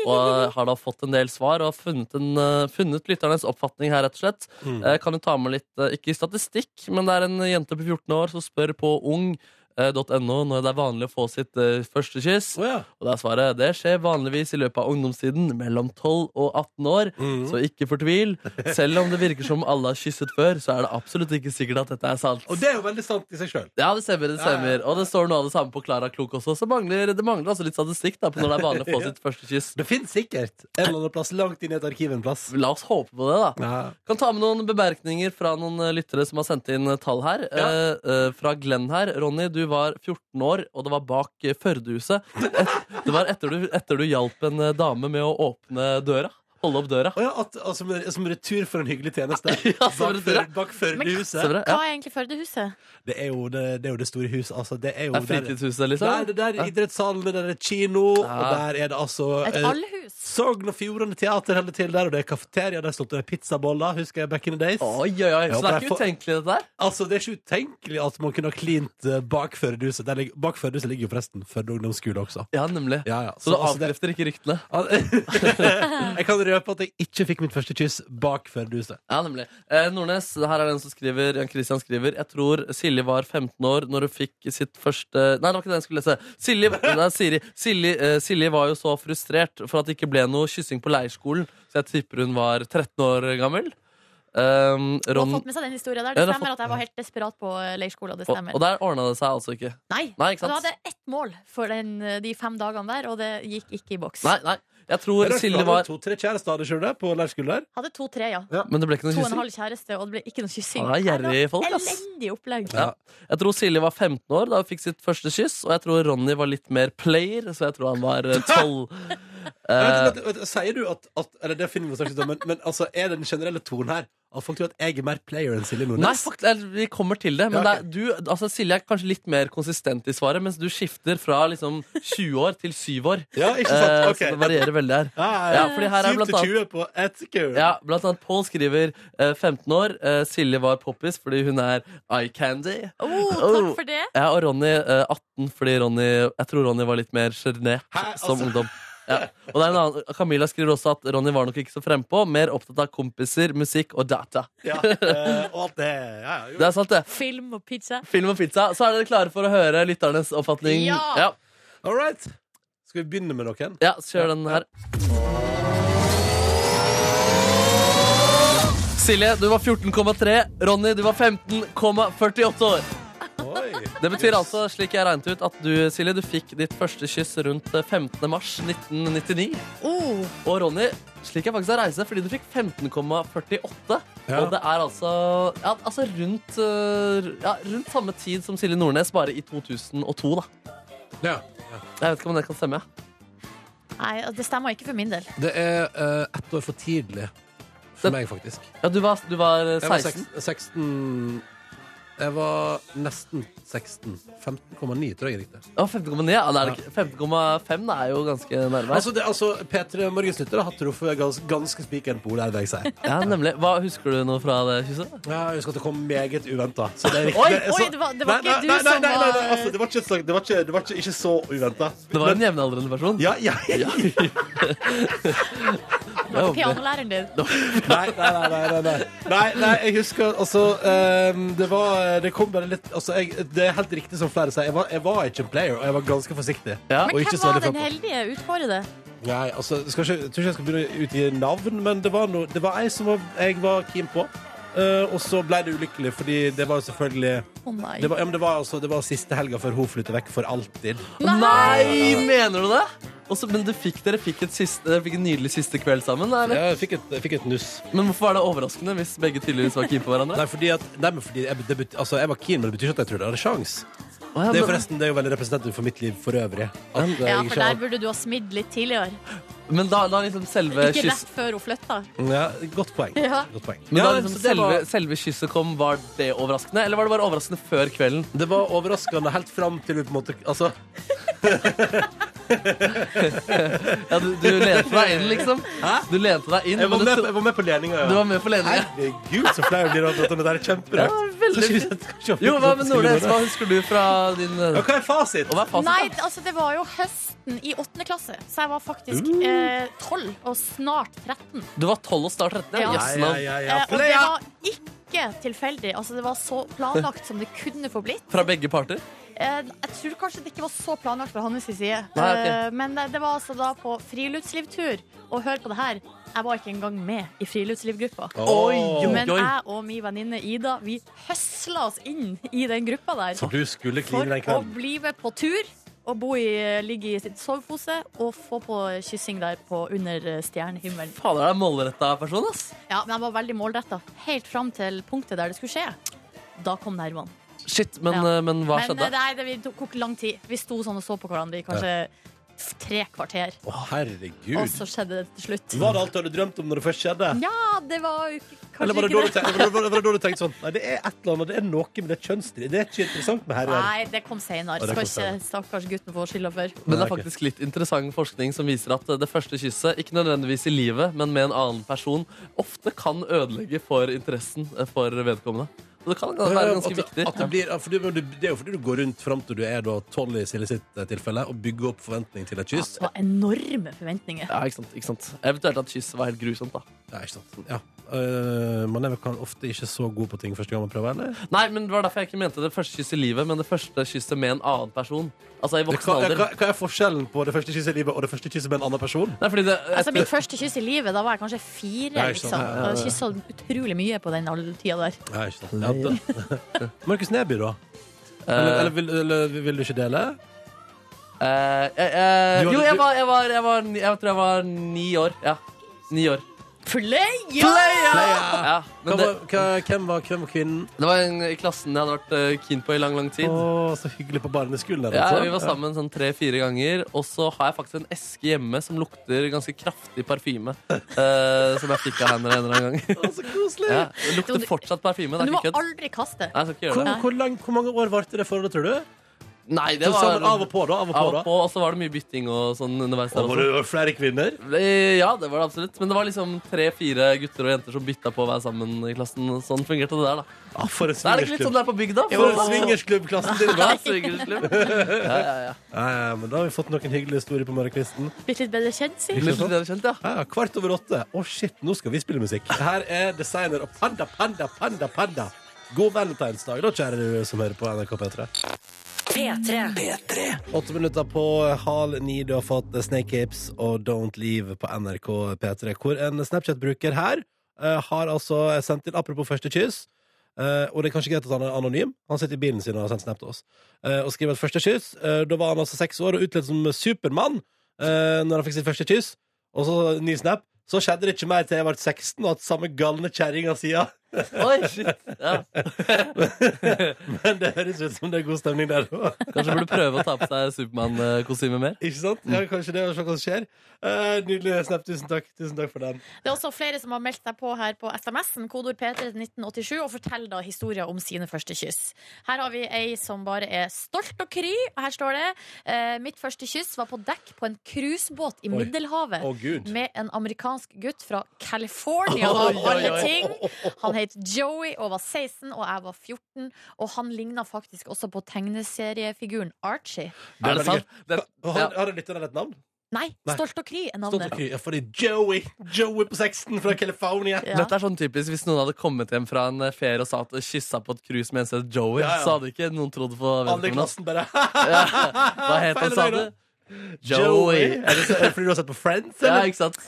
[SPEAKER 4] Og eh, har da fått en del svar og har funnet, en, eh, funnet lytternes oppfatning her, rett og slett. Eh, Kan jo ta med litt, eh, ikke statistikk, men det er en jente på 14 år som spør på eh, ung.no når det er vanlig å få sitt eh, første kyss.
[SPEAKER 2] Å ja.
[SPEAKER 4] Og det er svaret. Det skjer vanligvis i løpet av ungdomstiden, mellom 12 og 18 år.
[SPEAKER 2] Mhm.
[SPEAKER 4] Så ikke fortvil. Selv om det virker som alle har kysset før, så er det absolutt ikke sikkert at dette er sant.
[SPEAKER 2] Og det er jo veldig sant i seg sjøl.
[SPEAKER 4] Ja, det stemmer. det
[SPEAKER 2] Ja, ja, ja.
[SPEAKER 4] stemmer Og det står noe av det samme på Klara Klok også. Så mangler, det mangler altså litt statistikk da på når det
[SPEAKER 2] (laughs)
[SPEAKER 4] er vanlig å få sitt første kyss.
[SPEAKER 2] Det fins sikkert en eller annen plass langt inn i et arkiv en plass.
[SPEAKER 4] La oss håpe på det, da.
[SPEAKER 2] Ja.
[SPEAKER 4] Kan ta med noen bemerkninger fra noen eh, lyttere som har sendt inn eh, tall her. Eh, eh, fra Glenn her. Ronny, du var 14 år, og det var bak eh, Førdehuset. Et, det var etter du, etter du hjalp en eh, dame med å åpne døra. Holde opp døra.
[SPEAKER 2] Å ja, at, altså, at, som, som retur for en hyggelig tjeneste.
[SPEAKER 4] (laughs) Ja, som
[SPEAKER 2] bak
[SPEAKER 4] retur, ja.
[SPEAKER 2] før- bak førerhuset.
[SPEAKER 4] Stemmer det?
[SPEAKER 3] Hva
[SPEAKER 4] Ja.
[SPEAKER 3] er egentlig Førdehuset?
[SPEAKER 2] Det, er jo det, det er jo det store huset. Altså, det er jo
[SPEAKER 4] Det er fritidshuset,
[SPEAKER 2] der, Nei,
[SPEAKER 4] liksom?
[SPEAKER 2] det der er idrettssalen, det der er kino, og der er det altså
[SPEAKER 3] Et
[SPEAKER 2] eh,
[SPEAKER 3] allhus?
[SPEAKER 2] Sogn og Fjordane Teater holder til der, og det er kafeteria, der solgte de pizzaboller, husker jeg, back in the days.
[SPEAKER 4] Oi, oi, oi. Så det er
[SPEAKER 2] Jeg
[SPEAKER 4] ikke
[SPEAKER 2] håper
[SPEAKER 4] utenkelig, dette her?
[SPEAKER 2] Altså, Det er ikke utenkelig at man kunne ha klint eh, bak førerhuset. Der ligger- Bak førerhuset ligger jo forresten Førde ungdomsskole også.
[SPEAKER 4] Ja, nemlig.
[SPEAKER 2] Ja, ja.
[SPEAKER 4] Så du
[SPEAKER 2] altså, det-
[SPEAKER 4] avkrefter ikke ryktene?
[SPEAKER 2] (laughs) jeg kan røpe at jeg ikke fikk mitt første kyss bak førerhuset.
[SPEAKER 4] Ja, nemlig. Eh, Nordnes, her er den som skriver, Jan Christian skriver Jeg tror Silje var 15 år når hun fikk sitt første Nei, det var ikke det jeg skulle lese. Silje, nei, Siri. Silje, eh, Silje var jo så frustrert for at det ikke ble noe kyssing på leirskolen, så jeg tipper hun var 13 år gammel. Um,
[SPEAKER 3] Du
[SPEAKER 4] Ron,
[SPEAKER 3] har fått med seg den historien der.
[SPEAKER 4] Ja,
[SPEAKER 3] Det
[SPEAKER 4] det har
[SPEAKER 3] stemmer
[SPEAKER 4] fått-
[SPEAKER 3] at jeg var helt desperat på eh, leirskolen. Det
[SPEAKER 4] og,
[SPEAKER 3] stemmer.
[SPEAKER 4] og der ordna det seg altså ikke.
[SPEAKER 3] Nei,
[SPEAKER 4] Nei, ikke
[SPEAKER 3] og
[SPEAKER 4] sant?
[SPEAKER 3] du hadde ett mål for den, eh, de fem dagene der, og det gikk ikke i boks.
[SPEAKER 4] Nei, nei. Jeg tror Silje var
[SPEAKER 2] To-tre kjærester hadde sjøl det på leirskole der.
[SPEAKER 3] Hadde to-tre, ja.
[SPEAKER 4] Men det ble ikke noe
[SPEAKER 3] To og en
[SPEAKER 4] kyssing.
[SPEAKER 3] halv kjæreste, og det ble ikke noe kyssing.
[SPEAKER 4] Ah,
[SPEAKER 3] Nei, det var
[SPEAKER 4] gjerrige folk, ass.
[SPEAKER 3] Elendig opplegg.
[SPEAKER 4] Ja. Jeg tror Silje var 15 år da hun fikk sitt første kyss, og jeg tror Ronny var litt mer player, så jeg tror han var eh, 12. Eh,
[SPEAKER 2] Vent, vent, vent, Sier du at, at Eller det finner vi snart ut om, men, men altså, er det den generelle tonen her at folk tror at jeg er mer player enn Silje
[SPEAKER 4] Nei,
[SPEAKER 2] Nordnes?
[SPEAKER 4] fakt, eller, vi kommer til det. Men
[SPEAKER 2] Ja,
[SPEAKER 4] det
[SPEAKER 2] ok.
[SPEAKER 4] er, du, altså, Silje er kanskje litt mer konsistent i svaret, mens du skifter fra liksom, 20 år til 7 år.
[SPEAKER 2] (laughs) Ja, ikke
[SPEAKER 4] Eh,
[SPEAKER 2] sant?
[SPEAKER 4] Så det
[SPEAKER 2] Ok.
[SPEAKER 4] varierer veldig her.
[SPEAKER 2] Ja,
[SPEAKER 4] Ja, fordi her er
[SPEAKER 2] 7
[SPEAKER 4] blant
[SPEAKER 2] til
[SPEAKER 4] annet
[SPEAKER 2] 20 på ett sekund.
[SPEAKER 4] ja, Blant annet Pål skriver eh, 15 år. eh, Silje var poppis fordi hun er eye candy.
[SPEAKER 3] Oh, takk
[SPEAKER 4] Oh.
[SPEAKER 3] for det.
[SPEAKER 4] Ja, og Ronny eh, 18 fordi Ronny Jeg tror Ronny var litt mer sjenert
[SPEAKER 2] Hæ?
[SPEAKER 4] som
[SPEAKER 2] Altså-
[SPEAKER 4] ungdom. Ja. Og det er en annen, Camilla skriver også at Ronny var nok ikke så frempå. Mer opptatt av kompiser, musikk og data.
[SPEAKER 2] Ja, eh, og alt det. Ja, ja, jo.
[SPEAKER 4] Det er sant, det.
[SPEAKER 3] Film og pizza.
[SPEAKER 4] Film og pizza. Så er dere klare for å høre lytternes oppfatning?
[SPEAKER 3] Ja.
[SPEAKER 4] ja.
[SPEAKER 2] All right. Skal vi begynne med noen?
[SPEAKER 4] Ja, så kjør den her. Silje, du var 14,3. Ronny, du var 15,48 år.
[SPEAKER 2] Oi.
[SPEAKER 4] Det betyr altså, slik jeg regnet ut, at du, Silje, du fikk ditt første kyss rundt 15. mars 1999.
[SPEAKER 3] Oh,
[SPEAKER 4] Og Ronny, slik jeg faktisk har reist det, fordi du fikk 15,48.
[SPEAKER 2] Ja.
[SPEAKER 4] Og det er altså, ja, altså rundt, eh, ja, rundt samme tid som Silje Nordnes, bare i 2002, da.
[SPEAKER 2] Ja.
[SPEAKER 4] Jeg vet ikke om det kan stemme. ja.
[SPEAKER 3] nei, det stemmer ikke for min del.
[SPEAKER 2] Det er eh, ett år for tidlig for
[SPEAKER 4] Det-
[SPEAKER 2] meg, faktisk.
[SPEAKER 4] Ja, du var, du var eh,
[SPEAKER 2] Jeg var
[SPEAKER 4] 16.
[SPEAKER 2] 16. 16 Jeg var nesten 16. 15,9, tror jeg jeg riktig.
[SPEAKER 4] Ja, 15,9 ja, det er det ikke. 15,5 er jo ganske nærme.
[SPEAKER 2] Altså, det, altså P3 Morgensnytter har truffet gans, ganske spikeren på ordet, er det jeg sier.
[SPEAKER 4] ja, nemlig. Hva, husker du noe fra det kysset?
[SPEAKER 2] Ja, jeg husker at det kom meget uventa. Oi,
[SPEAKER 4] Oi,
[SPEAKER 3] oi, det var- det var ikke du som
[SPEAKER 2] nei, nei, nei,
[SPEAKER 3] var-
[SPEAKER 2] altså, Det var ikke, et slag- det var ikke, det var ikke, ikke så uventa.
[SPEAKER 4] Det var en jevnaldrende person.
[SPEAKER 2] Ja, ja, (laughs) ja.
[SPEAKER 3] Det var ikke pianolæreren din.
[SPEAKER 2] Nei, nei, nei, nei, nei, nei. nei, nei jeg husker altså ehm, det, var, det kom bare litt altså, jeg, Det er helt riktig som flere sier. Jeg var, jeg var ikke en player, og jeg var ganske forsiktig.
[SPEAKER 4] Ja.
[SPEAKER 2] Og
[SPEAKER 3] Men
[SPEAKER 2] ikke
[SPEAKER 3] hvem
[SPEAKER 2] så
[SPEAKER 3] var
[SPEAKER 2] veldig
[SPEAKER 3] den
[SPEAKER 2] frampå.
[SPEAKER 3] heldige utfordrede?
[SPEAKER 2] Nei, altså, jeg skal ikke, jeg tror ikke jeg skal begynne å utgi navn, men det var, noe- det var ei som var, jeg var keen på. Eh, og så ble det ulykkelig, fordi det var jo selvfølgelig
[SPEAKER 3] Å nei.
[SPEAKER 2] det var, ja, men det, var altså, det var siste helga før hun flyttet vekk for alltid.
[SPEAKER 4] Nei, mener du det? Også, men du fikk, dere fikk, et siste, dere fikk en nydelig siste kveld sammen? Eller?
[SPEAKER 2] Jeg fikk et, jeg fikk et nuss.
[SPEAKER 4] Men hvorfor var det overraskende hvis begge tydeligvis var keen på hverandre?
[SPEAKER 2] Nei, fordi at, nei, men fordi jeg, det bet, altså, jeg var keen, men det betyr ikke at jeg trodde jeg hadde sjans.
[SPEAKER 4] Å,
[SPEAKER 2] Det
[SPEAKER 4] ja,
[SPEAKER 2] er jo
[SPEAKER 4] men,
[SPEAKER 2] forresten det er jo veldig representativt for mitt liv for øvrig. At, eh,
[SPEAKER 3] Ja,
[SPEAKER 2] jeg
[SPEAKER 3] for
[SPEAKER 2] ikke
[SPEAKER 3] der
[SPEAKER 2] har-
[SPEAKER 3] burde du ha smidd litt tidligere.
[SPEAKER 4] men da, da liksom selve
[SPEAKER 3] Ikke
[SPEAKER 4] kyss...
[SPEAKER 3] rett før hun flytta.
[SPEAKER 2] ja, godt poeng.
[SPEAKER 3] Ja.
[SPEAKER 2] Godt poeng.
[SPEAKER 4] Men da
[SPEAKER 2] Ja,
[SPEAKER 4] liksom
[SPEAKER 2] så det,
[SPEAKER 4] selve,
[SPEAKER 2] var,
[SPEAKER 4] selve kysset kom, var det overraskende? Eller var det bare overraskende før kvelden?
[SPEAKER 2] det var overraskende helt fram til hun på en måte Altså,
[SPEAKER 4] Ja, du, du lente deg inn, liksom? Du lente deg inn,
[SPEAKER 2] jeg var
[SPEAKER 4] men
[SPEAKER 2] med,
[SPEAKER 4] du,
[SPEAKER 2] jeg var med på leninga.
[SPEAKER 4] du
[SPEAKER 2] Ja.
[SPEAKER 4] var med på ledningen.
[SPEAKER 2] Herregud, så flau jeg blir av å prate om det der.
[SPEAKER 4] Ja,
[SPEAKER 2] Kjemperart.
[SPEAKER 4] veldig
[SPEAKER 2] Skal ikke- skal ikke-
[SPEAKER 4] Jo, hva med Nordnes? Hva husker du fra din
[SPEAKER 2] Ja,
[SPEAKER 4] Og
[SPEAKER 2] hva er fasit?
[SPEAKER 4] hva er fasit?
[SPEAKER 3] Nei,
[SPEAKER 4] da?
[SPEAKER 3] altså det var jo høsten i åttende klasse, så jeg var faktisk
[SPEAKER 4] Uh.
[SPEAKER 3] eh, tolv og snart 13.
[SPEAKER 4] Du var 12 og snart
[SPEAKER 3] Ja.
[SPEAKER 4] 13? Ja. Yes, no.
[SPEAKER 3] Eh, og det var ikke tilfeldig. Altså det var så planlagt som det kunne få blitt.
[SPEAKER 4] Fra begge parter?
[SPEAKER 3] Eh, jeg tror kanskje det ikke var så planlagt fra hans side.
[SPEAKER 4] Nei, ok.
[SPEAKER 3] Eh, men det, det var altså da på friluftslivtur. Og hør på det her, jeg var ikke engang med i friluftslivgruppa.
[SPEAKER 4] Oi,
[SPEAKER 3] Men jeg og min venninne Ida Vi høsla oss inn i den gruppa der
[SPEAKER 2] For du skulle kline den
[SPEAKER 3] For å
[SPEAKER 2] kvelden.
[SPEAKER 3] bli med på tur Og bo i, ligge i sitt sovepose Og få på kyssing der på under stjernehimmelen
[SPEAKER 4] Fader, det er en målretta person, ass.
[SPEAKER 3] Ja, men jeg var veldig målrettet Helt frem til punktet der det skulle skje Da kom nærmene
[SPEAKER 4] Shit, men,
[SPEAKER 3] Ja.
[SPEAKER 4] eh, men hva
[SPEAKER 3] Men
[SPEAKER 4] skjedde?
[SPEAKER 3] eh, nei, det vi tok tok lang tid Vi sto sånn og så på hverandre i kanskje f- tre kvarter
[SPEAKER 2] Å,
[SPEAKER 3] Og
[SPEAKER 2] herregud.
[SPEAKER 3] så skjedde det til slutt
[SPEAKER 2] Var det alt du hadde drømt om når det først skjedde?
[SPEAKER 3] Ja, det var jo ikke-
[SPEAKER 2] Eller var
[SPEAKER 3] kanskje
[SPEAKER 2] det da
[SPEAKER 3] ikke
[SPEAKER 2] du tenkte, var det, var det, var det da du tenkte sånn Nei, det er et eller annet, det er noe med det kjønnsdrivet. Det er ikke interessant med herrer.
[SPEAKER 3] Nei, det kom senere
[SPEAKER 2] Ja, det kom
[SPEAKER 3] Skal ikke stakkars gutten få skylda for
[SPEAKER 4] Men det er
[SPEAKER 2] Nei, ok.
[SPEAKER 4] faktisk litt interessant forskning som viser at eh, det første kysset, ikke nødvendigvis i livet, men med en annen person, ofte kan ødelegge for interessen eh, for vedkommende. Og det kan
[SPEAKER 2] Ja,
[SPEAKER 4] være
[SPEAKER 2] at
[SPEAKER 4] ganske
[SPEAKER 2] det-
[SPEAKER 4] viktig.
[SPEAKER 2] At det, blir, ja, for du, du, det er jo fordi du går rundt fram til du er da tolv i Silje sitt eh, tilfelle, og bygger opp forventning til et kyss.
[SPEAKER 3] Det var enorme forventninger
[SPEAKER 4] Ja, ikke sant, ikke sant. Eventuelt at kysset var helt grusomt, da.
[SPEAKER 2] Ja, ikke sant. Ja. øh, man er vel kan ofte ikke så god på ting første gang man prøver, eller?
[SPEAKER 4] Nei, men Det var derfor jeg ikke mente det første kysset i livet, men det første kysset med en annen person. Altså i
[SPEAKER 2] Hva,
[SPEAKER 4] voksen
[SPEAKER 2] hva,
[SPEAKER 4] alder.
[SPEAKER 2] hva er forskjellen på det første kysset i livet og det første kysset med en annen person?
[SPEAKER 4] Nei, fordi det,
[SPEAKER 3] Altså,
[SPEAKER 4] etter-
[SPEAKER 3] mitt første kyss i livet, da var jeg kanskje fire.
[SPEAKER 2] Nei, ikke sant.
[SPEAKER 4] sånn,
[SPEAKER 3] liksom. Og Jeg kyssa utrolig mye på den all- tida der.
[SPEAKER 2] Nei, ikke sant.
[SPEAKER 4] (laughs)
[SPEAKER 2] Ja, da- Markus Neby, da? Eller, eller, vil, eller vil du ikke dele?
[SPEAKER 4] Eh, eh, eh,
[SPEAKER 2] Du hadde-
[SPEAKER 4] jo, jeg
[SPEAKER 2] du-
[SPEAKER 4] var, jeg, var, jeg, var, ni- jeg tror jeg var ni år. Ja. Ni år.
[SPEAKER 3] Playa!
[SPEAKER 2] Hva,
[SPEAKER 4] Ja, men det,
[SPEAKER 2] var- hva, hvem, var, hvem var kvinnen?
[SPEAKER 4] det var en i klassen jeg hadde vært eh, keen på i lang, lang tid.
[SPEAKER 2] Å, så hyggelig på barneskolen der,
[SPEAKER 4] Ja,
[SPEAKER 2] altså.
[SPEAKER 4] Vi var sammen sånn tre-fire ganger. Og så har jeg faktisk en eske hjemme som lukter ganske kraftig parfyme. eh, som jeg fikk av henne en eller
[SPEAKER 2] (laughs)
[SPEAKER 4] annen gang.
[SPEAKER 2] Å, så koselig!
[SPEAKER 4] ja, det lukter fortsatt parfyme.
[SPEAKER 3] Men
[SPEAKER 4] Det
[SPEAKER 3] du
[SPEAKER 4] er
[SPEAKER 3] må
[SPEAKER 4] ikke kødd.
[SPEAKER 3] aldri kaste.
[SPEAKER 4] Nei, jeg skal ikke
[SPEAKER 2] Hvor,
[SPEAKER 4] gjøre det.
[SPEAKER 2] hvor, lang, hvor mange år varte det forholdet, tror du?
[SPEAKER 4] Nei, det
[SPEAKER 2] Så
[SPEAKER 4] var
[SPEAKER 2] sammen, av og på, da? Av og på,
[SPEAKER 4] av og
[SPEAKER 2] da.
[SPEAKER 4] på, og så var det mye bytting og sånn underveis. der
[SPEAKER 2] Og
[SPEAKER 4] også.
[SPEAKER 2] var det jo flere kvinner?
[SPEAKER 4] Eh, Ja, det var det absolutt. Men det var liksom tre-fire gutter og jenter som bytta på å være sammen i klassen. og Sånn fungerte det der, da.
[SPEAKER 2] Ja, Ah, for en
[SPEAKER 4] Da er det ikke litt sånn
[SPEAKER 2] swingersklubb.
[SPEAKER 4] det er på bygda?
[SPEAKER 2] For en swingersklubb-klassen din, da.
[SPEAKER 4] Ja, swingersklubb. Ja, ja, ja.
[SPEAKER 2] Ja, ja, men da har vi fått noen hyggelige historier på morgenkvisten.
[SPEAKER 3] Blitt litt bedre kjent, si.
[SPEAKER 4] Litt sånn det er kjent, ja.
[SPEAKER 2] Ja, ja, kvart over åtte. Å, shit, nå skal vi spille musikk. Her er designer og Panda, Panda, Panda, Panda. God valentinsdag, da, kjære du som hører på NRK P3.
[SPEAKER 1] P3.
[SPEAKER 2] Åtte minutter på halv ni. Du har fått Snake Hips og Don't Leave på NRK P3, hvor en Snapchat-bruker her eh, har altså sendt inn Apropos første kyss. eh, og det er kanskje greit at han er anonym. Han sitter i bilen sin og har sendt snap til oss. Eh, og skriver at første kyss eh, Da var han altså seks år og utkledd som Supermann uh, når han fikk sitt første kyss. Og så ny snap. Så skjedde det ikke mer til jeg ble 16, og at samme galne kjerringa sida.
[SPEAKER 4] Oi, shit. Ja.
[SPEAKER 2] (laughs) Men det høres ut som det er god stemning der òg.
[SPEAKER 4] Kanskje burde prøve å ta på seg Supermann-kostyme mer.
[SPEAKER 2] Ikke sant? Ja, kanskje det, og se hva som skjer. Eh, nydelig snap. Tusen takk. Tusen takk for den.
[SPEAKER 3] Det er også flere som har meldt seg på her på SMS-en, kodord P3 til 1987, og forteller da historier om sine første kyss. Her har vi ei som bare er stolt og kry. Her står det eh, Mitt første kyss var på dekk på en cruisebåt i
[SPEAKER 2] Oi.
[SPEAKER 3] Middelhavet.
[SPEAKER 2] Å, Gud.
[SPEAKER 3] Med en amerikansk gutt fra
[SPEAKER 2] (laughs)
[SPEAKER 3] California, av alle ting. Han het Joey og var 16, og jeg var 14. Og han ligna faktisk også på tegneseriefiguren Archie.
[SPEAKER 2] er
[SPEAKER 4] Er det
[SPEAKER 2] veldig
[SPEAKER 4] sant? Det, ja.
[SPEAKER 2] Har, har det lytteren et navn?
[SPEAKER 3] Nei,
[SPEAKER 2] Nei.
[SPEAKER 3] Stolt og kry er
[SPEAKER 2] Stått
[SPEAKER 3] navnet.
[SPEAKER 2] og kry. Ja, fordi Joey Joey på 16 fra California.
[SPEAKER 3] Ja.
[SPEAKER 4] Dette er sånn typisk Hvis noen hadde kommet hjem fra en eh, ferie og sa at de kyssa på et cruise med en som het Joey,
[SPEAKER 2] Ja, ja.
[SPEAKER 4] så hadde ikke noen trodd på
[SPEAKER 2] Alle i
[SPEAKER 4] vedkommende.
[SPEAKER 2] klassen bare (laughs)
[SPEAKER 4] Ja. Hva het han, sa
[SPEAKER 2] Feil
[SPEAKER 4] du?
[SPEAKER 2] dag,
[SPEAKER 4] Joey.
[SPEAKER 2] Er det, så- er det fordi du har sett på Friends?
[SPEAKER 4] Ja,
[SPEAKER 2] Eller?
[SPEAKER 4] ikke sant?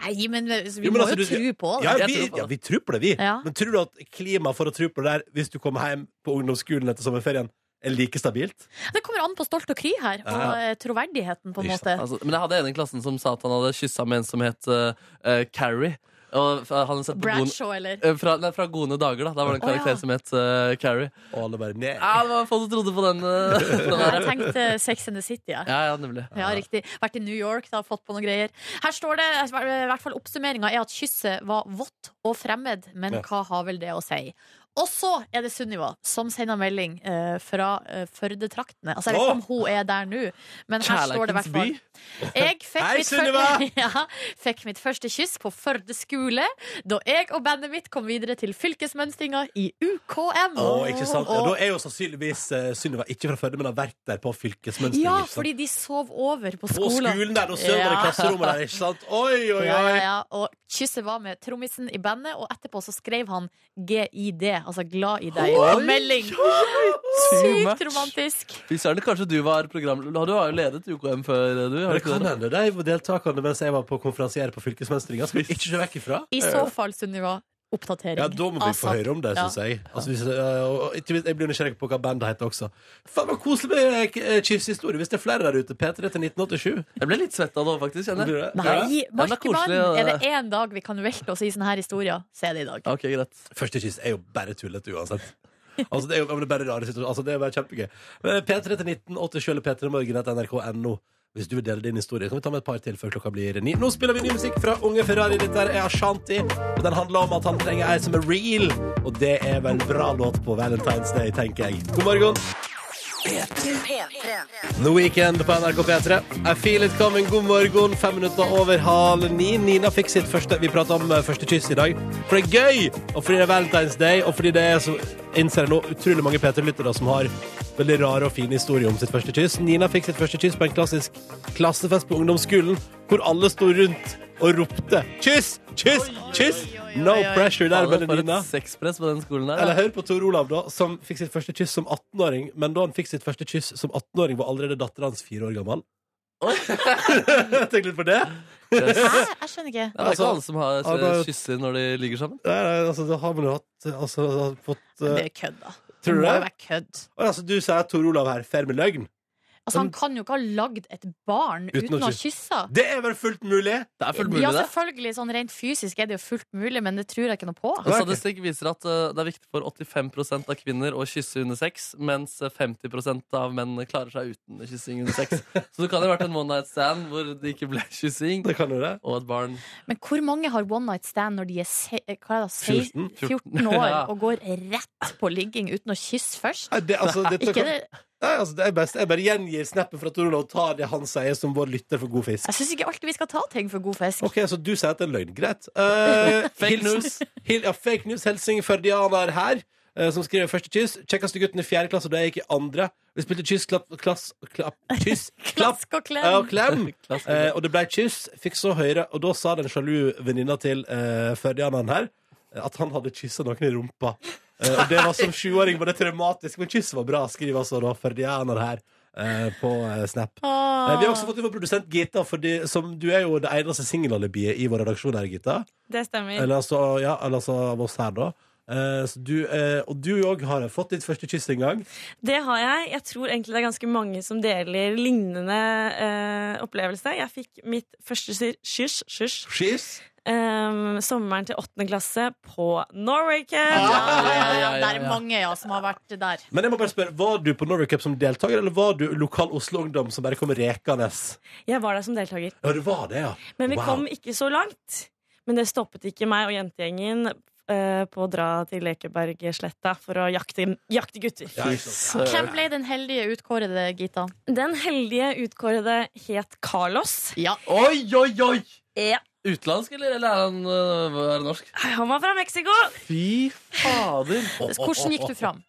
[SPEAKER 3] Nei, men vi
[SPEAKER 2] Jo, men
[SPEAKER 3] må
[SPEAKER 2] altså,
[SPEAKER 3] jo
[SPEAKER 2] du-
[SPEAKER 3] tro på det.
[SPEAKER 2] Ja,
[SPEAKER 4] Jeg
[SPEAKER 2] vi,
[SPEAKER 4] tror på det.
[SPEAKER 2] ja, vi tror på det, vi.
[SPEAKER 3] Ja.
[SPEAKER 2] Men tror du at klimaet for å tro på det der hvis du kommer hjem på ungdomsskolen etter sommerferien, er like stabilt?
[SPEAKER 3] Det kommer an på stolt og kry her, og
[SPEAKER 2] Ja.
[SPEAKER 3] eh, troverdigheten, på en
[SPEAKER 2] Ikke
[SPEAKER 3] måte. (laughs)
[SPEAKER 4] Altså, men jeg hadde en i klassen som sa at han hadde kyssa med en som het eh, eh, Carrie. Og f- han hadde sett på Gone-
[SPEAKER 3] Bradshaw, eller?
[SPEAKER 2] Øh,
[SPEAKER 4] eh, fra, nei, fra Gode dager, da. Da var det en
[SPEAKER 3] Å, ja.
[SPEAKER 4] karakter som het eh, Carrie.
[SPEAKER 2] Og alle bare nei.
[SPEAKER 4] Ja, det var få som trodde på den. eh,
[SPEAKER 3] (laughs)
[SPEAKER 4] den
[SPEAKER 3] Nei,
[SPEAKER 2] øh,
[SPEAKER 4] der.
[SPEAKER 3] jeg tenkte Sex and the City, ja.
[SPEAKER 4] ja, ja, nemlig.
[SPEAKER 3] Ja, riktig. Vært i New York, da, fått på noen greier. Her står det, i hvert fall oppsummeringa er at kysset var vått og fremmed, men
[SPEAKER 2] Ja.
[SPEAKER 3] hva har vel det å si? Og så er det Sunniva som sender melding eh, fra eh, Førde-traktene. Altså, jeg vet ikke om hun er der nå, men her står det i hvert fall.
[SPEAKER 4] Kjærleikens
[SPEAKER 3] Jeg fikk,
[SPEAKER 2] Hei,
[SPEAKER 3] mitt
[SPEAKER 2] Sunniva!
[SPEAKER 3] første, (laughs) ja, fikk mitt første kyss på Førde skole da jeg og bandet mitt kom videre til fylkesmønstringa i UKM.
[SPEAKER 2] Å, ikke sant? Ja, da
[SPEAKER 3] Og,
[SPEAKER 2] er jo sannsynligvis uh, Synnøve ikke fra Førde, men har vært der på fylkesmønstring.
[SPEAKER 3] ja,
[SPEAKER 2] ikke sant?
[SPEAKER 3] fordi de sov over på
[SPEAKER 2] På
[SPEAKER 3] skolen.
[SPEAKER 2] skolen der, og søvner i
[SPEAKER 3] Ja.
[SPEAKER 2] klasserommet der, ikke
[SPEAKER 3] (laughs)
[SPEAKER 2] sant? Oi, oi, oi!
[SPEAKER 3] Ja, ja, ja. Og kysset var med trommisen i bandet, og etterpå så skrev han GID, altså glad i deg, på melding. Sykt romantisk.
[SPEAKER 4] Fy søren, kanskje du var programleder? Du har jo ledet UKM før, eh, du?
[SPEAKER 2] Men
[SPEAKER 4] Har du
[SPEAKER 2] det
[SPEAKER 4] ikke
[SPEAKER 2] kan
[SPEAKER 4] det?
[SPEAKER 2] hende de var deltakerne mens jeg var på konferansier på fylkesmønstringa. Skal vi ikke se vekk ifra?
[SPEAKER 3] I så fall, Sunniva, oppdatering.
[SPEAKER 2] Ja, da må vi få
[SPEAKER 3] ASAP.
[SPEAKER 2] høre om det,
[SPEAKER 3] Altså, Ja.
[SPEAKER 2] syns jeg. Altså, hvis, øh, og ikke minst, jeg blir nysgjerrig på hva bandet heter også. Faen, så koselig med eh, k- eh, kysshistorie hvis det er flere der ute. P3 til 1987.
[SPEAKER 4] Jeg ble litt svett av det òg, faktisk.
[SPEAKER 2] Blir
[SPEAKER 4] Kjenner. jeg.
[SPEAKER 2] det? Ja.
[SPEAKER 3] Nei,
[SPEAKER 4] men det er koselig,
[SPEAKER 3] Markemann,
[SPEAKER 4] ja,
[SPEAKER 3] er
[SPEAKER 4] det.
[SPEAKER 3] det én dag vi kan velte oss i sånne her historier, så er det i dag.
[SPEAKER 4] Ok, greit.
[SPEAKER 2] Første kyss er jo bare tullete uansett. Altså, det er jo men det er bare rare situasjoner. Altså, det er bare kjempegøy. Men P3 til 1987 eller p3morgen.nrk.no. Hvis du vil dele din historie, kan vi ta med et par til før klokka blir ni. Nå spiller vi ny musikk fra Unge Ferrari. Dette er Ashanti. og Den handler om at han trenger ei som er real. Og det er vel en bra låt på Valentine's Day, tenker jeg. God morgen. The Weekend på NRK P3. I feel it coming. God morgen. Fem minutter over halv ni. Nina fikk sitt første Vi prata om eh, første kyss i dag. For det er gøy! Og fordi det er Valentine's Day, og fordi det er så innser jeg nå utrolig mange P3-lyttere som har veldig rare og fine historier om sitt første kyss. Nina fikk sitt første kyss på en klassisk klassefest på ungdomsskolen, hvor alle sto rundt og ropte 'kyss, kyss, kyss'. No pressure der,
[SPEAKER 4] Fader, For
[SPEAKER 2] Belenina.
[SPEAKER 4] et sexpress på den skolen
[SPEAKER 2] Eller
[SPEAKER 4] der.
[SPEAKER 2] hør på Tor Olav, da, som fikk sitt første kyss som 18-åring. Men da han fikk sitt første kyss som 18-åring, var allerede dattera hans fire år gammel. (laughs) Tenk litt på det.
[SPEAKER 4] Yes.
[SPEAKER 3] Hæ? Jeg skjønner ikke.
[SPEAKER 4] Ja, det er
[SPEAKER 2] Altså,
[SPEAKER 4] ikke alle som har eh,
[SPEAKER 2] han har jo-
[SPEAKER 4] kysser når de ligger sammen.
[SPEAKER 2] Nei, nei, altså, da har man jo hatt altså, har fått
[SPEAKER 3] Det
[SPEAKER 2] eh,
[SPEAKER 3] er kødd, da.
[SPEAKER 2] Tror du
[SPEAKER 3] det? må
[SPEAKER 2] det?
[SPEAKER 3] jo være kødd.
[SPEAKER 2] Å, altså, Du sier at Tor Olav her fer med løgn.
[SPEAKER 3] Altså, han kan jo ikke ha lagd et barn
[SPEAKER 2] Uten
[SPEAKER 3] uten,
[SPEAKER 2] å
[SPEAKER 3] å kysse.
[SPEAKER 2] Det er vel fullt mulig?
[SPEAKER 4] Det er fullt mulig,
[SPEAKER 3] Ja,
[SPEAKER 4] det.
[SPEAKER 3] selvfølgelig. Sånn rent fysisk er det jo fullt mulig, men det tror jeg ikke noe på.
[SPEAKER 4] Og Statistikk viser at eh, det er viktig for 85 av kvinner å kysse under sex, mens eh, 50 av menn klarer seg uten kyssing under (laughs) sex. Så det kan ha vært en one night stand hvor det ikke ble kyssing,
[SPEAKER 2] Det kan jo det.
[SPEAKER 4] og et barn
[SPEAKER 3] Men hvor mange har one night stand når de er se eh, hva er det, da?
[SPEAKER 2] 14?
[SPEAKER 3] 14, 14 år
[SPEAKER 4] Ja.
[SPEAKER 3] og går rett på ligging uten å kysse først?
[SPEAKER 2] Nei, det, altså, dette
[SPEAKER 3] Ikke
[SPEAKER 2] kan,
[SPEAKER 3] det,
[SPEAKER 2] nei, altså, det er best. Jeg bare gjengir snappen fra Tor Olav og tar det han sier, som vår lytter for god fisk.
[SPEAKER 3] jeg syns ikke alltid vi skal ta ting for god fisk. (laughs)
[SPEAKER 2] Ok, Så du sier at det er løgn. Greit. Eh,
[SPEAKER 4] (laughs) Fake
[SPEAKER 2] hilsen-
[SPEAKER 4] news.
[SPEAKER 2] Hil, ja, fake news. Helsing Førdianer her, eh, som skriver første kyss. Kjekkeste gutten i fjerde klasse, og da jeg gikk i andre. Vi spilte kyss, klapp, klass,
[SPEAKER 4] (laughs)
[SPEAKER 2] klapp, kyss, klapp
[SPEAKER 3] Klask og
[SPEAKER 2] eh, og (laughs)
[SPEAKER 3] klem!
[SPEAKER 2] klem.
[SPEAKER 4] Klassisk.
[SPEAKER 2] Eh, og det ble kyss. Fikk så høre, og da sa den sjalu venninna til eh, Førdianeren her eh, at han hadde kyssa noen i rumpa. Eh, og det var som sjuåring var det traumatisk, men kyss var bra, skriver altså da Førdianer her eh, på eh, Snap. Eh, vi har også fått inn vår produsent Gita, fordi, som du er jo det eneste singelalibiet i vår redaksjon her, Gita.
[SPEAKER 6] Det stemmer.
[SPEAKER 2] Eller altså, ja, eller altså av oss her, da. Eh, så du, eh, og du òg har fått ditt første kyss en gang.
[SPEAKER 6] Det har jeg. Jeg tror egentlig det er ganske mange som deler lignende eh, opplevelse. Jeg fikk mitt første sy- kyss kyss,
[SPEAKER 2] Kyss?
[SPEAKER 6] em, sommeren til åttende klasse på Norway Cup.
[SPEAKER 3] Ja, ja, ja,
[SPEAKER 4] Ja, ja, ja,
[SPEAKER 3] Det er
[SPEAKER 4] ja.
[SPEAKER 3] mange ja, som har vært der.
[SPEAKER 2] Men jeg må bare spørre, var du på Norway Cup som deltaker, eller var du lokal Oslo Ungdom som bare kom rekende?
[SPEAKER 6] Jeg var der som deltaker.
[SPEAKER 2] Ja, du var det, ja.
[SPEAKER 6] Men vi
[SPEAKER 2] Wow.
[SPEAKER 6] kom ikke så langt. Men det stoppet ikke meg og jentegjengen eh, på å dra til Lekebergsletta for å jakte, jakte gutter.
[SPEAKER 2] Ja, ikke sant.
[SPEAKER 3] Hvem ble den heldige utkårede, Gita?
[SPEAKER 6] Den heldige utkårede het Carlos.
[SPEAKER 3] Ja.
[SPEAKER 4] Oi, oi, oi!
[SPEAKER 6] Ja.
[SPEAKER 4] Utenlandsk, eller? Eller er han øh, er han norsk?
[SPEAKER 6] Han var fra Mexico!
[SPEAKER 4] Fy
[SPEAKER 6] (laughs)
[SPEAKER 4] fader!
[SPEAKER 3] Hvordan gikk du fram?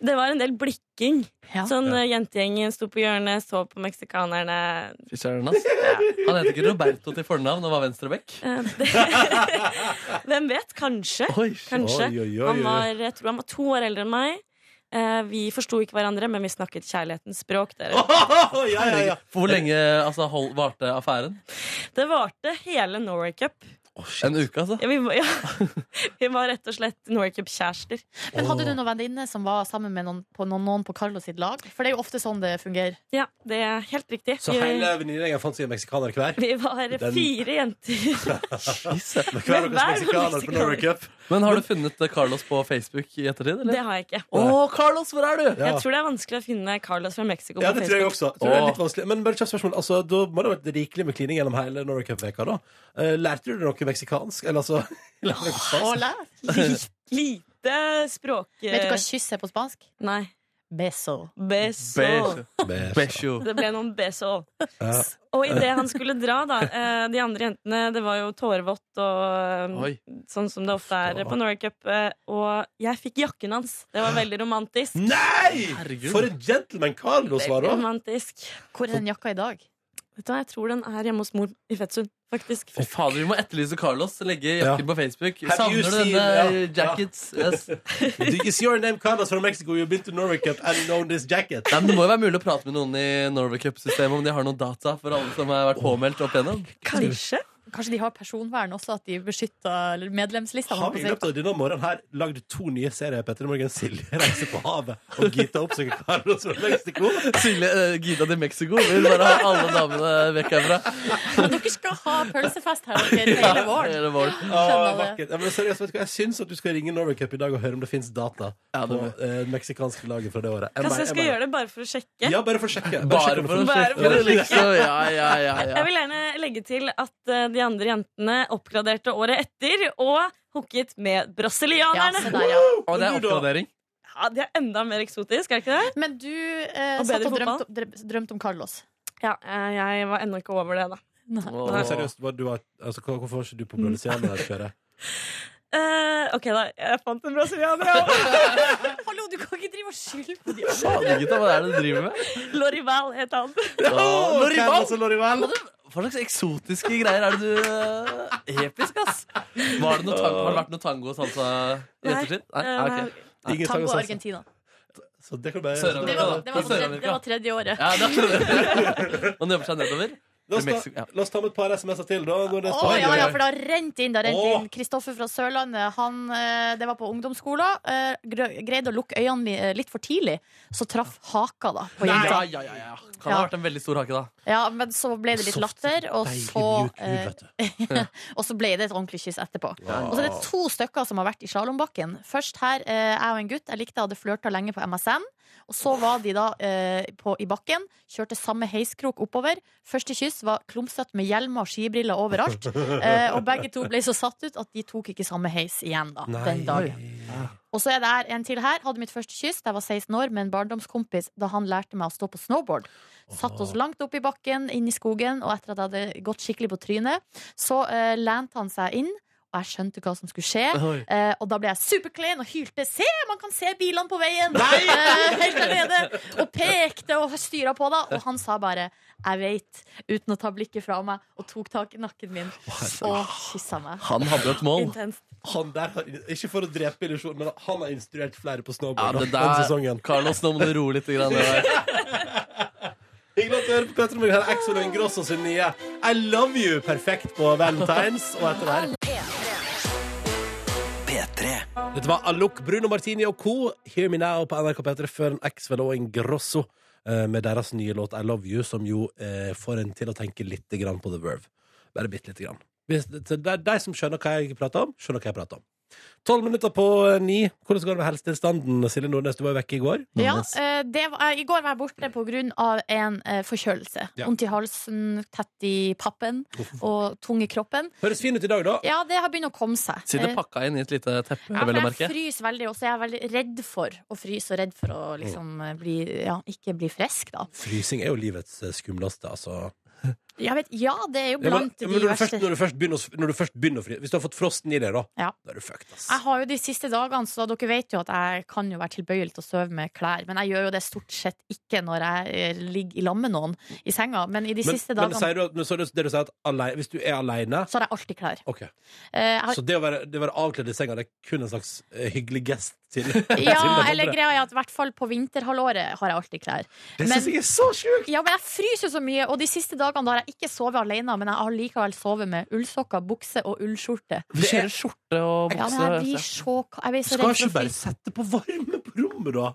[SPEAKER 6] Det var en del blikking.
[SPEAKER 3] Ja.
[SPEAKER 6] Sånn
[SPEAKER 2] Ja.
[SPEAKER 6] eh, Jentegjengen sto på hjørnet, så på meksikanerne.
[SPEAKER 4] Fy søren, ass. Han heter ikke Roberto til fornavn og var venstrebekk.
[SPEAKER 6] Eh, det- (laughs) Hvem vet? Kanskje.
[SPEAKER 4] Oi,
[SPEAKER 6] Kanskje.
[SPEAKER 2] Oi, oi, oi,
[SPEAKER 6] Han
[SPEAKER 2] oi.
[SPEAKER 6] var, jeg tror han var to år eldre enn meg. Eh, Vi forsto ikke hverandre, men vi snakket kjærlighetens språk. Dere.
[SPEAKER 2] Å, ja, ja, ja.
[SPEAKER 4] For hvor lenge altså, hold, varte affæren?
[SPEAKER 6] Det varte hele Norway Cup.
[SPEAKER 4] En uke, altså?
[SPEAKER 6] Ja, vi, var, ja.
[SPEAKER 2] (laughs)
[SPEAKER 6] vi var rett og slett Norway Cup-kjærester.
[SPEAKER 3] Men hadde du noen venninne som var sammen med noen på, noen, noen på Carlos sitt lag? For det er jo ofte sånn det fungerer.
[SPEAKER 6] Ja, det er helt riktig.
[SPEAKER 2] Så hele venninnegjengen fant seg en meksikaner hver?
[SPEAKER 6] Vi var
[SPEAKER 2] Den-
[SPEAKER 6] fire
[SPEAKER 2] (laughs)
[SPEAKER 6] jenter.
[SPEAKER 4] Jesus.
[SPEAKER 2] Hver
[SPEAKER 6] Men
[SPEAKER 2] deres
[SPEAKER 6] hver
[SPEAKER 2] meksikaner på
[SPEAKER 6] meksikaner.
[SPEAKER 2] Norway Cup?
[SPEAKER 4] Men har du funnet øh, Carlos på Facebook i ettertid,
[SPEAKER 6] Det
[SPEAKER 4] eller?
[SPEAKER 6] har jeg ikke.
[SPEAKER 4] Å, Carlos, hvor er du?
[SPEAKER 2] Ja.
[SPEAKER 6] Jeg tror det er vanskelig å finne Carlos fra Mexico
[SPEAKER 2] Ja,
[SPEAKER 6] på
[SPEAKER 2] det tror jeg
[SPEAKER 6] Facebook.
[SPEAKER 2] også. Jeg Tror det er litt
[SPEAKER 4] Åh.
[SPEAKER 2] vanskelig. Men bare kjapt spørsmål. Altså, da må det ha vært rikelig med klining gjennom hele Norway Cup-veka, da. Eh, Lærte du deg noe meksikansk? Eller altså (laughs) lærte du noe
[SPEAKER 3] Å,
[SPEAKER 2] spansk?
[SPEAKER 3] lær.
[SPEAKER 6] Lite språk...
[SPEAKER 3] Vet du hva kyss er på spansk?
[SPEAKER 6] Nei.
[SPEAKER 3] Beso.
[SPEAKER 6] Beso.
[SPEAKER 4] Besjo.
[SPEAKER 6] Det ble noen beso.
[SPEAKER 2] Ja.
[SPEAKER 6] Og idet han skulle dra, da eh, De andre jentene, det var jo tårevått og eh,
[SPEAKER 4] Oi.
[SPEAKER 6] sånn som det ofte er på Norway Cup. eh, Og jeg fikk jakken hans. Det var veldig romantisk.
[SPEAKER 2] Nei!
[SPEAKER 4] Herregud.
[SPEAKER 2] For en gentleman Carlos var,
[SPEAKER 6] Veldig
[SPEAKER 2] da!
[SPEAKER 6] romantisk.
[SPEAKER 3] Hvor er den jakka i dag?
[SPEAKER 6] Vet du hva, jeg tror den er hjemme hos mor i Fettsund, faktisk.
[SPEAKER 4] Fy fader, Vi må etterlyse Carlos. Legge jakken på Facebook.
[SPEAKER 2] Have you
[SPEAKER 4] Savner du
[SPEAKER 2] seen-
[SPEAKER 4] denne
[SPEAKER 2] ja.
[SPEAKER 4] jackets? Yes.
[SPEAKER 2] Do you see your name Carlos from Mexico? You've been to Norway Cup and known this jacket.
[SPEAKER 4] Nei, men Det må jo være mulig å prate med noen i Norway Cup-systemet om de har noen data for alle som har vært påmeldt opp igjennom.
[SPEAKER 6] Kanskje?
[SPEAKER 3] Kanskje de har personvern også, at de beskytter eller medlemslistene?
[SPEAKER 2] Har
[SPEAKER 3] holdt
[SPEAKER 2] vi i
[SPEAKER 3] jeg
[SPEAKER 2] løpet
[SPEAKER 3] på å si.
[SPEAKER 2] av denne morgenen her lagd to nye serier, Petter Morgen Silje reiser på havet og Gita oppsøker Carlos fra Mexico?
[SPEAKER 4] Silje eh, Gida de Mexico vil bare ha alle damene vekk herfra.
[SPEAKER 3] Men (laughs) dere skal ha pølsefest her
[SPEAKER 2] (laughs)
[SPEAKER 3] dere, hele våren.
[SPEAKER 4] Hele våren.
[SPEAKER 2] Ah,
[SPEAKER 3] Skjønner det.
[SPEAKER 2] vakkert. Ja, men seriøst, vet du hva? Jeg syns at du skal ringe Norway Cup i dag og høre om det fins data
[SPEAKER 4] Ja, det
[SPEAKER 2] på
[SPEAKER 4] må-
[SPEAKER 2] eh, meksikanske laget fra det året. Jeg
[SPEAKER 6] Kanskje
[SPEAKER 2] bare-
[SPEAKER 6] jeg skal
[SPEAKER 2] jeg
[SPEAKER 6] gjøre det bare for å sjekke?
[SPEAKER 2] bare- Ja, bare for å sjekke.
[SPEAKER 4] Bare
[SPEAKER 2] sjekke
[SPEAKER 4] for å
[SPEAKER 6] Bare for
[SPEAKER 4] sjekke
[SPEAKER 6] å
[SPEAKER 4] det, liksom. Ja, ja, ja,
[SPEAKER 6] Jeg
[SPEAKER 4] ja.
[SPEAKER 6] vil gjerne legge til at eh, de andre jentene oppgraderte året etter og hooket med
[SPEAKER 3] Ja, se
[SPEAKER 6] brasilianerne.
[SPEAKER 3] der, ja.
[SPEAKER 4] Og det er oppgradering.
[SPEAKER 6] Ja, det er enda mer eksotisk, er det ikke det?
[SPEAKER 3] Men du eh,
[SPEAKER 6] Og
[SPEAKER 3] satt
[SPEAKER 6] bedre
[SPEAKER 3] og
[SPEAKER 6] fotball.
[SPEAKER 3] drømte om, drøm- drømte om Carlos.
[SPEAKER 6] Ja, eh, jeg var ennå ikke over det, da.
[SPEAKER 2] Nei, men
[SPEAKER 4] Åh.
[SPEAKER 2] seriøst, hva- du har, altså, hva- hvorfor var ikke du på
[SPEAKER 3] (laughs)
[SPEAKER 2] Brønnøysund her kjøret?
[SPEAKER 6] Eh, ok, da. Jeg fant en brasilianer, jeg òg.
[SPEAKER 3] Hallo, du kan ikke drive og skylde på de
[SPEAKER 4] Fader, gutta, hva er det du driver med?
[SPEAKER 6] (laughs) Lorival het han.
[SPEAKER 4] Åh,
[SPEAKER 2] Lorival!
[SPEAKER 4] Lorival!
[SPEAKER 2] Lorival.
[SPEAKER 4] Hva slags eksotiske greier er det du eh, Episk, ass! Var det noe tango, har det vært noe tango og salsa i
[SPEAKER 6] Nei.
[SPEAKER 4] ettertid?
[SPEAKER 6] Eh,
[SPEAKER 4] ah, ok.
[SPEAKER 6] nei.
[SPEAKER 2] Ingen sang
[SPEAKER 3] Tango
[SPEAKER 2] og salsa.
[SPEAKER 3] Argentina.
[SPEAKER 2] Så det kan du bare
[SPEAKER 3] Det
[SPEAKER 4] Sør-Amerika,
[SPEAKER 3] var,
[SPEAKER 4] da.
[SPEAKER 3] det var,
[SPEAKER 4] Fra
[SPEAKER 3] tredje, det
[SPEAKER 4] Sør-Amerika.
[SPEAKER 3] var tredje året.
[SPEAKER 4] Ja, det er akkurat det. (laughs) Man jobber seg nedover.
[SPEAKER 2] La oss,
[SPEAKER 4] Til Mexico,
[SPEAKER 2] ta,
[SPEAKER 4] ja.
[SPEAKER 2] la oss ta med et par SMS-er til, da. Når det er
[SPEAKER 3] Å ja,
[SPEAKER 2] spennende.
[SPEAKER 3] ja, for det har rent inn. Det har rent
[SPEAKER 2] Åh.
[SPEAKER 3] inn. Kristoffer fra Sørlandet, han, eh, det var på ungdomsskolen, eh, gre- greide å lukke øynene mi- eh, litt for tidlig, så traff haka da på
[SPEAKER 4] Ja,
[SPEAKER 3] jenta.
[SPEAKER 4] ja, ja, ja. Kan ha vært en veldig stor hake, da.
[SPEAKER 3] Ja, men så ble det litt latter, og så, eh, og så ble det et ordentlig kyss etterpå. Og så er det to stykker som har vært i slalåmbakken. Først her, eh, jeg og en gutt, jeg likte jeg hadde flørta lenge på MSN. Og så var de da eh, på, i bakken, kjørte samme heiskrok oppover. Første kyss var klumsete med hjelmer og skibriller overalt. Eh, og begge to ble så satt ut at de tok ikke samme heis igjen da, den dagen. Og så er det her en til her. Hadde mitt første kyss da jeg var 16 år med en barndomskompis da han lærte meg å stå på snowboard. Satt oss langt opp i bakken, inn i skogen, og etter at jeg hadde gått skikkelig på trynet, så eh, lente han seg inn, og jeg skjønte hva som skulle skje.
[SPEAKER 4] Oi.
[SPEAKER 3] Eh, og da ble jeg superklein og hylte 'se, man kan se bilene på veien'! Eh, helt der nede. Og pekte og styra på, da. Og han sa bare 'jeg veit', uten å ta blikket fra meg, og tok tak i nakken min og kyssa meg.
[SPEAKER 4] Han hadde jo et mål.
[SPEAKER 6] Intenst.
[SPEAKER 2] Han der har, ikke for å drepe illusjonen, men han har instruert flere på
[SPEAKER 4] Ja,
[SPEAKER 2] snowboard
[SPEAKER 4] det
[SPEAKER 2] da, den
[SPEAKER 4] der,
[SPEAKER 2] sesongen.
[SPEAKER 4] Carlos, nå må du roe litt. Grann, det der.
[SPEAKER 2] Hyggelig at du hører på Petter Morgen. Her er Exo og Ingrosso sin nye I Love You perfekt på Valentines og etter der. Dette var Alok Bruno Martini og co. Hear Me Now på NRK P3 før en Exvel og Ingrosso eh, med deres nye låt I Love You, som jo eh, får en til å tenke litt grann på The Verve. Bare bitte lite grann. Hvis- til De de som skjønner hva jeg prater om, skjønner hva jeg prater om. Tolv minutter på eh, ni. Hvordan går det med helsetilstanden, Silje Nordnes? Du var jo vekke i går.
[SPEAKER 3] Ja, eh, det var, I går var jeg borte pga. en eh, forkjølelse.
[SPEAKER 2] Ja.
[SPEAKER 3] Vondt i halsen, tett i pappen
[SPEAKER 2] Uff.
[SPEAKER 3] og tung i kroppen.
[SPEAKER 2] Høres fin ut i dag, da.
[SPEAKER 3] Ja, det har begynt å komme seg.
[SPEAKER 4] Sitter
[SPEAKER 3] Eh,
[SPEAKER 4] pakka inn i et lite teppe.
[SPEAKER 3] Ja,
[SPEAKER 4] vel å
[SPEAKER 3] for
[SPEAKER 4] merke.
[SPEAKER 3] jeg fryser veldig, og så er jeg veldig redd for å fryse og redd for å liksom eh, bli, ja, ikke bli frisk, da.
[SPEAKER 2] Frysing er jo livets eh, skumleste, altså.
[SPEAKER 3] Jeg vet, ja, det er jo
[SPEAKER 2] Ja, men,
[SPEAKER 3] blant
[SPEAKER 2] men når,
[SPEAKER 3] de
[SPEAKER 2] du først,
[SPEAKER 3] verste
[SPEAKER 2] når, du først begynner, å- når du først begynner å fryse Hvis du har fått frosten i deg, da,
[SPEAKER 3] Ja.
[SPEAKER 2] da er du fucked, ass.
[SPEAKER 3] Jeg har jo de siste dagene, så dere vet jo at jeg kan jo være tilbøyelig til å sove med klær. Men jeg gjør jo det stort sett ikke når jeg eh, ligger i lag med noen i senga. Men i de
[SPEAKER 2] Men,
[SPEAKER 3] siste
[SPEAKER 2] men
[SPEAKER 3] dagene
[SPEAKER 2] sier du at, men så er det, det du sier at alei- hvis du er aleine
[SPEAKER 3] så har jeg alltid klær.
[SPEAKER 2] Ok,
[SPEAKER 3] Eh, Jeg har
[SPEAKER 2] Så det å være, det å være avkledd i senga Det er kun en slags eh, hyggelig gest
[SPEAKER 3] (laughs)
[SPEAKER 2] til (laughs)
[SPEAKER 3] Ja, eller greia er at i hvert fall på vinterhalvåret har jeg alltid klær.
[SPEAKER 2] Det
[SPEAKER 3] men-
[SPEAKER 2] syns jeg er så sjukt!
[SPEAKER 3] Ja, men jeg fryser jo så mye, og de siste dagene da har jeg ikke sovet alene, men jeg har likevel sovet med ullsokker, bukse og ullskjorte.
[SPEAKER 4] Du kjører skjorte og
[SPEAKER 3] Ja, men
[SPEAKER 4] bukse.
[SPEAKER 3] jeg
[SPEAKER 4] vet
[SPEAKER 3] blir
[SPEAKER 4] du.
[SPEAKER 3] så ka- Jeg blir så
[SPEAKER 2] Skal
[SPEAKER 3] redd
[SPEAKER 2] ikke
[SPEAKER 3] for å
[SPEAKER 2] bare
[SPEAKER 3] fryse.
[SPEAKER 2] sette på varme på rommet, da?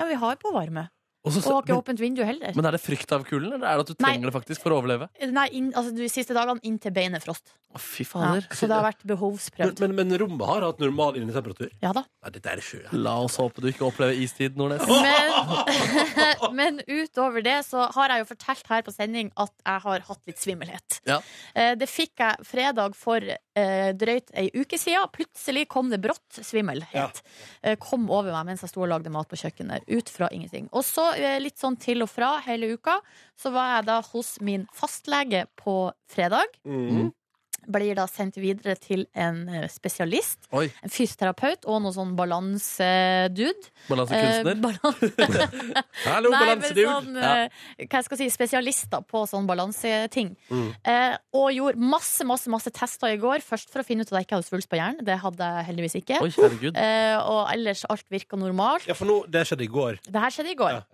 [SPEAKER 3] Ja, vi har på varme.
[SPEAKER 2] Og så-
[SPEAKER 3] Og har ikke
[SPEAKER 2] men-
[SPEAKER 3] åpent vindu heller.
[SPEAKER 4] Men er det frykt av kulden, eller er det at du
[SPEAKER 3] Nei.
[SPEAKER 4] trenger det faktisk for å overleve?
[SPEAKER 3] Nei, inn, altså de siste dagene inn til beinet frost.
[SPEAKER 4] Å, fy
[SPEAKER 3] Ja,
[SPEAKER 4] fader.
[SPEAKER 3] så det har vært
[SPEAKER 2] men,
[SPEAKER 3] behovsprøvd.
[SPEAKER 2] men, men rommet har hatt normal innetemperatur?
[SPEAKER 3] Ja da.
[SPEAKER 2] Nei, dette er sjukt.
[SPEAKER 4] La oss håpe du ikke opplever istid, Nordnes.
[SPEAKER 3] Men,
[SPEAKER 4] (laughs)
[SPEAKER 3] men utover det så har jeg jo fortalt her på sending at jeg har hatt litt svimmelhet.
[SPEAKER 4] Ja.
[SPEAKER 3] Eh, Det fikk jeg fredag for eh, drøyt ei uke siden. Plutselig kom det brått svimmelhet. Eh, Kom over meg mens jeg sto og lagde mat på kjøkkenet. Ut fra ingenting. Og så eh, litt sånn til og fra hele uka, så var jeg da hos min fastlege på fredag.
[SPEAKER 2] Mm.
[SPEAKER 3] Blir da sendt videre til en eh, spesialist,
[SPEAKER 4] Oi,
[SPEAKER 3] en fysioterapeut og noe sånn balansedude. Eh,
[SPEAKER 4] balansekunstner.
[SPEAKER 3] balan-
[SPEAKER 2] Hallo,
[SPEAKER 3] Nei, men
[SPEAKER 2] balansedude!
[SPEAKER 3] sånn, eh, hva jeg skal si, spesialister på sånn balanseting.
[SPEAKER 2] Mm.
[SPEAKER 3] Eh, og gjorde masse, masse, masse tester i går. Først for å finne ut at jeg ikke hadde svulst på hjernen. Det hadde jeg heldigvis ikke.
[SPEAKER 4] Oi, herregud.
[SPEAKER 3] Eh, og ellers alt virka normalt.
[SPEAKER 2] Ja, for nå, det skjedde i går.
[SPEAKER 3] Det her skjedde i går.
[SPEAKER 2] Ja.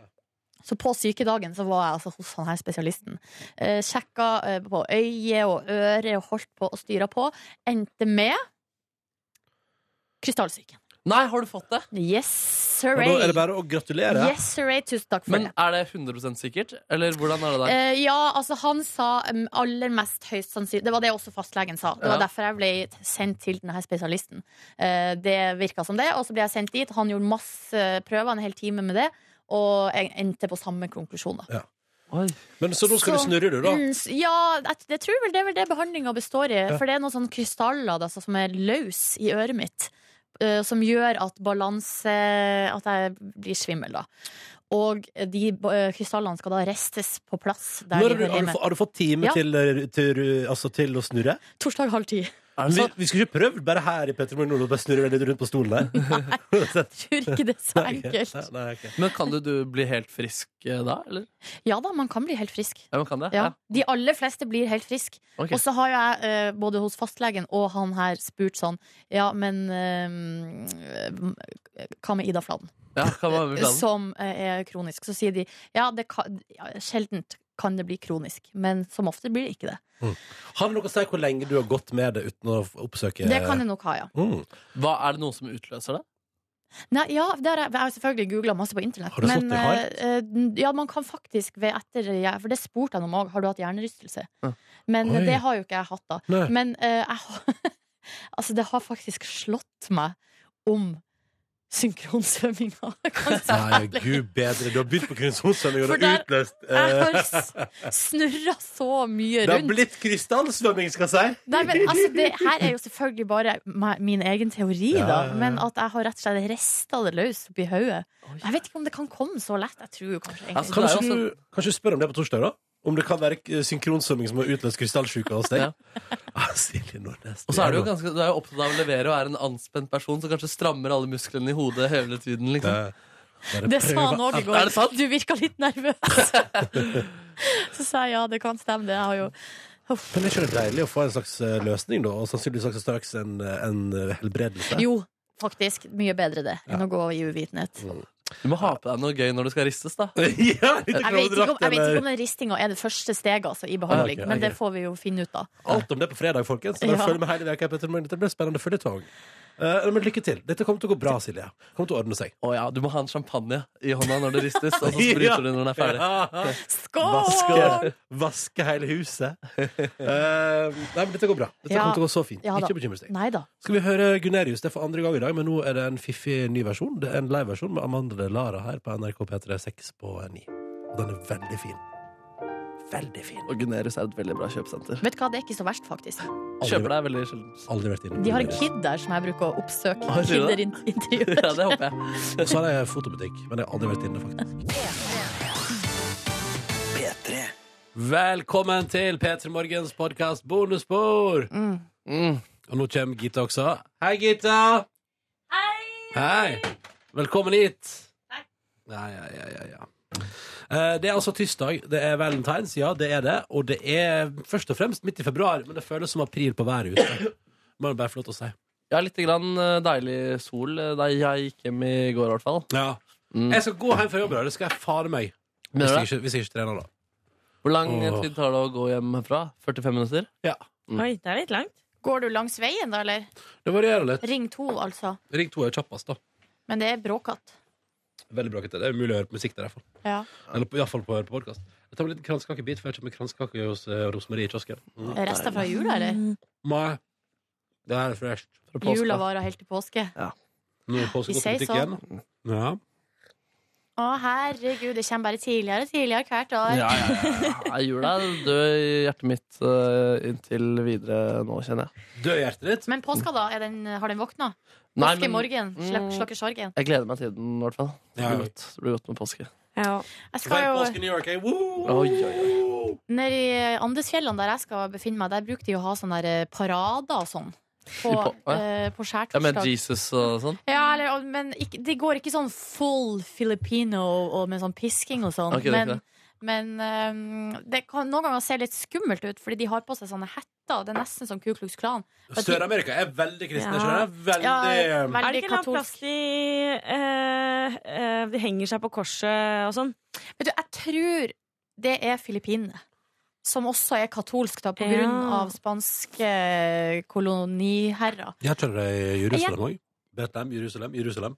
[SPEAKER 3] Så på sykedagen så var jeg altså hos han her spesialisten. Eh, sjekka eh, på øye og øre og holdt på og styra på. Endte med krystallsyken.
[SPEAKER 4] Nei, har du fått det?
[SPEAKER 3] Yes,
[SPEAKER 2] Og
[SPEAKER 3] sir.
[SPEAKER 2] da er det bare å gratulere.
[SPEAKER 3] Yes, sir. Tusen takk for
[SPEAKER 4] Men
[SPEAKER 3] det.
[SPEAKER 4] er det 100 sikkert? Eller hvordan er det der?
[SPEAKER 3] Eh, ja, altså han sa um, aller mest høyst sannsynlig Det var det også fastlegen sa. Det var
[SPEAKER 4] Ja.
[SPEAKER 3] derfor jeg ble t- sendt til denne spesialisten. Eh, det virka som det, og så ble jeg sendt dit. Han gjorde masse prøver, en hel time med det, og jeg endte på samme konklusjon. da. Eh,
[SPEAKER 4] Oi.
[SPEAKER 2] Men Så nå skal
[SPEAKER 3] Så-
[SPEAKER 2] du snurre, du, da?
[SPEAKER 3] Mm, s- ja, jeg, jeg tror vel det er vel det behandlinga består i. For det er noen sånne krystaller da, som er løs i øret mitt. eh, som gjør at balanse At jeg blir svimmel, da. Og de eh, krystallene skal da restes på plass
[SPEAKER 2] Når
[SPEAKER 3] der de
[SPEAKER 2] har, du, har,
[SPEAKER 3] hører
[SPEAKER 2] du,
[SPEAKER 3] hjemme.
[SPEAKER 2] fått- har du fått time
[SPEAKER 3] Ja.
[SPEAKER 2] eh, til, til, altså, til å snurre?
[SPEAKER 3] (laughs) Torsdag halv ti.
[SPEAKER 4] Er
[SPEAKER 2] Vi,
[SPEAKER 4] den,
[SPEAKER 2] vi skulle ikke prøvd bare her i Petter Morgen og bare snurre litt rundt på
[SPEAKER 3] (laughs)
[SPEAKER 2] stolen der?
[SPEAKER 3] Tror ikke det er så
[SPEAKER 2] Nei,
[SPEAKER 3] enkelt.
[SPEAKER 2] nei, ok.
[SPEAKER 4] men kan du, du bli helt frisk eh, da, eller?
[SPEAKER 3] Ja da, man kan bli helt frisk.
[SPEAKER 4] Ja, man kan det?
[SPEAKER 3] Ja. De aller fleste blir helt friske.
[SPEAKER 4] Ok.
[SPEAKER 3] Og så har jo jeg, eh, både hos fastlegen og han her, spurt sånn Ja, men eh, hva med Ida Fladen,
[SPEAKER 4] Ja, kan man være med i planen?
[SPEAKER 3] som eh, er kronisk? Så sier de ja, det kan, ja, sjeldent kan det bli kronisk, men som ofte blir det ikke det.
[SPEAKER 2] Har det noe å si hvor lenge du har gått med det uten å oppsøke
[SPEAKER 3] Det kan det nok ha, ja.
[SPEAKER 2] mm.
[SPEAKER 4] Hva, er det noen som utløser det?
[SPEAKER 3] Nei, ja, det har jeg, jeg har selvfølgelig googla masse på internett.
[SPEAKER 2] Har du slått
[SPEAKER 3] men,
[SPEAKER 2] deg hardt?
[SPEAKER 3] eh, eh, ja, man kan faktisk ved etter ja, For det spurte han om òg. Har du hatt hjernerystelse?
[SPEAKER 4] Ja.
[SPEAKER 3] Men eh,
[SPEAKER 2] Oi.
[SPEAKER 3] det har jo ikke jeg hatt, da.
[SPEAKER 2] Nei.
[SPEAKER 3] Men eh, jeg har (laughs) Altså, det har faktisk slått meg om synkronsvømminga. (laughs) Kanskje
[SPEAKER 2] Nei, gud bedre. Du har begynt på krysonsvømming, og
[SPEAKER 3] For
[SPEAKER 2] du har
[SPEAKER 3] der-
[SPEAKER 2] utløst
[SPEAKER 3] jeg
[SPEAKER 2] eh,
[SPEAKER 3] har s- snurra så mye
[SPEAKER 2] Det har
[SPEAKER 3] rundt.
[SPEAKER 2] blitt krystallsvømming, skal jeg si.
[SPEAKER 3] Nei, men altså, det her er jo selvfølgelig bare me- min egen teori,
[SPEAKER 2] Ja,
[SPEAKER 3] da.
[SPEAKER 2] ja, ja.
[SPEAKER 3] Men at jeg har rett og slett rista det løs oppi hodet. Jeg vet ikke om det kan komme så lett. Jeg tror jo kanskje egentlig
[SPEAKER 4] Altså,
[SPEAKER 2] Kan
[SPEAKER 4] det er
[SPEAKER 2] ikke
[SPEAKER 4] jo
[SPEAKER 2] du, kan ikke du spørre om det på torsdag, da? Om det kan være eh, synkronsvømming som har utløst krystallsjuka hos deg?
[SPEAKER 4] Ja.
[SPEAKER 2] (laughs) Ah, Silje Nordnes.
[SPEAKER 4] Og så er du jo ganske du er jo opptatt av å levere og er en anspent person som kanskje strammer alle musklene i hodet hele tiden. liksom.
[SPEAKER 2] Bare
[SPEAKER 3] Det sa han
[SPEAKER 2] eh. prøve.
[SPEAKER 3] òg i
[SPEAKER 4] Er det sant?
[SPEAKER 3] går. Du virka litt nervøs.
[SPEAKER 2] (laughs)
[SPEAKER 3] Så sa jeg ja, det kan stemme, det. Jeg har jo
[SPEAKER 2] Men det er ikke det deilig å få en slags eh, løsning, da? Og sannsynligvis også straks en, eh, en eh, helbredelse?
[SPEAKER 3] Jo, faktisk. Mye bedre det enn å gå i uvitenhet.
[SPEAKER 4] Du må ha på deg noe gøy når du skal ristes, da.
[SPEAKER 2] (laughs) ja, litt
[SPEAKER 3] Jeg vet ikke om,
[SPEAKER 2] klovnedrakt,
[SPEAKER 3] jeg vet
[SPEAKER 2] eller- Ah,
[SPEAKER 3] ikke om den ristinga er det første steget altså, i behandling,
[SPEAKER 2] Ok,
[SPEAKER 3] men
[SPEAKER 2] ok.
[SPEAKER 3] det får vi jo finne ut av.
[SPEAKER 2] Alt om det på fredag, folkens. Så dere
[SPEAKER 3] Ja.
[SPEAKER 2] følger med hele veka, Petter Morgen. Dette blir spennende føljetong. Eh, men lykke til. Dette kommer til å gå bra, Silje. Kommer til å ordne seg.
[SPEAKER 4] Å ja, Du må ha en champagne i hånda når du ristes, (laughs) og så
[SPEAKER 2] Ja.
[SPEAKER 4] spruter du når den er ferdig. (laughs)
[SPEAKER 2] Ja.
[SPEAKER 3] Skål!
[SPEAKER 2] Vaske, vaske hele huset. Eh, nei, men dette går bra. Dette
[SPEAKER 3] Ja.
[SPEAKER 2] kommer til å gå så fint.
[SPEAKER 3] Ja da.
[SPEAKER 2] ikke bekymre deg.
[SPEAKER 3] Nei da.
[SPEAKER 2] Skal vi høre Gunerius? Det er for andre gang i dag, men nå er det en fiffig ny versjon. Det er en liveversjon med Amanda De Lara her på NRK P3 6 på 9. Og den er veldig fin. Veldig fin.
[SPEAKER 4] Og Gunerius er et veldig bra kjøpesenter.
[SPEAKER 3] Vet du hva, det er ikke så verst, faktisk.
[SPEAKER 2] Aldri-
[SPEAKER 4] Kjøper deg veldig sjelden.
[SPEAKER 2] Aldri vært inne på
[SPEAKER 3] De har en
[SPEAKER 2] Gunerius.
[SPEAKER 3] kid der som jeg bruker å oppsøke.
[SPEAKER 4] Har du det?
[SPEAKER 3] Kinderintervjuer.
[SPEAKER 4] (laughs) Ja, det håper jeg. (laughs)
[SPEAKER 2] Og så har jeg fotobutikk, men jeg har aldri vært inne, faktisk. Velkommen til P3 Morgens podkast Bonusspor!
[SPEAKER 4] Mm.
[SPEAKER 2] Og nå kommer Gita også. Hei, Gita! Hei! Velkommen hit. Ja, ja, ja, ja, ja. Eh, Det er altså tirsdag. Det er valentines, ja, det er det. Og det er først og fremst midt i februar, men det føles som april på været ute. Må det bare få lov til å si.
[SPEAKER 4] Ja, litt grann eh, deilig sol eh, da jeg gikk hjem i går, i hvert fall.
[SPEAKER 2] Ja.
[SPEAKER 4] Mm.
[SPEAKER 2] Jeg skal gå hjem fra jobb, da. Det skal jeg fare meg. Hvis
[SPEAKER 4] Mener
[SPEAKER 2] jeg
[SPEAKER 4] du det?
[SPEAKER 2] ikke, hvis jeg ikke trener, da.
[SPEAKER 4] Hvor lang
[SPEAKER 2] Åh.
[SPEAKER 4] tid tar det å gå hjem herfra? 45 minutter?
[SPEAKER 6] Oi, det er litt langt.
[SPEAKER 3] Går du langs veien, da, eller?
[SPEAKER 2] Det varierer litt.
[SPEAKER 3] Ring to, altså.
[SPEAKER 2] Ring to er jo kjappest, da.
[SPEAKER 3] Men det er bråkete.
[SPEAKER 2] Veldig bra, gutter. Det er umulig å høre på musikk der, i hvert fall.
[SPEAKER 3] Ja.
[SPEAKER 2] Eller på- i hvert fall på å høre på podkast. Jeg tar meg en liten kransekakebit før jeg kjøper meg kransekake hos eh, Rosemarie i kiosken. Mm.
[SPEAKER 3] Rester fra jula, eller?
[SPEAKER 2] Mai. Det her er fresh.
[SPEAKER 4] Fra påske.
[SPEAKER 3] Jula varer helt til påske.
[SPEAKER 2] Nå er påsken
[SPEAKER 3] Vi
[SPEAKER 2] gått i
[SPEAKER 3] sier sånn.
[SPEAKER 2] butikken. Ja.
[SPEAKER 3] Å, herregud, det kommer bare tidligere og tidligere hvert år.
[SPEAKER 4] Ja, ja, ja. ja. Jula er død i hjertet mitt eh, inntil videre nå, kjenner jeg.
[SPEAKER 2] Død i hjertet ditt.
[SPEAKER 3] Men påska, da? Er den, har den våkna?
[SPEAKER 4] Nei,
[SPEAKER 3] Påske
[SPEAKER 4] men
[SPEAKER 3] morgen? Slapp,
[SPEAKER 4] Mm.
[SPEAKER 3] slakker sorgen?
[SPEAKER 4] jeg gleder meg til den, i hvert fall. Det
[SPEAKER 2] Ja.
[SPEAKER 4] blir godt, det blir godt med påske.
[SPEAKER 6] Ja.
[SPEAKER 3] Jeg skal
[SPEAKER 2] Hver påske
[SPEAKER 3] jo
[SPEAKER 2] i New York, eh, woo!
[SPEAKER 4] Oi, oi, oi.
[SPEAKER 3] Nede i Andesfjellene, der jeg skal befinne meg, der bruker de å ha sånne der parader og sånn. På,
[SPEAKER 4] I på-
[SPEAKER 3] eh, på
[SPEAKER 4] Ja, med
[SPEAKER 3] skjærtorsdag.
[SPEAKER 4] Jesus og sånn?
[SPEAKER 3] Ja, eller, og- men ikke, det går ikke sånn full filipino og med sånn pisking og sånn.
[SPEAKER 4] Ok, det er ikke
[SPEAKER 3] men men ehm, det kan noen ganger se litt skummelt ut, fordi de har på seg sånne hetter. Det er nesten som Ku Klux Klan.
[SPEAKER 2] Sør-Amerika er veldig kristne.
[SPEAKER 6] Ja.
[SPEAKER 2] skjønner du?
[SPEAKER 3] Ja,
[SPEAKER 2] Veldig
[SPEAKER 3] veldig.
[SPEAKER 6] Er det ikke noe plass
[SPEAKER 3] katolsk.
[SPEAKER 6] de eh, eh, De henger seg på korset og sånn?
[SPEAKER 3] Vet du, jeg tror det er Filippinene. Som også er katolsk, da, på
[SPEAKER 6] Ja.
[SPEAKER 3] grunn av spanske koloniherrer.
[SPEAKER 2] Jeg tror det er Jerusalem òg. Betlehem, Jerusalem, Jerusalem.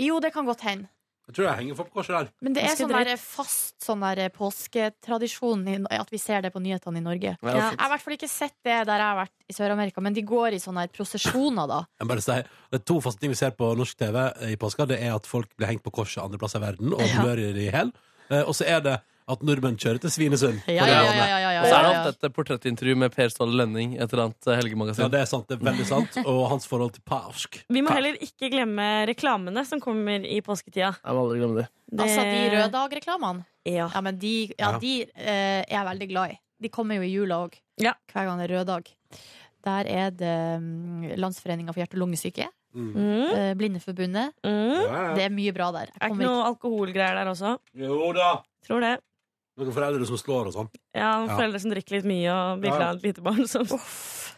[SPEAKER 3] Jo, det kan godt hende.
[SPEAKER 2] Jeg tror jeg henger for på korset der.
[SPEAKER 3] Men det er
[SPEAKER 6] Ganske
[SPEAKER 3] sånn
[SPEAKER 6] drøyt.
[SPEAKER 3] der fast sånn der påsketradisjon i- at vi ser det på nyhetene i Norge. Jeg
[SPEAKER 4] Ja, fint.
[SPEAKER 3] har i hvert fall ikke sett det der jeg har vært i Sør-Amerika, men de går i sånne her prosesjoner, da.
[SPEAKER 2] Jeg må bare si, det er to faste ting vi ser på norsk TV i påska. Det er at folk blir hengt på korset andre plasser i verden og
[SPEAKER 3] Ja.
[SPEAKER 2] blør i hjel. Eh, Og så er det at nordmenn kjører til Svinesund. på
[SPEAKER 3] Ja,
[SPEAKER 2] det
[SPEAKER 3] ja, ja,
[SPEAKER 2] vannet.
[SPEAKER 3] ja, ja,
[SPEAKER 4] Og så er
[SPEAKER 3] ja,
[SPEAKER 4] det
[SPEAKER 3] ja.
[SPEAKER 4] alltid et portrettintervju med Per Ståle Lønning i et eller annet
[SPEAKER 2] Altså,
[SPEAKER 4] eh,
[SPEAKER 2] Ja,
[SPEAKER 4] helgemagasin.
[SPEAKER 2] det er sant. Det er veldig sant. Og hans forhold til påsk.
[SPEAKER 6] Vi må heller ikke glemme reklamene som kommer i påsketida.
[SPEAKER 4] Jeg må aldri glemme det.
[SPEAKER 6] Det-
[SPEAKER 3] Altså de
[SPEAKER 6] Eh,
[SPEAKER 3] Røde Dag-reklamene.
[SPEAKER 6] Ja.
[SPEAKER 3] Ja, men de, ja,
[SPEAKER 2] Ja.
[SPEAKER 3] de eh, er jeg veldig glad i. De kommer jo i jula òg,
[SPEAKER 6] Ja.
[SPEAKER 3] hver gang det er rød dag. Der er det mm, Landsforeninga for hjerte- og lungesyke,
[SPEAKER 2] Mm.
[SPEAKER 6] Mm.
[SPEAKER 3] eh, Blindeforbundet.
[SPEAKER 6] Mm.
[SPEAKER 2] Ja,
[SPEAKER 3] Det
[SPEAKER 2] ja.
[SPEAKER 3] er mye bra der. Jeg
[SPEAKER 6] Er ikke
[SPEAKER 3] kommer
[SPEAKER 6] noe alkoholgreier der også?
[SPEAKER 2] Jo da!
[SPEAKER 6] Tror det.
[SPEAKER 2] Noen foreldre som slår og sånn.
[SPEAKER 6] Ja, noen
[SPEAKER 2] Ja.
[SPEAKER 6] Foreldre som drikker litt mye
[SPEAKER 2] Ja,
[SPEAKER 6] og bilder
[SPEAKER 2] ja.
[SPEAKER 6] av et lite barn som
[SPEAKER 3] ikke-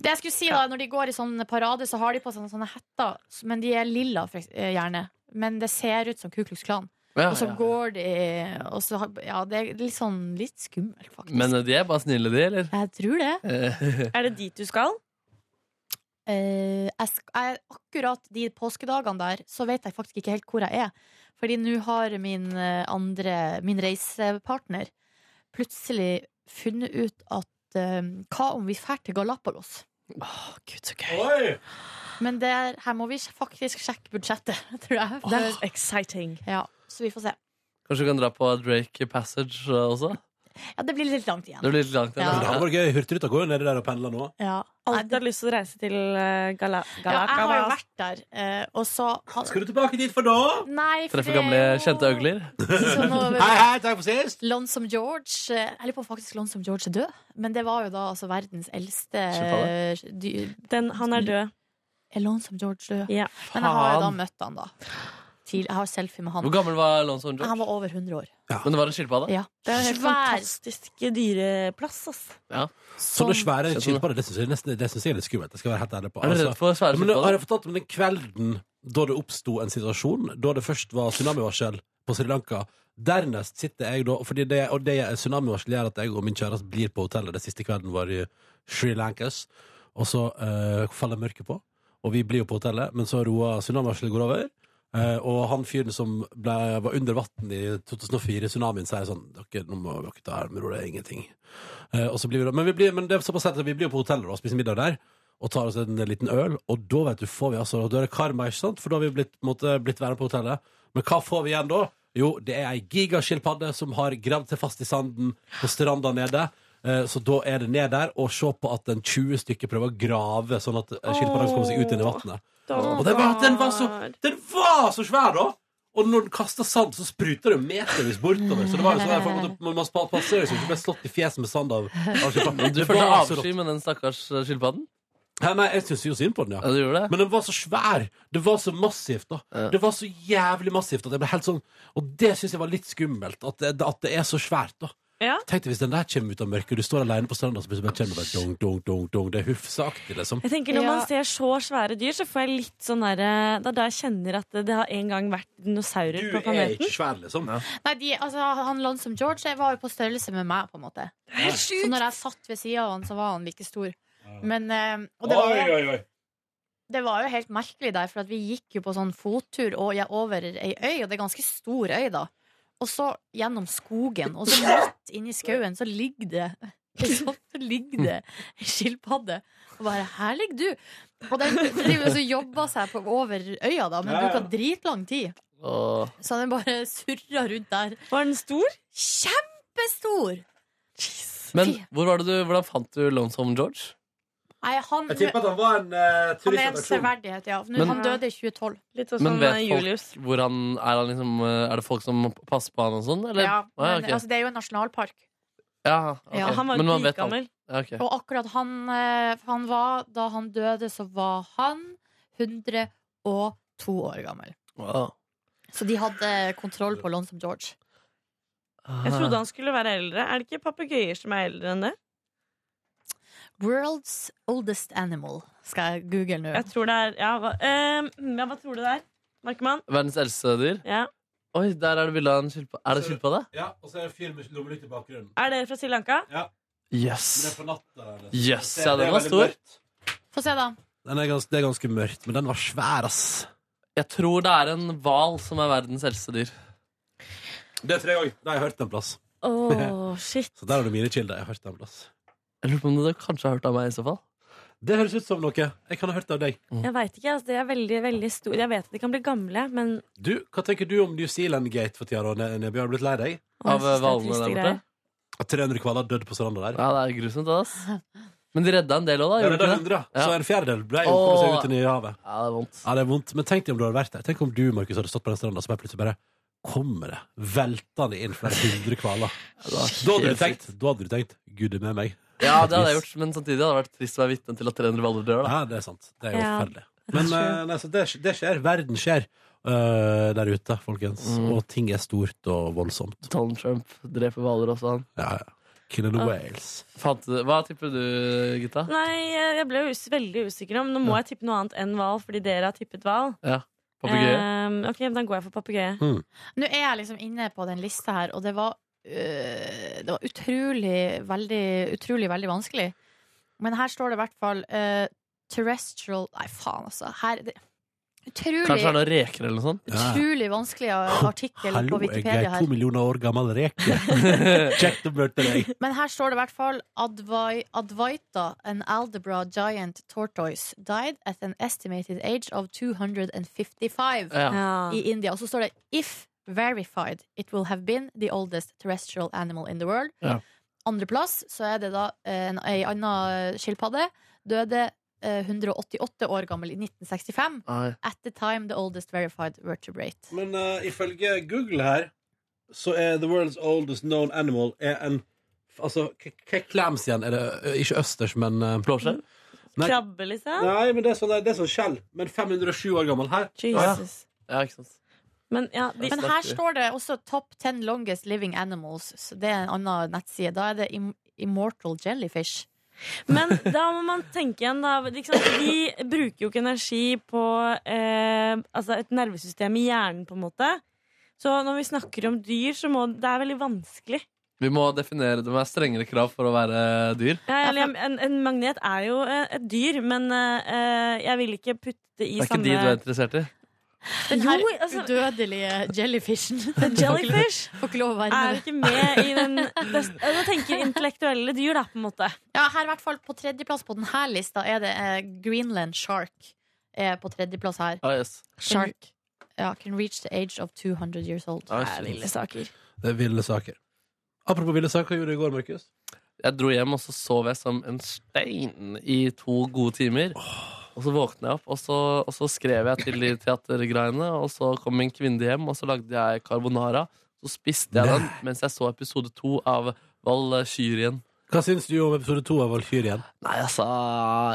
[SPEAKER 3] det jeg skulle si da, Når de går i sånn parade, så har de på seg sånne hetter, men de er lilla, for, eks- eh, gjerne. Men det ser ut som Ku Klux Klan.
[SPEAKER 4] Ja,
[SPEAKER 3] Og så
[SPEAKER 4] ja.
[SPEAKER 3] går de og så, har- Ja, det er litt sånn litt skummelt, faktisk.
[SPEAKER 4] Men eh, de er bare snille, de, eller?
[SPEAKER 3] jeg tror det.
[SPEAKER 4] Eh,
[SPEAKER 6] Er det dit du skal?
[SPEAKER 3] Eh, jeg, sk- jeg, akkurat de påskedagene der, så vet jeg faktisk ikke helt hvor jeg er. Fordi nå har min eh, andre Min reisepartner plutselig funnet ut at eh, Hva om vi drar til Galapagos?
[SPEAKER 2] Oi!
[SPEAKER 3] Men der, her må vi faktisk sjekke budsjettet, (laughs) tror jeg.
[SPEAKER 6] Det er exciting.
[SPEAKER 3] Ja, så vi får se.
[SPEAKER 4] Kanskje du kan dra på Drake Passage eh, også?
[SPEAKER 3] Ja, det blir litt langt igjen.
[SPEAKER 4] Det blir litt langt.
[SPEAKER 3] Ja.
[SPEAKER 2] Men det
[SPEAKER 4] Ja.
[SPEAKER 2] hadde vært gøy. Hurtigruta går jo nedi der og pendler nå.
[SPEAKER 3] Ja. Nei,
[SPEAKER 6] Alltid
[SPEAKER 3] det,
[SPEAKER 6] har lyst til å reise til eh, Gala
[SPEAKER 3] ja, jeg har jo
[SPEAKER 6] Galapagos.
[SPEAKER 3] vært der, eh, og så
[SPEAKER 2] Skal du tilbake dit for da?
[SPEAKER 3] Nei, for
[SPEAKER 4] Treffe
[SPEAKER 3] det er
[SPEAKER 4] gamle,
[SPEAKER 3] jo-
[SPEAKER 4] kjente øgler.
[SPEAKER 3] (laughs) Så nå-
[SPEAKER 2] Hei, hei, takk for sist!
[SPEAKER 3] Lonesome George eh, Jeg lurer på om faktisk Lonesome George er død, men det var jo da altså verdens eldste
[SPEAKER 4] Skjønner
[SPEAKER 3] eh, dy-
[SPEAKER 6] Den, han er død.
[SPEAKER 3] Er Lonesome George død?
[SPEAKER 6] Ja.
[SPEAKER 3] Men jeg har jo da
[SPEAKER 4] Faen.
[SPEAKER 3] møtt han, da. Til, jeg har selfie med han.
[SPEAKER 4] Hvor gammel var Lonson George?
[SPEAKER 3] Han var over 100 år.
[SPEAKER 4] Men det var en skilpadde?
[SPEAKER 3] Ja.
[SPEAKER 6] Det er en helt
[SPEAKER 3] Svær
[SPEAKER 6] fantastisk dyreplass, ass.
[SPEAKER 2] Sånne
[SPEAKER 3] som-
[SPEAKER 2] svære
[SPEAKER 4] Skjønner du?
[SPEAKER 2] skilpadder, det syns jeg, nesten- det synes jeg er litt skummelt. Jeg skal være helt ærlig på.
[SPEAKER 4] Er du
[SPEAKER 2] Altså,
[SPEAKER 4] redd for svære
[SPEAKER 2] Ja, Men da, har
[SPEAKER 4] skilpadder?
[SPEAKER 2] jeg fortalt om den kvelden da det oppsto en situasjon, da det først var tsunamivarsel på Sri Lanka. Dernest sitter jeg da, fordi det, og det tsunamivarsel gjør at jeg og min kjæreste blir på hotellet. Det siste kvelden var i Sri Lankas, og så eh, faller mørket på. Og vi blir jo på hotellet, men så roer tsunamivarselet går over. eh, og han fyren som ble, var under vann i 2004, i tsunamien, sier sånn Dere, nå må dere ta her med ro, det er ingenting. Eh, og så blir vi da, men, vi blir, men det er såpass sent at vi blir jo på hotellet da, og spiser middag der og tar oss en liten øl, og da vet du, får vi altså Da er det karma, ikke sant? For da har vi blitt, måtte, blitt værende på hotellet. Men hva får vi igjen da? Jo, det er ei gigaskilpadde som har gravd seg fast i sanden på stranda nede. Eh, Så da er det ned der, og se på at en 20 stykker prøver å grave, sånn at eh, skilpadden kommer seg ut igjen i vannet. Og den var, den, var så, den var så svær, da! Og når den kaster sand, så spruter det jo metervis bortover. Så det var jo sånn der, folk måtte, man måtte passe seg så du ikke ble slått i fjeset med sand av, av skilpadden.
[SPEAKER 4] Du
[SPEAKER 2] Det
[SPEAKER 4] følte
[SPEAKER 2] var så rått.
[SPEAKER 4] avsky med den stakkars eh, skilpadden?
[SPEAKER 2] Nei, nei, jeg syns jo synd på den, ja.
[SPEAKER 4] Ja, du gjorde det?
[SPEAKER 2] Men den var så svær. Det var så massivt. da
[SPEAKER 4] Ja.
[SPEAKER 2] Det var så jævlig massivt at jeg ble helt sånn Og det syns jeg var litt skummelt. At det, at det er så svært. da
[SPEAKER 6] Ja.
[SPEAKER 2] Tenk deg hvis den der kommer ut av mørket, og du står alene på stranda, så plutselig bare kommer det bare dunk, dunk, dunk, dunk. Det er hufseaktig, liksom.
[SPEAKER 6] Jeg tenker Når
[SPEAKER 3] Ja.
[SPEAKER 6] man ser så svære dyr, så får jeg litt sånn derre Det er da jeg kjenner at det har en gang vært
[SPEAKER 2] Du
[SPEAKER 6] dinosaurer på
[SPEAKER 2] er
[SPEAKER 6] planeten.
[SPEAKER 2] ikke svær, liksom.
[SPEAKER 3] Nei, de, altså, han Lonesome George jeg var jo på størrelse med meg, på en måte. Så når jeg satt ved sida av han, så var han like stor. Men eh, Og det var jo
[SPEAKER 2] oi, oi.
[SPEAKER 3] det var jo helt merkelig der, for at vi gikk jo på sånn fottur og, ja, over ei øy, og det er ganske stor øy, da. Og så gjennom skogen, og så midt inni skauen, så ligger det (laughs) så ligger det ei skilpadde. Og bare 'her ligger du'. Og den driver jo og jobber seg på, over øya, da, men
[SPEAKER 2] Ja, ja.
[SPEAKER 3] bruker dritlang tid.
[SPEAKER 4] Åh.
[SPEAKER 3] Så den bare surrer rundt der.
[SPEAKER 6] Var den stor?
[SPEAKER 3] Kjempestor!
[SPEAKER 4] Men hvor var det du, hvordan fant du Lonesome George?
[SPEAKER 3] Nei, han,
[SPEAKER 2] Jeg tipper at han var en uh,
[SPEAKER 3] han er en
[SPEAKER 2] turistattraksjon.
[SPEAKER 3] severdighet, ja. Nå,
[SPEAKER 4] Men-
[SPEAKER 3] han døde i 2012.
[SPEAKER 6] Litt sånn
[SPEAKER 4] Men
[SPEAKER 6] som
[SPEAKER 4] vet
[SPEAKER 6] eh,
[SPEAKER 4] folk
[SPEAKER 6] Julius.
[SPEAKER 4] hvor han er? Han liksom, eh, er det folk som passer på han og sånn? Eller?
[SPEAKER 3] Ja, men,
[SPEAKER 4] Ah, ok.
[SPEAKER 3] altså, det er jo en nasjonalpark.
[SPEAKER 4] ja, ok.
[SPEAKER 3] Ja,
[SPEAKER 6] Han var
[SPEAKER 4] Men
[SPEAKER 6] jo
[SPEAKER 4] man vet alt.
[SPEAKER 6] dritgammel.
[SPEAKER 4] Ja, ok.
[SPEAKER 3] Og akkurat han, eh, han var Da han døde, så var han 102 år gammel.
[SPEAKER 4] Wow.
[SPEAKER 3] Så de hadde kontroll på Lonesome George.
[SPEAKER 6] Jeg trodde han skulle være eldre. Er det ikke papegøyer som er eldre enn det?
[SPEAKER 3] World's oldest animal, skal jeg google nå.
[SPEAKER 6] Jeg tror det er Ja, hva, eh, ja, hva tror du det er? Markemann?
[SPEAKER 4] Ah, Verdens eldste dyr?
[SPEAKER 6] Ja.
[SPEAKER 4] Oi, der er det bilde av en skilpadde. Er det skilpadde?
[SPEAKER 2] Ja, og så er det en fyr med lommelykt i bakgrunnen.
[SPEAKER 6] Er det fra Sri Lanka?
[SPEAKER 4] Yes.
[SPEAKER 2] Men det er på natta. eller?
[SPEAKER 4] Yes,
[SPEAKER 2] Det-
[SPEAKER 4] ja,
[SPEAKER 2] det er
[SPEAKER 4] den var
[SPEAKER 2] veldig
[SPEAKER 4] stor.
[SPEAKER 2] mørkt.
[SPEAKER 3] Få se, da.
[SPEAKER 2] Den er ganske, det er ganske mørkt, men den var svær, ass.
[SPEAKER 4] Jeg tror det er en hval som er verdens eldste dyr.
[SPEAKER 2] Det tror jeg òg. Det har jeg hørt en plass.
[SPEAKER 6] Å, shit.
[SPEAKER 2] Så der har du mine kilder. Jeg har hørt det en plass.
[SPEAKER 4] Jeg lurer på om du kanskje har hørt av meg i så fall.
[SPEAKER 2] Det høres ut som noe. Jeg kan ha hørt det av deg.
[SPEAKER 6] Jeg veit ikke. Altså, det er veldig, veldig stor. Jeg vet at de kan bli gamle, men
[SPEAKER 2] Du, Hva tenker du om New Zealand Gate for tida? da, Ne- Nebby? Har du blitt lei deg?
[SPEAKER 6] Å, jeg
[SPEAKER 4] Av eh,
[SPEAKER 6] synes det er
[SPEAKER 4] hvalene
[SPEAKER 6] triste
[SPEAKER 4] der borte.
[SPEAKER 6] greier.
[SPEAKER 2] At 300 hvaler døde på stranda der?
[SPEAKER 4] Ja, det er grusomt, (laughs) ass. Men de redda en del òg, da.
[SPEAKER 2] Ja,
[SPEAKER 4] Gjorde
[SPEAKER 2] det
[SPEAKER 4] de
[SPEAKER 2] er
[SPEAKER 4] ikke det?
[SPEAKER 2] 100. Så en fjerdedel ble jo
[SPEAKER 4] Åh.
[SPEAKER 2] kommet seg ut i nye havet.
[SPEAKER 4] Ja, det er vondt.
[SPEAKER 2] Ja, det er vondt. Men tenk deg om du hadde vært der. Tenk om du, Markus, hadde stått på den stranda, så bare plutselig bare kommer det veltende inn flere hundre hvaler.
[SPEAKER 4] Ja, det var
[SPEAKER 2] Da hadde du
[SPEAKER 4] helt
[SPEAKER 2] tenkt, da hadde du tenkt Gud er med meg.
[SPEAKER 4] Ja, det hadde jeg gjort, men samtidig hadde det vært trist å være vitne til at 300 hvaler dør. da
[SPEAKER 2] Ja, det er sant. Det er jo
[SPEAKER 6] Ja.
[SPEAKER 2] forferdelig. Men eh, nei, så det, det skjer. Verden skjer eh, der ute, folkens.
[SPEAKER 4] Mm.
[SPEAKER 2] Og ting er stort og voldsomt.
[SPEAKER 4] Donald Trump dreper hvaler også, han.
[SPEAKER 2] Ja, ja. Killer the whales.
[SPEAKER 4] Fant, hva tipper du, gutta?
[SPEAKER 6] Nei, jeg jeg ble jo us veldig usikker nå, men nå må jeg tippe noe annet enn hval, fordi dere har tippet hval.
[SPEAKER 4] Ja, Papegøye?
[SPEAKER 6] Eh, ok, men da går jeg for papegøye.
[SPEAKER 3] Nå er jeg liksom inne på den lista her, og det var, øh, det var utrolig, veldig, utrolig veldig vanskelig. Men her står det i hvert fall øh, terrestrial Nei, faen, altså. Her, det, utrolig,
[SPEAKER 4] Kanskje det er noen reker eller noe (laughs) sånt?
[SPEAKER 2] Ja.
[SPEAKER 3] utrolig vanskelig artikkel
[SPEAKER 2] Hallo,
[SPEAKER 3] på
[SPEAKER 2] jeg er
[SPEAKER 3] Wikipedia
[SPEAKER 2] to
[SPEAKER 3] her.
[SPEAKER 2] millioner år gammel reke.
[SPEAKER 3] (laughs)
[SPEAKER 2] Check the bird today.
[SPEAKER 3] Men her står det i hvert fall Advai, Advaita, an algebra giant tortoise, died at an estimated age of 255.
[SPEAKER 4] Ja.
[SPEAKER 6] Ja.
[SPEAKER 3] i India. Og så står det If verified, it will have been the oldest terrestrial animal in the world.
[SPEAKER 4] Ja.
[SPEAKER 3] Andreplass så er det da eh, en, ei anna skilpadde. Døde eh, 188 år gammel i 1965.
[SPEAKER 4] Nei.
[SPEAKER 3] At the time the oldest verified vertebrate.
[SPEAKER 2] Men eh, ifølge Google her, så er the world's oldest known animal er en Altså, hva- hva clams igjen? Er det ø, ikke østers, men eh,
[SPEAKER 4] Blåskjell?
[SPEAKER 2] Nei.
[SPEAKER 6] Krabbe, liksom?
[SPEAKER 2] Nei, men det er sånn, det er sånn skjell. Men 507 år gammel her.
[SPEAKER 6] Jesus.
[SPEAKER 4] Ja, ikke sant.
[SPEAKER 6] Men ja, de,
[SPEAKER 3] Men her står det også Top 10 longest living animals. Så det er en annen nettside. Da er det im Immortal Jellyfish.
[SPEAKER 6] Men da må man tenke igjen, da. Liksom, vi bruker jo ikke energi på eh, altså et nervesystem i hjernen, på en måte. Så når vi snakker om dyr, så må Det er veldig vanskelig.
[SPEAKER 4] Vi må definere det med strengere krav for å være dyr.
[SPEAKER 6] Ja, eller, en, en magnet er jo eh, et dyr, men eh, jeg vil ikke putte det i
[SPEAKER 4] Det er ikke
[SPEAKER 6] samme
[SPEAKER 4] de du er interessert i.
[SPEAKER 3] Den
[SPEAKER 6] Jo,
[SPEAKER 3] her
[SPEAKER 6] altså-
[SPEAKER 3] udødelige
[SPEAKER 6] (laughs)
[SPEAKER 3] jellyfishen.
[SPEAKER 6] The (laughs) jellyfish
[SPEAKER 3] Får ikke lov å være
[SPEAKER 6] er
[SPEAKER 3] med.
[SPEAKER 6] ikke med i den best- Jeg tenker intellektuelle dyr, da, på en måte.
[SPEAKER 3] Ja, her i hvert fall på tredjeplass på denne lista er det eh, Greenland Shark. Er på tredjeplass her.
[SPEAKER 4] Ah, yes.
[SPEAKER 3] Shark ja, can reach the age of 200 years old.
[SPEAKER 4] Ah,
[SPEAKER 6] Det er ville saker.
[SPEAKER 2] Det er ville saker. Apropos ville saker, hva gjorde du i går, Markus?
[SPEAKER 4] Jeg dro hjem, og så sov jeg som en stein i to gode timer. Og så våkna jeg opp, og så, og så skrev jeg til de teatergreiene. Og så kom min kvinne hjem, og så lagde jeg carbonara. Så spiste jeg den mens jeg så episode to av Valkyrien.
[SPEAKER 2] Hva syns du om episode to av Valkyrien?
[SPEAKER 4] Nei, altså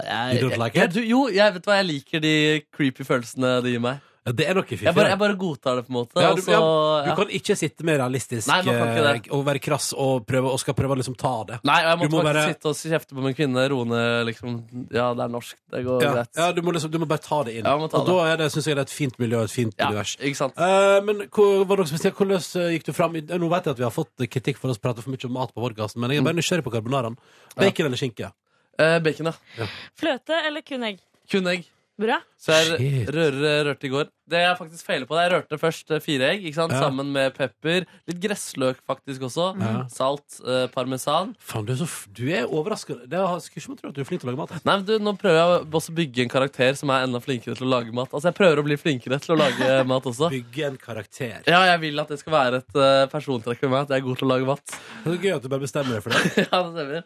[SPEAKER 4] jeg,
[SPEAKER 2] You don't like
[SPEAKER 4] jeg,
[SPEAKER 2] it?
[SPEAKER 4] jeg, Jo, jeg vet hva jeg liker de creepy følelsene det gir meg.
[SPEAKER 2] Ja, det er noe fiffig.
[SPEAKER 4] Jeg bare, jeg bare godtar det, på en måte.
[SPEAKER 2] Ja, du-
[SPEAKER 4] og så,
[SPEAKER 2] ja, Du
[SPEAKER 4] ja.
[SPEAKER 2] kan ikke sitte med realistisk
[SPEAKER 4] Nei, man kan ikke det.
[SPEAKER 2] eh, og være krass og, prøve, og skal prøve å liksom ta det.
[SPEAKER 4] Nei, og jeg
[SPEAKER 2] Du
[SPEAKER 4] måtte
[SPEAKER 2] må
[SPEAKER 4] faktisk
[SPEAKER 2] bare-
[SPEAKER 4] sitte og kjefte på min kvinne, roe ned liksom Ja, det er norsk, det går
[SPEAKER 2] Ja,
[SPEAKER 4] greit.
[SPEAKER 2] ja, du, må liksom, du må bare ta det inn.
[SPEAKER 4] Ja, man må ta
[SPEAKER 2] og da er det, syns jeg det er et fint miljø og et fint
[SPEAKER 4] Ja,
[SPEAKER 2] univers.
[SPEAKER 4] ikke sant?
[SPEAKER 2] Eh, men hvor, var det noe spesielt? hvordan eh, gikk du fram? i- Nå vet jeg at vi har fått kritikk for å prate for mye om mat på podkasten, men jeg
[SPEAKER 4] Mm.
[SPEAKER 2] er bare nysgjerrig på carbonaraen. Bacon eller skinke?
[SPEAKER 4] Eh, bacon, ja.
[SPEAKER 6] Fløte eller kun egg?
[SPEAKER 4] Kun egg.
[SPEAKER 6] Bra.
[SPEAKER 4] Så jeg
[SPEAKER 2] Shit.
[SPEAKER 4] rører, eh, rørte i går. Det jeg faktisk feiler på, det er jeg rørte først eh, fire egg ikke sant?
[SPEAKER 2] Ja.
[SPEAKER 4] sammen med pepper. Litt gressløk faktisk også.
[SPEAKER 2] Ja.
[SPEAKER 4] Salt. Eh, parmesan.
[SPEAKER 2] Faen, du er, så, f- du er overraskende. Det har- Skulle ikke man tro at du er flink til å lage mat.
[SPEAKER 4] Nei, men du, Nå prøver jeg å også bygge en karakter som er enda flinkere til å lage mat. Altså, Jeg prøver å bli flinkere til å
[SPEAKER 2] (laughs)
[SPEAKER 4] lage mat også.
[SPEAKER 2] Bygge en karakter.
[SPEAKER 4] Ja, jeg vil at det skal være et eh, persontrekk ved meg at jeg er god til å lage mat.
[SPEAKER 2] Det er gøy at du bare bestemmer deg for
[SPEAKER 4] (laughs)
[SPEAKER 2] det.
[SPEAKER 4] ja, det stemmer.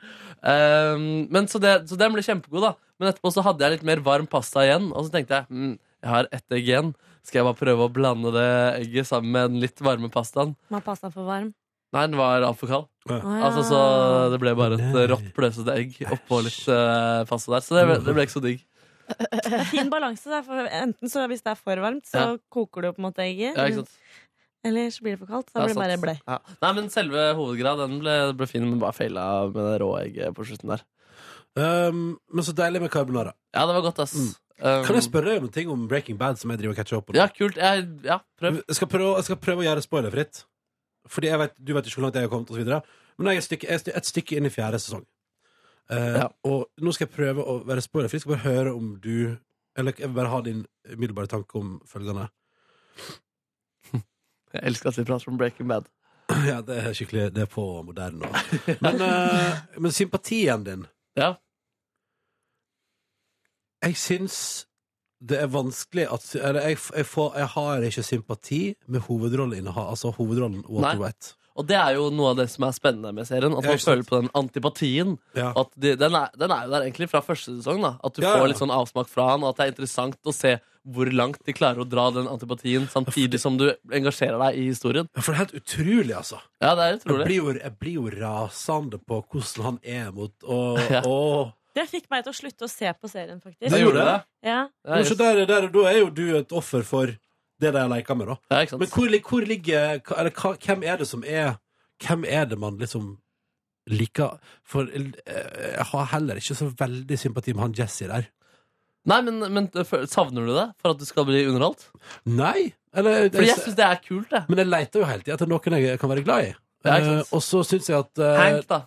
[SPEAKER 4] Ehm, men så, det, så den ble kjempegod, da. Men etterpå så hadde jeg litt mer varm pasta igjen, og så tenkte jeg mm, jeg har ett egg igjen. Skal jeg bare prøve å blande det egget sammen med den litt varme pastaen?
[SPEAKER 6] Var pasta for varm?
[SPEAKER 4] Nei, den var altfor kald.
[SPEAKER 6] Å, ja.
[SPEAKER 4] Altså, så det ble bare et
[SPEAKER 2] Nei.
[SPEAKER 4] rått, bløsete egg oppå litt eh, pasta der. Så det ble, det ble ikke så digg.
[SPEAKER 6] Fin balanse. da, for Enten så hvis det er for varmt, så
[SPEAKER 4] Ja.
[SPEAKER 6] koker det jo på en måte egget.
[SPEAKER 4] Ja, ikke sant?
[SPEAKER 6] Eller så blir det for kaldt. Så
[SPEAKER 4] Ja,
[SPEAKER 6] da blir det
[SPEAKER 4] sant.
[SPEAKER 6] bare blei.
[SPEAKER 4] Ja. Nei, men selve hovedgrad, den ble, ble fin, men bare feila med det rå egget på slutten der.
[SPEAKER 2] Um, men så deilig med carbonara.
[SPEAKER 4] Ja, det var godt, ass. Um,
[SPEAKER 2] Kan jeg spørre deg om en ting om Breaking Bad som jeg driver og catcher opp på? nå?
[SPEAKER 4] Ja, kult. Jeg, ja, prøv.
[SPEAKER 2] Jeg skal prøve, jeg skal prøve å gjøre det spoilerfritt. Fordi jeg vet, du vet ikke hvor langt jeg har kommet, og så videre. Men jeg er et stykke, jeg er stykke- et stykke inn i fjerde sesong. Eh,
[SPEAKER 4] Ja.
[SPEAKER 2] Og nå skal jeg prøve å være spoilerfri. Skal bare høre om du Eller jeg vil bare ha din umiddelbare tanke om følgende. (clears throat)
[SPEAKER 4] Jeg elsker at vi prater om Breaking Bad.
[SPEAKER 2] Ja, det er skikkelig Det er på moderne
[SPEAKER 4] (laughs)
[SPEAKER 2] nå. Men, eh, men sympatien din
[SPEAKER 4] Ja.
[SPEAKER 2] Jeg syns det er vanskelig at Eller jeg, f- jeg, får, jeg har ikke sympati med hovedrolleinnehaver, altså hovedrollen Walter
[SPEAKER 4] Nei.
[SPEAKER 2] White.
[SPEAKER 4] Og det er jo noe av det som er spennende med serien. At
[SPEAKER 2] Ja,
[SPEAKER 4] man
[SPEAKER 2] ikke sant.
[SPEAKER 4] føler på den antipatien.
[SPEAKER 2] Ja.
[SPEAKER 4] At de, den, er, den er jo der egentlig fra første sesong. da At du
[SPEAKER 2] Ja, ja.
[SPEAKER 4] får litt sånn avsmak fra han, og at det er interessant å se hvor langt de klarer å dra den antipatien samtidig som du engasjerer deg i historien.
[SPEAKER 2] For det er helt utrolig, altså.
[SPEAKER 4] Ja, det er
[SPEAKER 2] Jeg
[SPEAKER 4] utrolig.
[SPEAKER 2] blir, jo, jeg blir jo rasende på hvordan han er mot
[SPEAKER 4] (laughs)
[SPEAKER 2] og,
[SPEAKER 4] Ja.
[SPEAKER 2] og
[SPEAKER 6] Det fikk meg til å slutte å se på serien, faktisk.
[SPEAKER 2] Det gjorde det?
[SPEAKER 6] Ja.
[SPEAKER 4] Ja,
[SPEAKER 2] Men så der, der, Da er jo du et offer for det de har leka med, da.
[SPEAKER 4] ja, ikke
[SPEAKER 2] Men
[SPEAKER 4] sant?
[SPEAKER 2] hvor, lig- hvor ligger hva- Eller hva- hvem er det som er Hvem er det man liksom liker For eh, jeg har heller ikke så veldig sympati med han Jesse der.
[SPEAKER 4] Nei, men, men eh, fø- savner du det for at du skal bli underholdt?
[SPEAKER 2] Nei! Eller,
[SPEAKER 4] For jeg
[SPEAKER 2] jeg,
[SPEAKER 4] syns det er kult, det.
[SPEAKER 2] men jeg leter jo hele tiden etter noen jeg kan være glad i.
[SPEAKER 4] Ja, ikke
[SPEAKER 2] Eh,
[SPEAKER 4] sant.
[SPEAKER 2] og så syns jeg at eh,
[SPEAKER 4] Hank, da.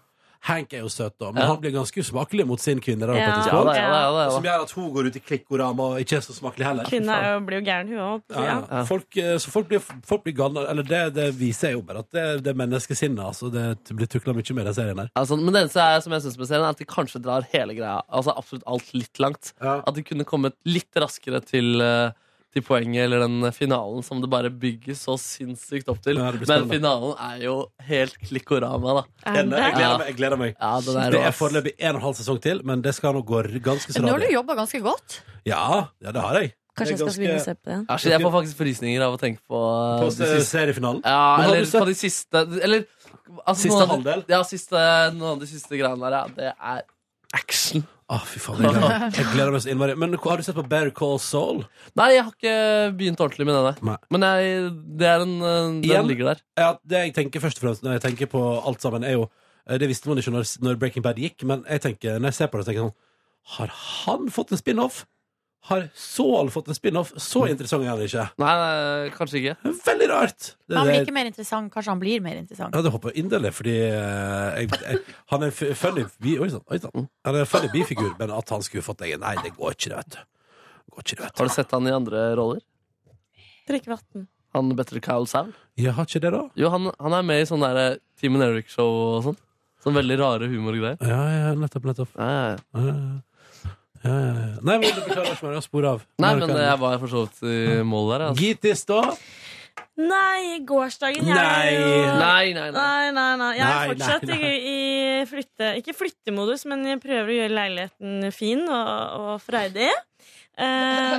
[SPEAKER 2] Hank er jo søt, da, men
[SPEAKER 4] Ja.
[SPEAKER 2] han blir ganske usmakelig mot sin kvinne. Da,
[SPEAKER 6] Ja.
[SPEAKER 2] faktisk,
[SPEAKER 4] Ja da,
[SPEAKER 2] også.
[SPEAKER 4] ja da, ja da, ja
[SPEAKER 2] Som
[SPEAKER 4] da.
[SPEAKER 2] gjør at hun går ut i klikkorama og ikke er så smakelig heller.
[SPEAKER 6] Kvinna er jo- blir jo gæren, hun òg.
[SPEAKER 2] Ja,
[SPEAKER 6] Ja.
[SPEAKER 2] ja. Folk, eh, så folk blir, folk blir galne. Eller det, det viser jo bare at det, det er menneskesinnet. Altså, det blir tukla mye med den serien her.
[SPEAKER 4] Altså, men det eneste er, som jeg synes med serien, er at de kanskje drar hele greia, altså absolutt alt, litt langt. At de kunne kommet litt raskere til, eh, til poenget eller den finalen som det bare bygges så sinnssykt opp til.
[SPEAKER 2] Ja, det blir
[SPEAKER 4] men
[SPEAKER 2] spennende.
[SPEAKER 4] finalen er jo helt klikkorama, da.
[SPEAKER 6] Er
[SPEAKER 2] Enig. Jeg
[SPEAKER 6] det?
[SPEAKER 2] gleder meg. Jeg gleder meg.
[SPEAKER 4] Ja, den er
[SPEAKER 2] Det
[SPEAKER 4] rå,
[SPEAKER 2] er
[SPEAKER 4] ass.
[SPEAKER 2] foreløpig en og en halv sesong til, men det skal nå gå r- ganske så
[SPEAKER 3] Nå har du
[SPEAKER 2] radig.
[SPEAKER 3] jobba ganske godt.
[SPEAKER 2] Ja, ja, det har jeg.
[SPEAKER 6] Kanskje jeg skal begynne å se på den.
[SPEAKER 4] Ja, shit, jeg får faktisk frysninger av å tenke på eh,
[SPEAKER 2] På
[SPEAKER 4] de
[SPEAKER 2] se-
[SPEAKER 4] siste
[SPEAKER 2] seriefinalen.
[SPEAKER 4] Ja,
[SPEAKER 2] Men har
[SPEAKER 4] eller
[SPEAKER 2] du sett-
[SPEAKER 4] på de siste Eller altså,
[SPEAKER 2] Siste
[SPEAKER 4] noen av de-
[SPEAKER 2] halvdel?
[SPEAKER 4] Ja, siste, noen av de siste greiene der, ja. Det er action.
[SPEAKER 2] Å, fy faen, jeg gleder, meg. jeg gleder meg så innmari. Men har du sett på Better Call Saul?
[SPEAKER 4] Nei, jeg har ikke begynt ordentlig med den der.
[SPEAKER 2] Nei.
[SPEAKER 4] Men jeg, det er en, eh,
[SPEAKER 2] Igjen?
[SPEAKER 4] den ligger der.
[SPEAKER 2] Ja, det jeg tenker først og fremst når jeg tenker på alt sammen, er jo eh, Det visste man ikke når, når Breaking Bad gikk, men jeg tenker, når jeg ser på det, så tenker jeg sånn Har han fått en spin-off? Har Saul fått en spin-off? Så
[SPEAKER 4] Mm.
[SPEAKER 2] interessant er han ikke.
[SPEAKER 4] Nei, nei, kanskje ikke.
[SPEAKER 2] Veldig rart! Det,
[SPEAKER 3] Men han blir
[SPEAKER 2] det,
[SPEAKER 3] ikke mer interessant. Kanskje han blir mer interessant.
[SPEAKER 2] ja, det håper jeg inderlig, fordi eh, jeg, jeg, han er en f- funny bi... Oi sann, oi sann. Han er en funny bifigur, men at han skulle fått deg Nei, det går ikke, det, vet du. Går ikke, det,
[SPEAKER 4] Har
[SPEAKER 2] vet
[SPEAKER 4] du sett han i andre roller?
[SPEAKER 6] Drikke vann.
[SPEAKER 4] Han Better Call Saul?
[SPEAKER 2] du. Jeg har ikke det, da.
[SPEAKER 4] Jo, han, han er med i sånn der eh, Team and Eric-show og sånn. Sånn veldig rare humorgreier.
[SPEAKER 2] Ja, ja, nettopp, nettopp.
[SPEAKER 4] Ja, ja, ja.
[SPEAKER 2] Ja, ja, ja. ja. Nei, men det beklager jeg ikke, jeg har sporet av.
[SPEAKER 4] Nei, men eh, jeg var for så vidt i mål der. Altså.
[SPEAKER 2] Gitis, da?
[SPEAKER 6] Nei, gårsdagen jeg
[SPEAKER 2] Nei.
[SPEAKER 6] er jo-
[SPEAKER 4] Nei, nei, nei.
[SPEAKER 6] Nei, nei, nei. Jeg
[SPEAKER 2] Nei,
[SPEAKER 6] er fortsatt
[SPEAKER 2] nei, nei.
[SPEAKER 6] i i flytte... Ikke flyttemodus, men jeg prøver å gjøre leiligheten fin og, og freidig. Eh,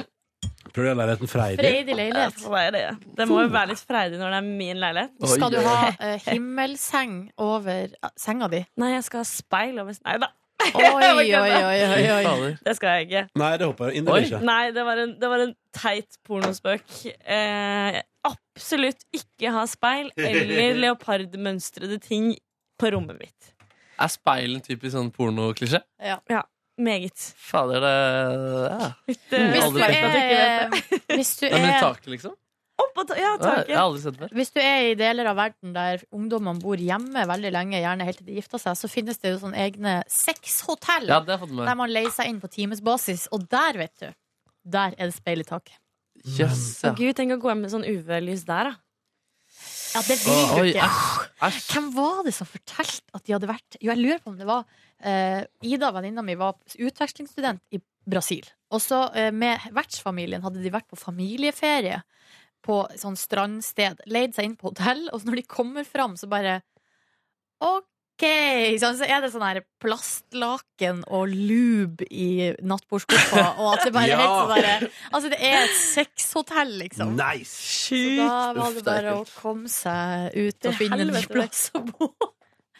[SPEAKER 2] Prøver du leiligheten freidig?
[SPEAKER 3] Freidig
[SPEAKER 6] jeg
[SPEAKER 3] leilighet.
[SPEAKER 6] får være det. det må jo være litt freidig når det er min leilighet.
[SPEAKER 4] Oi,
[SPEAKER 3] Skal du
[SPEAKER 4] oi, oi.
[SPEAKER 3] ha eh, himmelseng over eh, senga (laughs) di?
[SPEAKER 6] Nei, jeg skal ha speil over Nei da,
[SPEAKER 3] Oi, oi, oi, oi,
[SPEAKER 4] Fy
[SPEAKER 3] oi.
[SPEAKER 4] fader.
[SPEAKER 6] det skal jeg ikke.
[SPEAKER 2] Nei, det håper jeg inderlig
[SPEAKER 4] Oi.
[SPEAKER 2] ikke.
[SPEAKER 6] Nei, det var en, det var en teit pornospøk. Eh, absolutt ikke ha speil (laughs) eller leopardmønstrede ting på rommet mitt.
[SPEAKER 4] Er speil en typisk sånn pornoklisjé?
[SPEAKER 6] Meget.
[SPEAKER 4] Fader, det ja.
[SPEAKER 6] Litt,
[SPEAKER 4] Mm.
[SPEAKER 6] eh,
[SPEAKER 3] Hvis du
[SPEAKER 4] Aldri tenkt på det.
[SPEAKER 3] er, hvis du
[SPEAKER 4] Nei, men
[SPEAKER 3] er
[SPEAKER 4] taket, liksom?
[SPEAKER 6] opp på ta- ja,
[SPEAKER 4] Nei, jeg har
[SPEAKER 6] taket.
[SPEAKER 4] aldri sett det før.
[SPEAKER 3] hvis du er i deler av verden der ungdommene bor hjemme veldig lenge, gjerne helt til de gifter seg, så finnes det jo sånne egne sexhotell
[SPEAKER 4] Ja, det har jeg fått med
[SPEAKER 3] der man leier seg inn på timesbasis. Og der, vet du, der er det speil i taket.
[SPEAKER 4] Yes, ja.
[SPEAKER 6] Å, Gud, tenk å gå hjem med sånn UV-lys der, da.
[SPEAKER 3] Ja, det vil du
[SPEAKER 4] Oi,
[SPEAKER 3] ikke.
[SPEAKER 4] Æsj.
[SPEAKER 3] Hvem var det som fortalte at de hadde vært Jo, jeg lurer på om det var eh, Ida, venninna mi, var utvekslingsstudent i Brasil. Og så eh, med vertsfamilien hadde de vært på familieferie på sånn strandsted. Leid seg inn på hotell, og så når de kommer fram, så bare OK! Sånn, så er det sånn her plastlaken og lube i nattbordskuffa, og at det bare er helt
[SPEAKER 2] Ja.
[SPEAKER 3] sånn derre Altså, det er et sexhotell, liksom.
[SPEAKER 2] Nice!
[SPEAKER 3] Da var det
[SPEAKER 4] Uff, det er
[SPEAKER 3] bare å komme seg ut
[SPEAKER 6] Til
[SPEAKER 3] og finne en ny
[SPEAKER 6] helvete, det.
[SPEAKER 3] plass å bo.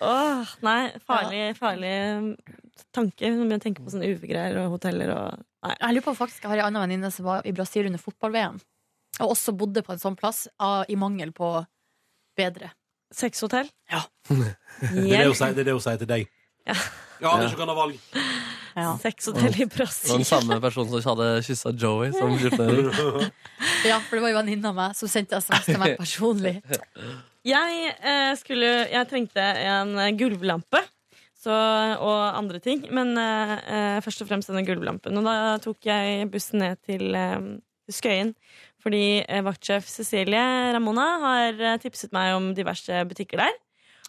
[SPEAKER 6] Åh, nei, farlig, farlig mm, tanke når jeg tenker på sånne UV-greier og hoteller og Nei.
[SPEAKER 3] Jeg lurer på om faktisk jeg har en annen venninne som var i Brasil under fotball-VM. Og også bodde på en sånn plass av, i mangel på bedre.
[SPEAKER 6] Sexhotell?
[SPEAKER 3] Ja.
[SPEAKER 6] (laughs)
[SPEAKER 2] Det er det
[SPEAKER 6] Hjelp.
[SPEAKER 2] hun sier, det er det hun sier til deg.
[SPEAKER 6] Ja.
[SPEAKER 2] Ja, det er ikke noe annet valg.
[SPEAKER 3] Ja.
[SPEAKER 6] Sexhotell
[SPEAKER 4] Det
[SPEAKER 6] i
[SPEAKER 4] var
[SPEAKER 6] Brasil.
[SPEAKER 4] den samme personen som hadde kyssa Joey. Som gruppe-
[SPEAKER 3] for det var jo venninna av meg som sendte SMS til meg personlig.
[SPEAKER 6] Jeg, eh, skulle, jeg trengte en eh, gulvlampe så, og andre ting, men eh, eh, først og fremst denne gulvlampen. Og da tok jeg bussen ned til eh, Skøyen, fordi eh, vaktsjef Cecilie Ramona har eh, tipset meg om diverse butikker der.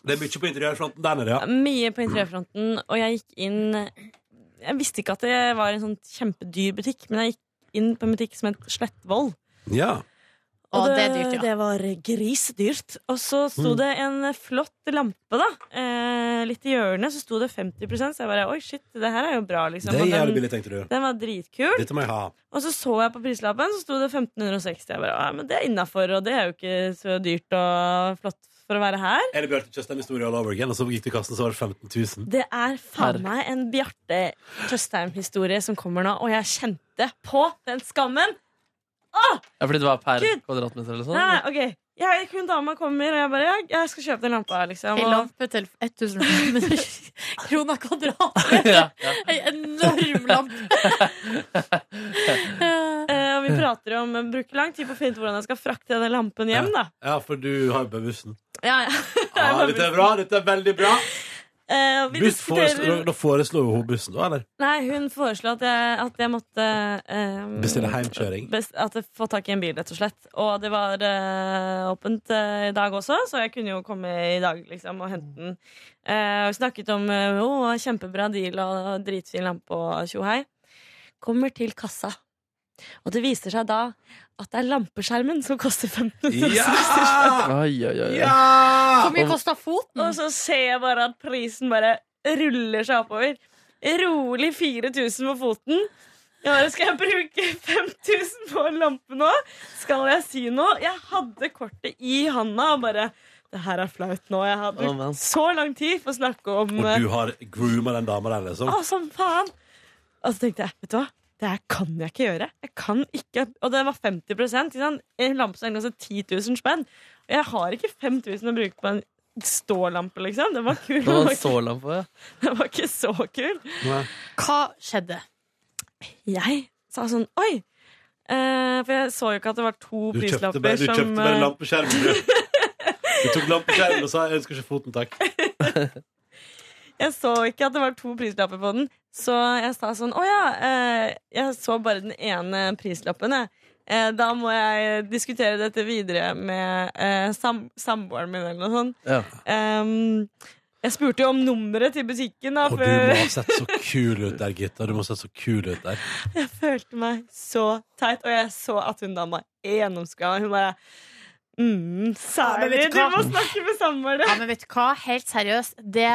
[SPEAKER 2] Det er mye på interiørfronten der nede, ja.
[SPEAKER 6] Mye på interiørfronten, og jeg gikk inn Jeg visste ikke at det var en sånn kjempedyr butikk, men jeg gikk inn på en butikk som het Slettvoll.
[SPEAKER 2] Ja,
[SPEAKER 3] Og Ah, det er dyrt, ja.
[SPEAKER 6] Det var grisedyrt. Og så sto
[SPEAKER 2] Mm.
[SPEAKER 6] det en flott lampe, da. Eh, litt i hjørnet, så sto det 50 så jeg bare Oi, shit, det her er jo bra, liksom.
[SPEAKER 2] Det er
[SPEAKER 6] Og
[SPEAKER 2] jævlig
[SPEAKER 6] den,
[SPEAKER 2] billig, tenkte du.
[SPEAKER 6] den var dritkul.
[SPEAKER 2] Dette må jeg ha.
[SPEAKER 6] Og så så jeg på prislappen, så sto det 1560. Jeg bare, ja, men det er innafor, og det er jo ikke så dyrt og flott for å være her.
[SPEAKER 2] Eller Bjarte Tjøstheim historie all over again, og så gikk du i kassen, så var det 15 000.
[SPEAKER 6] Det er faen
[SPEAKER 4] Herre.
[SPEAKER 6] meg en Bjarte Tjøstheim-historie som kommer nå, og jeg kjente på den skammen.
[SPEAKER 4] Ja, fordi det var per
[SPEAKER 6] Gud.
[SPEAKER 4] kvadratmeter eller sånn?
[SPEAKER 6] Nei, ok, jeg, Hun dama kommer, og jeg bare Jeg, jeg skal kjøpe den lampa, liksom.
[SPEAKER 3] Ei
[SPEAKER 6] Og,
[SPEAKER 3] lampe til (laughs) 1500 kroner kvadrat.
[SPEAKER 4] ja, ja.
[SPEAKER 3] Ei enorm (laughs) lampe.
[SPEAKER 6] eh, og vi prater om Bruker lang tid på å finne ut hvordan jeg skal frakte denne lampen hjem, da.
[SPEAKER 2] Ja, for du har jo på bussen.
[SPEAKER 6] Ja, (laughs) ja.
[SPEAKER 2] Ja, dette er bra, dette er veldig bra.
[SPEAKER 6] Eh, og vi
[SPEAKER 2] Buss foreslår,
[SPEAKER 6] diskuterer
[SPEAKER 2] da foreslår jo hun bussen, da, eller?
[SPEAKER 6] Nei, hun foreslo at jeg, at jeg måtte eh,
[SPEAKER 2] Bestille
[SPEAKER 6] (laughs)
[SPEAKER 2] heimkjøring.
[SPEAKER 6] best, at jeg får tak i en bil, rett og slett. Og det var eh, åpent eh, i dag også, så jeg kunne jo komme i dag liksom, og hente den. Eh, og snakket om eh, å, kjempebra deal og dritfin lampe og tjohei. Kommer til kassa. Og det viser seg da at det er lampeskjermen som koster 15 000.
[SPEAKER 2] Ja!
[SPEAKER 4] Oi, oi, oi. oi.
[SPEAKER 3] Hvor
[SPEAKER 6] (laughs)
[SPEAKER 2] Ja!
[SPEAKER 3] mye kosta foten?
[SPEAKER 2] Mm.
[SPEAKER 6] Og så ser jeg bare at prisen bare ruller seg oppover. Rolig 4000 på foten. Jeg bare, skal jeg bruke (laughs) 5000 på en lampe nå? Skal jeg si noe? Jeg hadde kortet i handa og bare Det her er flaut nå. Jeg har
[SPEAKER 4] Å,
[SPEAKER 6] brukt
[SPEAKER 4] man.
[SPEAKER 6] så lang tid på å snakke om
[SPEAKER 2] Og
[SPEAKER 6] eh,
[SPEAKER 2] du har grooma den dama der, liksom.
[SPEAKER 6] Å, som faen! Og så tenkte jeg, vet du hva? Det her kan jeg ikke gjøre. Jeg kan ikke, Og det var 50 ikke sant? En lampe som egentlig kostet 10 000 spenn. Og jeg har ikke 5000 å bruke på en stålampe, liksom. Den var kul.
[SPEAKER 4] Det var
[SPEAKER 6] men
[SPEAKER 4] en
[SPEAKER 6] Den var,
[SPEAKER 4] sårlampe. ja.
[SPEAKER 6] ikke, den var ikke så kul.
[SPEAKER 2] Nei.
[SPEAKER 3] Hva skjedde?
[SPEAKER 6] Jeg sa sånn Oi! Eh, for jeg så jo ikke at det var to
[SPEAKER 2] Du kjøpte
[SPEAKER 6] prislapper
[SPEAKER 2] bare, du kjøpte
[SPEAKER 6] som
[SPEAKER 2] bare
[SPEAKER 6] eh,
[SPEAKER 2] lampeskjermen, du. Du tok lampeskjermen og sa 'jeg ønsker ikke foten, takk'.
[SPEAKER 6] Jeg så ikke at det var to prislapper på den, så jeg sa sånn Å ja, eh, jeg så bare den ene prislappen, jeg. Eh, da må jeg diskutere dette videre med eh, sam samboeren min, eller noe sånt.
[SPEAKER 4] Ja.
[SPEAKER 6] Ehm, jeg spurte jo om nummeret til butikken, da,
[SPEAKER 2] Og
[SPEAKER 6] for
[SPEAKER 2] du må ha sett så kul ut der, Gitta. Du må ha sett så kul ut der.
[SPEAKER 6] jeg (laughs) følte meg så teit. Og jeg så at hun dama gjennomskua. Hun bare mm,
[SPEAKER 3] men
[SPEAKER 6] Særlig,
[SPEAKER 3] vet du
[SPEAKER 6] du
[SPEAKER 3] hva?
[SPEAKER 6] må snakke med samboeren
[SPEAKER 3] Ja,
[SPEAKER 6] din!
[SPEAKER 3] men vet du hva? Helt seriøst, det,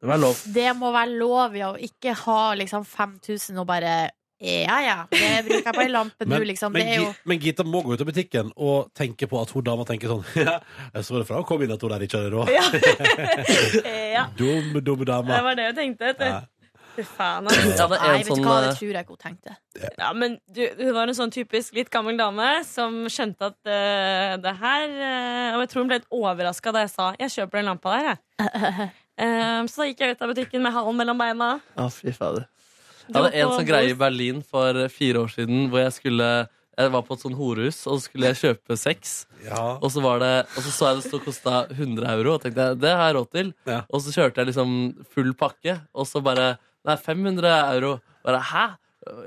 [SPEAKER 4] Det var lov.
[SPEAKER 3] det må være lov i å ikke ha liksom 5000 og bare ja, ja, det bruker jeg på ei lampe
[SPEAKER 2] (laughs)
[SPEAKER 3] nå,
[SPEAKER 2] Men,
[SPEAKER 3] liksom.
[SPEAKER 2] men,
[SPEAKER 3] Det er jo
[SPEAKER 2] Gi- men Gita må gå ut av butikken og tenke på at hun dama tenker sånn (laughs) Ja, jeg så det fra hun kom inn at hun der ikke hadde råd.
[SPEAKER 6] Ja. ja.
[SPEAKER 2] Dum, dum
[SPEAKER 6] Det
[SPEAKER 2] dame.
[SPEAKER 6] var det jeg tenkte. vet du.
[SPEAKER 2] Ja.
[SPEAKER 6] Fy faen, altså.
[SPEAKER 4] Jeg hadde
[SPEAKER 3] Nei,
[SPEAKER 4] en
[SPEAKER 3] vet du
[SPEAKER 4] sånn
[SPEAKER 3] hva,
[SPEAKER 4] eh,
[SPEAKER 3] det tror jeg ikke hun tenkte.
[SPEAKER 6] Ja, men du, Hun var en sånn typisk litt gammel dame som skjønte at eh, det her eh, Og jeg tror hun ble litt overraska da jeg sa 'jeg kjøper den lampa der', jeg. (laughs) Eh, så da gikk jeg ut av butikken med halen mellom beina.
[SPEAKER 4] Å, fy fader. Jeg
[SPEAKER 6] Du var
[SPEAKER 4] hadde en
[SPEAKER 6] på
[SPEAKER 4] sånn
[SPEAKER 6] Bose.
[SPEAKER 4] greie i Berlin for eh, fire år siden hvor jeg skulle jeg var på et sånn horehus, og så skulle jeg kjøpe sex.
[SPEAKER 2] Ja.
[SPEAKER 4] Og så, var det, og så så jeg det stod kosta 100 euro, og tenkte jeg, det har jeg råd til.
[SPEAKER 2] Ja.
[SPEAKER 4] Og så kjørte jeg liksom full pakke, og så bare Nei, 500 euro. Bare hæ?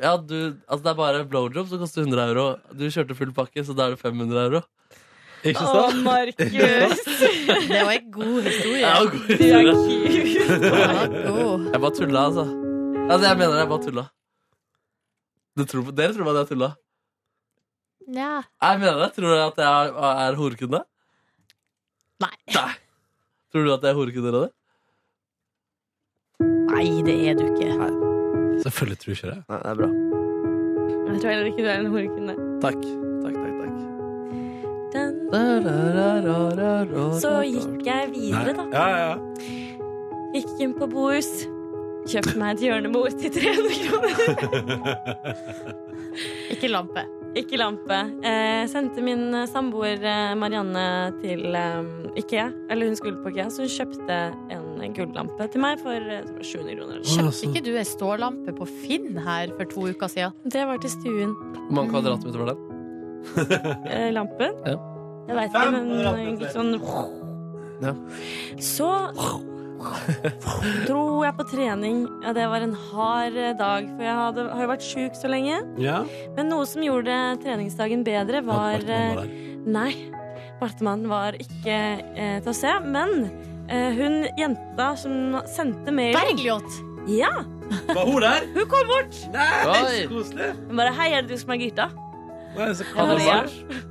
[SPEAKER 4] Ja, du, altså det er bare blowjob som koster 100 euro. Du kjørte full pakke, så da er det 500 euro. Ikke
[SPEAKER 6] Å,
[SPEAKER 4] sant?
[SPEAKER 6] (laughs) Markus!
[SPEAKER 3] Det var ei god historie.
[SPEAKER 4] Ja, god
[SPEAKER 6] Du er
[SPEAKER 4] historie.
[SPEAKER 6] cute.
[SPEAKER 3] Den var god.
[SPEAKER 4] Jeg bare tulla, altså. Altså, Jeg mener det, jeg bare tulla. Du tror, dere tror bare at jeg tulla?
[SPEAKER 3] Ja.
[SPEAKER 4] Jeg mener det. Tror du at jeg er, er horekunde?
[SPEAKER 3] Nei.
[SPEAKER 4] Tror du at jeg er horekunde, Ronny?
[SPEAKER 3] Nei, det er du ikke.
[SPEAKER 2] Selvfølgelig tror jeg ikke det.
[SPEAKER 4] Nei, det er bra.
[SPEAKER 6] Jeg tror heller ikke du er en horekunde.
[SPEAKER 4] Takk. Takk, takk, takk.
[SPEAKER 6] Den-
[SPEAKER 4] Da, da, da, da, da, da,
[SPEAKER 6] Så
[SPEAKER 4] da.
[SPEAKER 6] gikk jeg videre, da.
[SPEAKER 2] Ja, ja, ja.
[SPEAKER 6] Gikk inn på Bohus. Kjøpte meg et hjørnebord til 300 kroner.
[SPEAKER 3] Ikke lampe.
[SPEAKER 6] Ikke lampe. Eh, sendte min eh, samboer eh, Marianne til eh, IKEA. Eller hun skulle på IKEA, så hun kjøpte en gullampe til meg for eh, 700 kroner. eller noe.
[SPEAKER 3] Kjøpte ikke du ei stålampe på Finn her for to uker siden?
[SPEAKER 6] Det var til stuen.
[SPEAKER 4] Hvor mange kvadratmeter var den?
[SPEAKER 6] Eh, lampen.
[SPEAKER 4] Ja.
[SPEAKER 6] Jeg veit
[SPEAKER 2] Fem
[SPEAKER 6] ikke, men
[SPEAKER 2] kvadratmeter.
[SPEAKER 6] litt sånn
[SPEAKER 4] Ja.
[SPEAKER 6] Så dro jeg på trening. Ja, det var en hard eh, dag, for jeg hadde, har jo vært sjuk så lenge.
[SPEAKER 2] ja.
[SPEAKER 6] Men noe som gjorde treningsdagen bedre, var
[SPEAKER 2] Bartmann
[SPEAKER 6] eh,
[SPEAKER 2] var der.
[SPEAKER 6] Nei, Bartemann var ikke eh, til å se, men eh, hun jenta som sendte mail
[SPEAKER 3] Bergljot!
[SPEAKER 6] Ja,
[SPEAKER 2] Var hun der?
[SPEAKER 6] hun kom bort!
[SPEAKER 2] Nei,
[SPEAKER 4] Oi.
[SPEAKER 2] så koselig!
[SPEAKER 6] Hun bare 'Hei, er det du som er Girta?'
[SPEAKER 2] Nei, så
[SPEAKER 6] Ja,
[SPEAKER 2] koselig.
[SPEAKER 6] ja.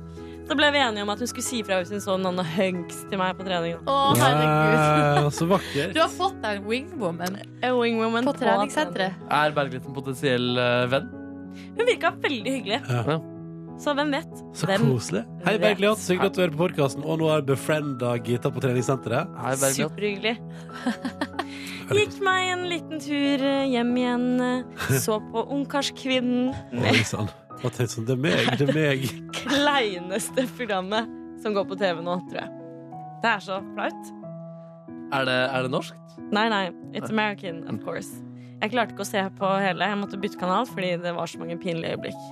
[SPEAKER 6] Så ble vi enige om at hun skulle si fra hvis hun så noen hunks til meg på trening. da.
[SPEAKER 3] Å, herregud.
[SPEAKER 2] Ja, så vakker.
[SPEAKER 3] Du har fått deg en wingwoman
[SPEAKER 6] A wing woman
[SPEAKER 3] på
[SPEAKER 6] på
[SPEAKER 3] treningssenteret.
[SPEAKER 4] Er Bergljot en potensiell eh, venn?
[SPEAKER 6] trening. Hun virka veldig hyggelig.
[SPEAKER 2] Ja.
[SPEAKER 6] Så hvem vet?
[SPEAKER 2] Så
[SPEAKER 6] Hvem
[SPEAKER 2] koselig. Hei,
[SPEAKER 6] vet?
[SPEAKER 2] Bergljot. Så hyggelig at du hører på podkasten. Og nå har befrienda Gita på treningssenteret.
[SPEAKER 4] Er Bergljot?
[SPEAKER 6] Superhyggelig. Gikk meg en liten tur eh, hjem igjen. eh, Så på Ungkarskvinnen.
[SPEAKER 2] (laughs) Oi sann. Og tenkte sånn, Det er meg, det er meg.
[SPEAKER 6] Kleineste programmet som går på TV nå, tror jeg. Det er så flaut.
[SPEAKER 4] Er det, er det norskt?
[SPEAKER 6] Nei, nei. It's American, of course. Jeg klarte ikke å se på hele. Jeg måtte bytte kanal fordi det var så mange pinlige øyeblikk.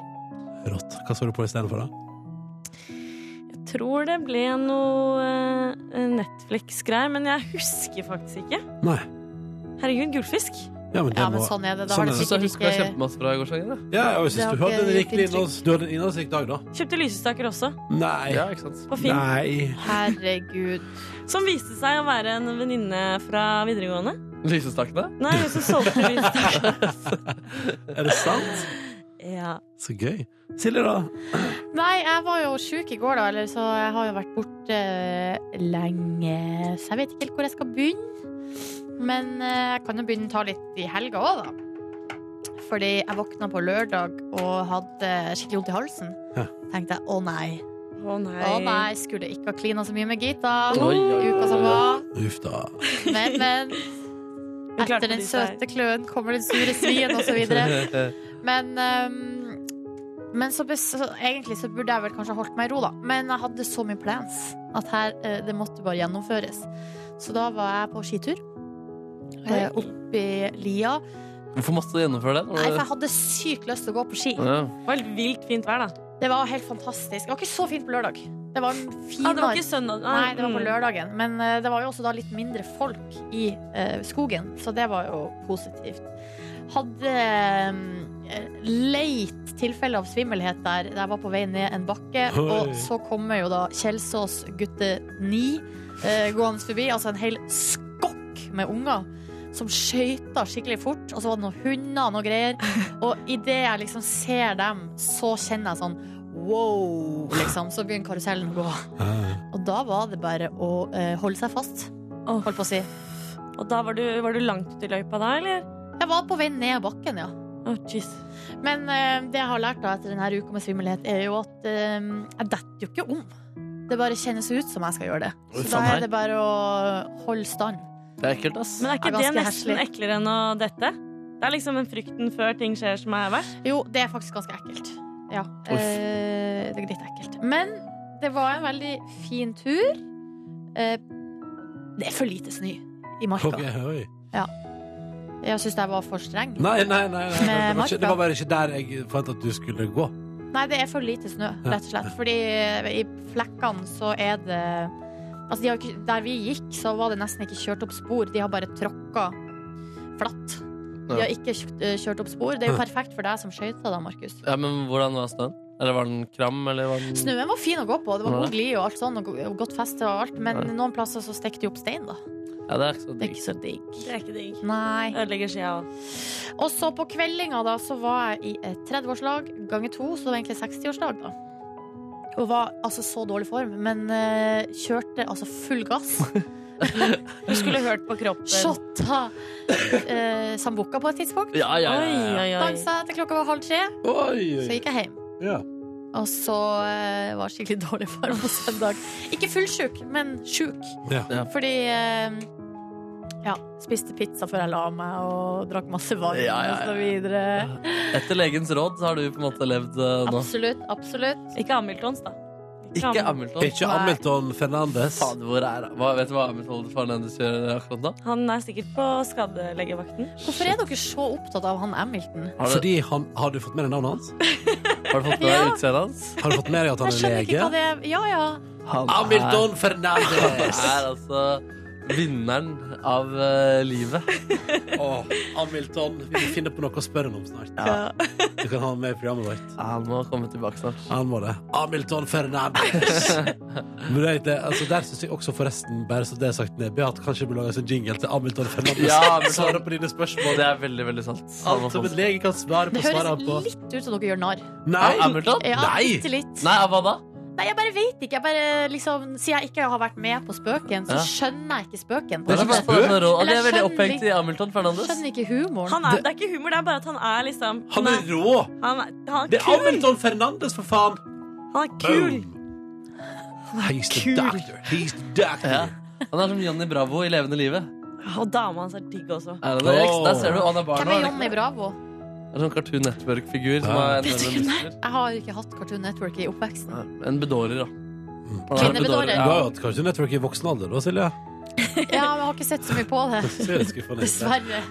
[SPEAKER 2] Rått. Hva så du på istedenfor, da?
[SPEAKER 6] Jeg tror det ble noe eh, Netflix-greier, men jeg husker faktisk ikke.
[SPEAKER 2] Nei.
[SPEAKER 6] Herregud, gullfisk.
[SPEAKER 2] Ja, men det
[SPEAKER 3] Ja, men
[SPEAKER 2] må-
[SPEAKER 3] sånn er det. Da
[SPEAKER 2] sånn
[SPEAKER 3] har
[SPEAKER 2] er
[SPEAKER 3] det
[SPEAKER 4] Jeg synes
[SPEAKER 3] sikkert
[SPEAKER 4] jeg husker jeg
[SPEAKER 3] ikke
[SPEAKER 4] kjempemasse fra gårsdagen. jeg.
[SPEAKER 2] Ja, og jeg
[SPEAKER 3] Det
[SPEAKER 2] synes
[SPEAKER 3] har
[SPEAKER 2] du hadde en riktig
[SPEAKER 3] ikke gitt inntrykk.
[SPEAKER 2] innholds- du hadde en innholdsrik dag, da.
[SPEAKER 6] Kjøpte lysestaker også,
[SPEAKER 2] Nei.
[SPEAKER 4] Ja, ikke sant?
[SPEAKER 6] på Finn.
[SPEAKER 2] Nei.
[SPEAKER 3] Herregud.
[SPEAKER 6] Som viste seg å være en venninne fra videregående.
[SPEAKER 4] Lysestakene?
[SPEAKER 6] Nei, hun som solgte lysestaker.
[SPEAKER 2] Er det sant?
[SPEAKER 6] Ja.
[SPEAKER 2] Så gøy. Silje, da?
[SPEAKER 3] Nei, jeg var jo sjuk i går, da, eller, så jeg har jo vært borte eh, lenge. Så jeg vet ikke helt hvor jeg skal begynne. Men eh, jeg kan jo begynne å ta litt i helga òg, da. Fordi jeg våkna på lørdag og hadde skikkelig vondt i halsen.
[SPEAKER 2] Ja.
[SPEAKER 3] tenkte jeg å nei.
[SPEAKER 6] Å nei.
[SPEAKER 3] Å nei, skulle ikke ha klina så mye med Gita
[SPEAKER 4] Oi, oi, oi,
[SPEAKER 3] uka som
[SPEAKER 4] oi.
[SPEAKER 3] var.
[SPEAKER 2] Uff da.
[SPEAKER 3] Men, men.
[SPEAKER 6] Hun klarte
[SPEAKER 3] Etter den
[SPEAKER 6] de seg.
[SPEAKER 3] søte kløen kommer den sure svien,
[SPEAKER 4] (laughs)
[SPEAKER 3] osv.
[SPEAKER 4] Eh.
[SPEAKER 3] Men ehm, men så, bes- så egentlig så burde jeg vel kanskje holdt meg i ro, da. Men jeg hadde så mye plans at her, eh, det måtte bare gjennomføres. Så da var jeg på skitur. Eh,
[SPEAKER 6] Oi.
[SPEAKER 3] opp i lia.
[SPEAKER 4] Hvorfor måtte du gjennomføre den?
[SPEAKER 3] Nei, for jeg hadde sykt lyst til å gå på ski.
[SPEAKER 4] ja.
[SPEAKER 6] Det var helt vilt fint vær, da.
[SPEAKER 3] Det var helt fantastisk. Det var ikke så fint på lørdag. Det var en fin
[SPEAKER 6] Ah, det var ikke søndag.
[SPEAKER 3] Nei, det var på lørdagen. Men eh, det var jo også da litt mindre folk i eh, skogen, så det var jo positivt. Hadde eh, leit tilfelle av svimmelhet der da jeg var på vei ned en bakke.
[SPEAKER 2] Oi.
[SPEAKER 3] Og så kommer jo da Kjelsås gutte 9 eh, gående forbi, altså en hel skokk med unger. Som skøyta skikkelig fort, og så var det noen hunder og noe greier. Og idet jeg liksom ser dem, så kjenner jeg sånn wow, liksom. Så begynner karusellen å gå.
[SPEAKER 2] Ja.
[SPEAKER 3] Og da var det bare å eh, holde seg fast,
[SPEAKER 6] Åh.
[SPEAKER 3] holdt på å si.
[SPEAKER 6] Og da var du, var du langt ute i løypa da, eller?
[SPEAKER 3] Jeg var på vei ned bakken, ja.
[SPEAKER 6] Å, jeez.
[SPEAKER 3] Men eh, det jeg har lært da etter denne uka med svimmelhet, er jo at eh, jeg detter jo ikke om. Det bare kjennes ut som jeg skal gjøre det.
[SPEAKER 4] Oi,
[SPEAKER 3] Så da
[SPEAKER 4] faen meg.
[SPEAKER 3] er det bare å holde stand.
[SPEAKER 4] Det er ekkelt, ass.
[SPEAKER 6] Men er ikke
[SPEAKER 3] Det er
[SPEAKER 6] det,
[SPEAKER 3] ganske
[SPEAKER 6] nesten
[SPEAKER 3] herselig.
[SPEAKER 6] eklere enn å dette? Det er liksom den frykten før ting skjer som er verst.
[SPEAKER 3] Jo, det er faktisk ganske ekkelt. Ja,
[SPEAKER 4] Uff.
[SPEAKER 3] eh, det er litt ekkelt. Men det var en veldig fin tur. Eh, det er for lite snø i marka.
[SPEAKER 2] Ok, oi.
[SPEAKER 3] Jeg syns jeg var for streng.
[SPEAKER 2] Nei, nei, nei. nei. Det, var ikke,
[SPEAKER 3] Med
[SPEAKER 2] det
[SPEAKER 3] marka.
[SPEAKER 2] var bare ikke der jeg forventa at du skulle gå.
[SPEAKER 3] Nei, det er for lite snø, rett og slett. Fordi eh, i flekkene så er det Altså, de har ikke, der vi gikk, så var det nesten ikke kjørt opp spor. De har bare tråkka flatt. De
[SPEAKER 4] Ja.
[SPEAKER 3] har ikke kjørt- eh, kjørt opp spor. Det er jo
[SPEAKER 2] Ja.
[SPEAKER 3] perfekt for deg som skøyter, da, Markus.
[SPEAKER 4] Ja, men hvordan var snøen? Eller var den kram? Eller var den...
[SPEAKER 3] Snøen var fin å gå på. Det var
[SPEAKER 4] Ja.
[SPEAKER 3] god glid og alt sånn, og go- og godt feste og alt. Men
[SPEAKER 4] Ja.
[SPEAKER 3] noen plasser så stikker de opp stein, da.
[SPEAKER 4] Ja, det er ikke
[SPEAKER 3] Det er
[SPEAKER 4] så digg.
[SPEAKER 3] ikke så digg.
[SPEAKER 6] Det er ikke digg.
[SPEAKER 3] Nei.
[SPEAKER 6] Ødelegger skia òg.
[SPEAKER 3] Og så på kveldinga da, så var jeg i et 30-årslag ganger to, så det var egentlig 60-årsdag da. Og var altså så dårlig form, men eh, kjørte altså full gass.
[SPEAKER 6] Du skulle hørt på kroppen.
[SPEAKER 3] Shotta uh, sambuca på et tidspunkt.
[SPEAKER 4] Ja, ja,
[SPEAKER 6] Oi,
[SPEAKER 4] ja, ja.
[SPEAKER 6] oi, oi.
[SPEAKER 3] Dansa til klokka var halv tre,
[SPEAKER 2] Oi,
[SPEAKER 3] så gikk jeg hjem.
[SPEAKER 2] Ja.
[SPEAKER 3] Og så eh, var jeg skikkelig dårlig form på søndag. Ikke fullsjuk, men sjuk.
[SPEAKER 2] Ja.
[SPEAKER 4] Ja.
[SPEAKER 3] Fordi eh, ja, spiste pizza før jeg la meg og drakk masse vann
[SPEAKER 4] Ja, ja, ja.
[SPEAKER 3] og så videre.
[SPEAKER 4] Etter legens råd så har du på en måte levd eh, nå.
[SPEAKER 3] Absolutt, absolutt.
[SPEAKER 6] Ikke Hamiltons, da.
[SPEAKER 4] Ikke
[SPEAKER 6] Ham-
[SPEAKER 4] Hamilton.
[SPEAKER 2] Ikke Hamilton Fernandes.
[SPEAKER 4] Fader, hvor er han? Hva, vet du hva Hamilton Fernandes gjør akkurat nå?
[SPEAKER 6] Han er sikkert på skadelegevakten.
[SPEAKER 3] Hvorfor er dere så opptatt av han Hamilton?
[SPEAKER 4] Har du,
[SPEAKER 2] Fordi han, Har du fått med deg navnet hans?
[SPEAKER 4] har du fått med deg
[SPEAKER 3] Ja.
[SPEAKER 4] utseendet hans?
[SPEAKER 2] Har du fått med deg at han
[SPEAKER 3] Jeg
[SPEAKER 2] er
[SPEAKER 3] skjønner ikke hva
[SPEAKER 2] lege?
[SPEAKER 3] det er. Ja, ja.
[SPEAKER 4] Han
[SPEAKER 2] Hamilton
[SPEAKER 4] er, (laughs)
[SPEAKER 2] Fernandes!
[SPEAKER 4] er altså vinneren av eh, livet.
[SPEAKER 2] Åh, Hamilton. Vi må finne på noe å spørre ham om snart. Du kan ha ham med i programmet vårt.
[SPEAKER 4] Ja, Han må komme tilbake snart.
[SPEAKER 2] Han må det. Hamilton Fernandes. Men det, er ikke- altså der syns jeg også, forresten, bare så det er sagt, Neby, at kanskje det burde lages en jingle til Hamilton Fernandes.
[SPEAKER 4] Ja, Hamilton.
[SPEAKER 2] Svare på dine spørsmål.
[SPEAKER 4] Og det er veldig, veldig sant. Han må
[SPEAKER 2] Alt som
[SPEAKER 4] få-
[SPEAKER 2] en lege kan svare på,
[SPEAKER 3] Det
[SPEAKER 2] svarer han på.
[SPEAKER 3] høres litt ut som dere gjør narr.
[SPEAKER 2] Nei!
[SPEAKER 4] Av Hamilton?
[SPEAKER 3] Ja,
[SPEAKER 2] Nei!
[SPEAKER 3] bitte litt.
[SPEAKER 4] Nei, av hva da?
[SPEAKER 3] Nei, jeg bare vet ikke. Jeg bare, liksom, siden jeg ikke har vært med på spøken, så
[SPEAKER 4] Ja.
[SPEAKER 3] skjønner jeg ikke spøken.
[SPEAKER 2] Det er ikke spøk.
[SPEAKER 4] Det er veldig
[SPEAKER 3] Eller
[SPEAKER 4] opphengt i Hamilton Fernandes.
[SPEAKER 3] Skjønner ikke humoren.
[SPEAKER 6] Han er, det er ikke humor, det er bare at han er liksom
[SPEAKER 2] Han er rå!
[SPEAKER 6] han er, han
[SPEAKER 2] Det
[SPEAKER 6] er
[SPEAKER 2] er
[SPEAKER 6] kul!
[SPEAKER 2] Hamilton Fernandes, for faen!
[SPEAKER 6] Han er kul.
[SPEAKER 2] He's the doctor. He's the doctor.
[SPEAKER 4] Ja. Han er som Johnny Bravo i levende livet.
[SPEAKER 6] Og dama hans er digg også.
[SPEAKER 4] Er det det?
[SPEAKER 2] Åh.
[SPEAKER 4] Der ser du, han er barn
[SPEAKER 3] Hvem er
[SPEAKER 4] nå.
[SPEAKER 3] Johnny Bravo?
[SPEAKER 4] En sånn Cartoon Network-figur som
[SPEAKER 2] Ja.
[SPEAKER 4] har
[SPEAKER 3] Vet
[SPEAKER 4] enorme
[SPEAKER 3] ikke, nei.
[SPEAKER 4] muskler.
[SPEAKER 3] Jeg har ikke hatt Cartoon Network i oppveksten.
[SPEAKER 4] Ja, En bedårer, da. Han er en
[SPEAKER 3] Kvinnebedårer.
[SPEAKER 4] bedårer,
[SPEAKER 2] Du har
[SPEAKER 4] ja.
[SPEAKER 2] jo hatt kanskje network i voksen alder da, Silje?
[SPEAKER 3] Ja, men Jeg har ikke sett så mye på det.
[SPEAKER 2] (laughs) Så er det skuffende.
[SPEAKER 3] Dessverre.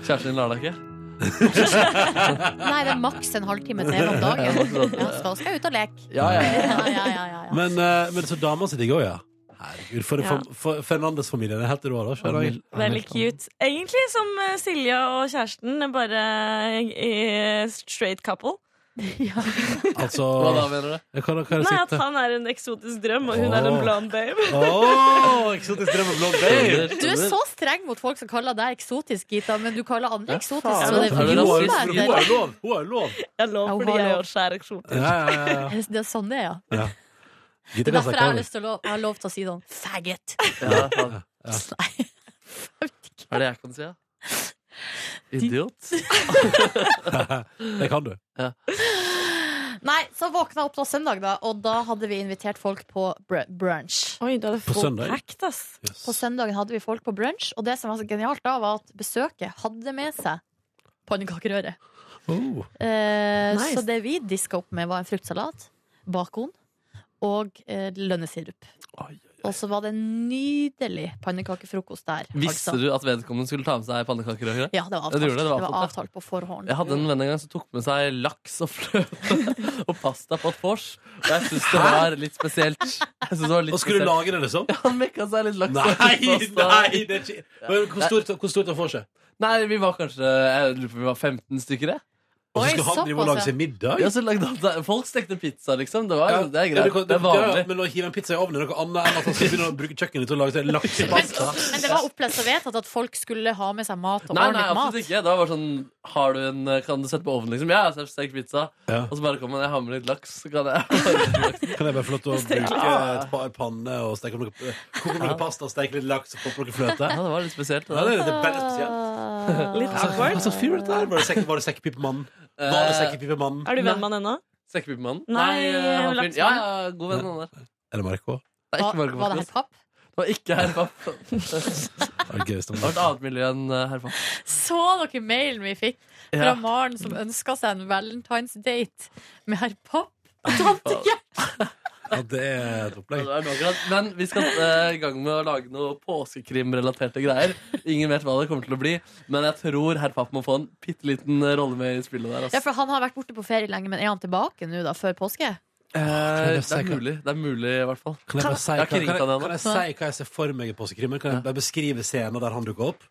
[SPEAKER 4] Kjæresten din lar deg ikke?
[SPEAKER 3] Nei, det er maks en halvtime til om dagen. Ja, så skal jeg ut og leke.
[SPEAKER 4] Ja, ja,
[SPEAKER 3] Ja,
[SPEAKER 4] ja.
[SPEAKER 3] ja, ja, ja,
[SPEAKER 2] (laughs)
[SPEAKER 3] ja.
[SPEAKER 2] Men, eh, men så dama si digg òg, ja. Herregud, for,
[SPEAKER 6] Ja.
[SPEAKER 2] for, for Fernandes-familien er helt rå, da. Skjønner jeg.
[SPEAKER 6] Veldig cute. Egentlig som eh, Silje og kjæresten, bare eh, straight couple.
[SPEAKER 3] Ja.
[SPEAKER 2] Altså
[SPEAKER 4] Hva da, mener du?
[SPEAKER 2] Hva hva er det
[SPEAKER 6] Nei, at
[SPEAKER 2] sikte?
[SPEAKER 6] han er en eksotisk drøm, og hun er en
[SPEAKER 2] Åh.
[SPEAKER 6] blond babe.
[SPEAKER 2] Åh, eksotisk drøm og blond babe!
[SPEAKER 3] Du er så streng mot folk som kaller deg eksotisk, Gita, men du kaller andre eksotisk.
[SPEAKER 2] Faen,
[SPEAKER 3] Så det
[SPEAKER 4] Er
[SPEAKER 2] Hun
[SPEAKER 4] du
[SPEAKER 2] har
[SPEAKER 4] rasist?
[SPEAKER 2] hun har lov! Hun har lov!
[SPEAKER 6] Jeg lov,
[SPEAKER 3] Ja, hun
[SPEAKER 6] fordi
[SPEAKER 3] har
[SPEAKER 6] jeg
[SPEAKER 3] lov.
[SPEAKER 6] har skjær eksotisk.
[SPEAKER 2] Ja, ja, ja,
[SPEAKER 3] (laughs)
[SPEAKER 2] ja.
[SPEAKER 3] Det er sånn det er, ja.
[SPEAKER 2] Gitt
[SPEAKER 3] Det er
[SPEAKER 2] hva
[SPEAKER 3] derfor jeg har
[SPEAKER 2] jeg
[SPEAKER 3] lyst til å lov, jeg har lov til å si sånn faggot.
[SPEAKER 4] Ja, faen.
[SPEAKER 3] Nei.
[SPEAKER 4] Hva er det jeg kan si, da? Idiot.
[SPEAKER 2] kan. Det kan du.
[SPEAKER 3] (laughs) Nei, så våkna jeg opp da søndag, da, og da hadde vi invitert folk på br brunch.
[SPEAKER 6] Oi, du hadde
[SPEAKER 2] På
[SPEAKER 6] full
[SPEAKER 2] søndag?
[SPEAKER 6] packed, ass.
[SPEAKER 2] Yes.
[SPEAKER 3] På søndagen hadde vi folk på brunch, og det som var så genialt da, var at besøket hadde med seg pannekakerøre.
[SPEAKER 2] Oh.
[SPEAKER 3] Eh,
[SPEAKER 6] Nice.
[SPEAKER 3] Så det vi diska opp med, var en fruktsalat, bacon og eh, lønnesirup.
[SPEAKER 4] Oi, oi,
[SPEAKER 3] Og så var det en nydelig pannekakefrokost der.
[SPEAKER 4] Visste du at vedkommende skulle ta med seg pannekaker? og greier?
[SPEAKER 3] Ja, det var
[SPEAKER 4] Ja,
[SPEAKER 3] avtalt,
[SPEAKER 4] du gjorde det, det
[SPEAKER 3] det
[SPEAKER 4] var
[SPEAKER 3] var
[SPEAKER 4] avtalt, ja.
[SPEAKER 3] avtalt på forhånd.
[SPEAKER 4] Jeg hadde en venn en gang som tok med seg laks og fløte (laughs) og pasta på et vors. Og jeg syns det var litt spesielt. Jeg synes det var litt
[SPEAKER 2] Og skulle du
[SPEAKER 4] spesielt.
[SPEAKER 2] lage det, liksom?
[SPEAKER 4] Han mekka seg litt laks. og
[SPEAKER 2] Nei,
[SPEAKER 4] pasta.
[SPEAKER 2] nei! Det er ikke. Men Hvor stort, hvor stort han får seg?
[SPEAKER 4] Nei, vi var kanskje jeg lurer på om vi var 15 stykker. Jeg.
[SPEAKER 2] Og
[SPEAKER 3] Oi,
[SPEAKER 2] så skal han drive og
[SPEAKER 3] såpass,
[SPEAKER 2] lage seg middag?
[SPEAKER 4] Ja, så lagde han, folk stekte pizza, liksom. Det, var, det er
[SPEAKER 2] Ja, du
[SPEAKER 4] greit.
[SPEAKER 2] kan-
[SPEAKER 4] Det er
[SPEAKER 2] ja, ja,
[SPEAKER 4] vanlig.
[SPEAKER 2] Men å hive en pizza i ovnen er noe annet enn at han skal begynne å bruke kjøkkenet til å lage seg laksepasta.
[SPEAKER 3] Men det var opplest og vedtatt at folk skulle ha med seg mat og
[SPEAKER 4] Nei,
[SPEAKER 3] ordentlig
[SPEAKER 4] nei, absolutt
[SPEAKER 3] mat.
[SPEAKER 4] ikke. Det var bare sånn Har du en Kan du sette på ovnen, liksom? Ja, så stekt pizza.
[SPEAKER 2] Ja.
[SPEAKER 4] Og så bare kommer han, jeg har med litt laks. Så
[SPEAKER 2] (laughs)
[SPEAKER 4] kan jeg
[SPEAKER 2] Kan jeg bare få lov til å bruke et par panner og steke opp noe, eh, koke opp noe pasta, steke litt laks og poppe noe fløte?
[SPEAKER 4] Ja, det var litt spesielt.
[SPEAKER 2] Ja, det er
[SPEAKER 4] Det der.
[SPEAKER 2] det er veldig spesielt.
[SPEAKER 3] Ah.
[SPEAKER 6] Litt
[SPEAKER 2] Ja, Hva slags fyr er dette her? Var det sekk- Var det sekkepipemannen?
[SPEAKER 4] Eh,
[SPEAKER 2] Var det sekkepipemannen?
[SPEAKER 6] Er du venn med han ennå?
[SPEAKER 4] Sekkepipemannen?
[SPEAKER 6] Nei,
[SPEAKER 4] eh, han
[SPEAKER 6] laksemann.
[SPEAKER 4] fyren. Ja, ja, god venn, han der.
[SPEAKER 2] Er det Marco?
[SPEAKER 4] Det er
[SPEAKER 3] Hva-
[SPEAKER 4] ikke Marco
[SPEAKER 3] Var det
[SPEAKER 4] Martinus.
[SPEAKER 3] helt papp?
[SPEAKER 4] Det var ikke herr Papp. (laughs) Det
[SPEAKER 2] Er det gøyest om
[SPEAKER 4] var et
[SPEAKER 2] det?
[SPEAKER 4] annet miljø enn eh, herr Papp.
[SPEAKER 3] Så dere mailen vi fikk fra
[SPEAKER 4] Ja.
[SPEAKER 3] Maren som ønska seg en valentinsdate med herr Papp? Og
[SPEAKER 4] (laughs)
[SPEAKER 3] tante Gjert?
[SPEAKER 2] Ja, det er et
[SPEAKER 4] Ja,
[SPEAKER 2] opplegg.
[SPEAKER 4] det er noe grann. Men vi skal eh, i gang med å lage noe påskekrimrelaterte greier. Ingen vet hva det kommer til å bli, men jeg tror herr Papp må få en bitte liten rolle med i spillet der.
[SPEAKER 3] Ja,
[SPEAKER 4] Altså.
[SPEAKER 3] for han har vært borte på ferie lenge, men er han tilbake nå, da, før påske?
[SPEAKER 4] Eh, det
[SPEAKER 2] Kan jeg
[SPEAKER 4] er mulig, det er mulig i hvert fall.
[SPEAKER 2] Kan jeg bare si,
[SPEAKER 4] Jeg har ikke
[SPEAKER 2] kan,
[SPEAKER 4] ringt
[SPEAKER 2] kan,
[SPEAKER 4] han
[SPEAKER 2] jeg,
[SPEAKER 4] ennå.
[SPEAKER 2] kan jeg si hva jeg ser for meg i påskekrimmen? Kan jeg bare beskrive scener der han dukker opp?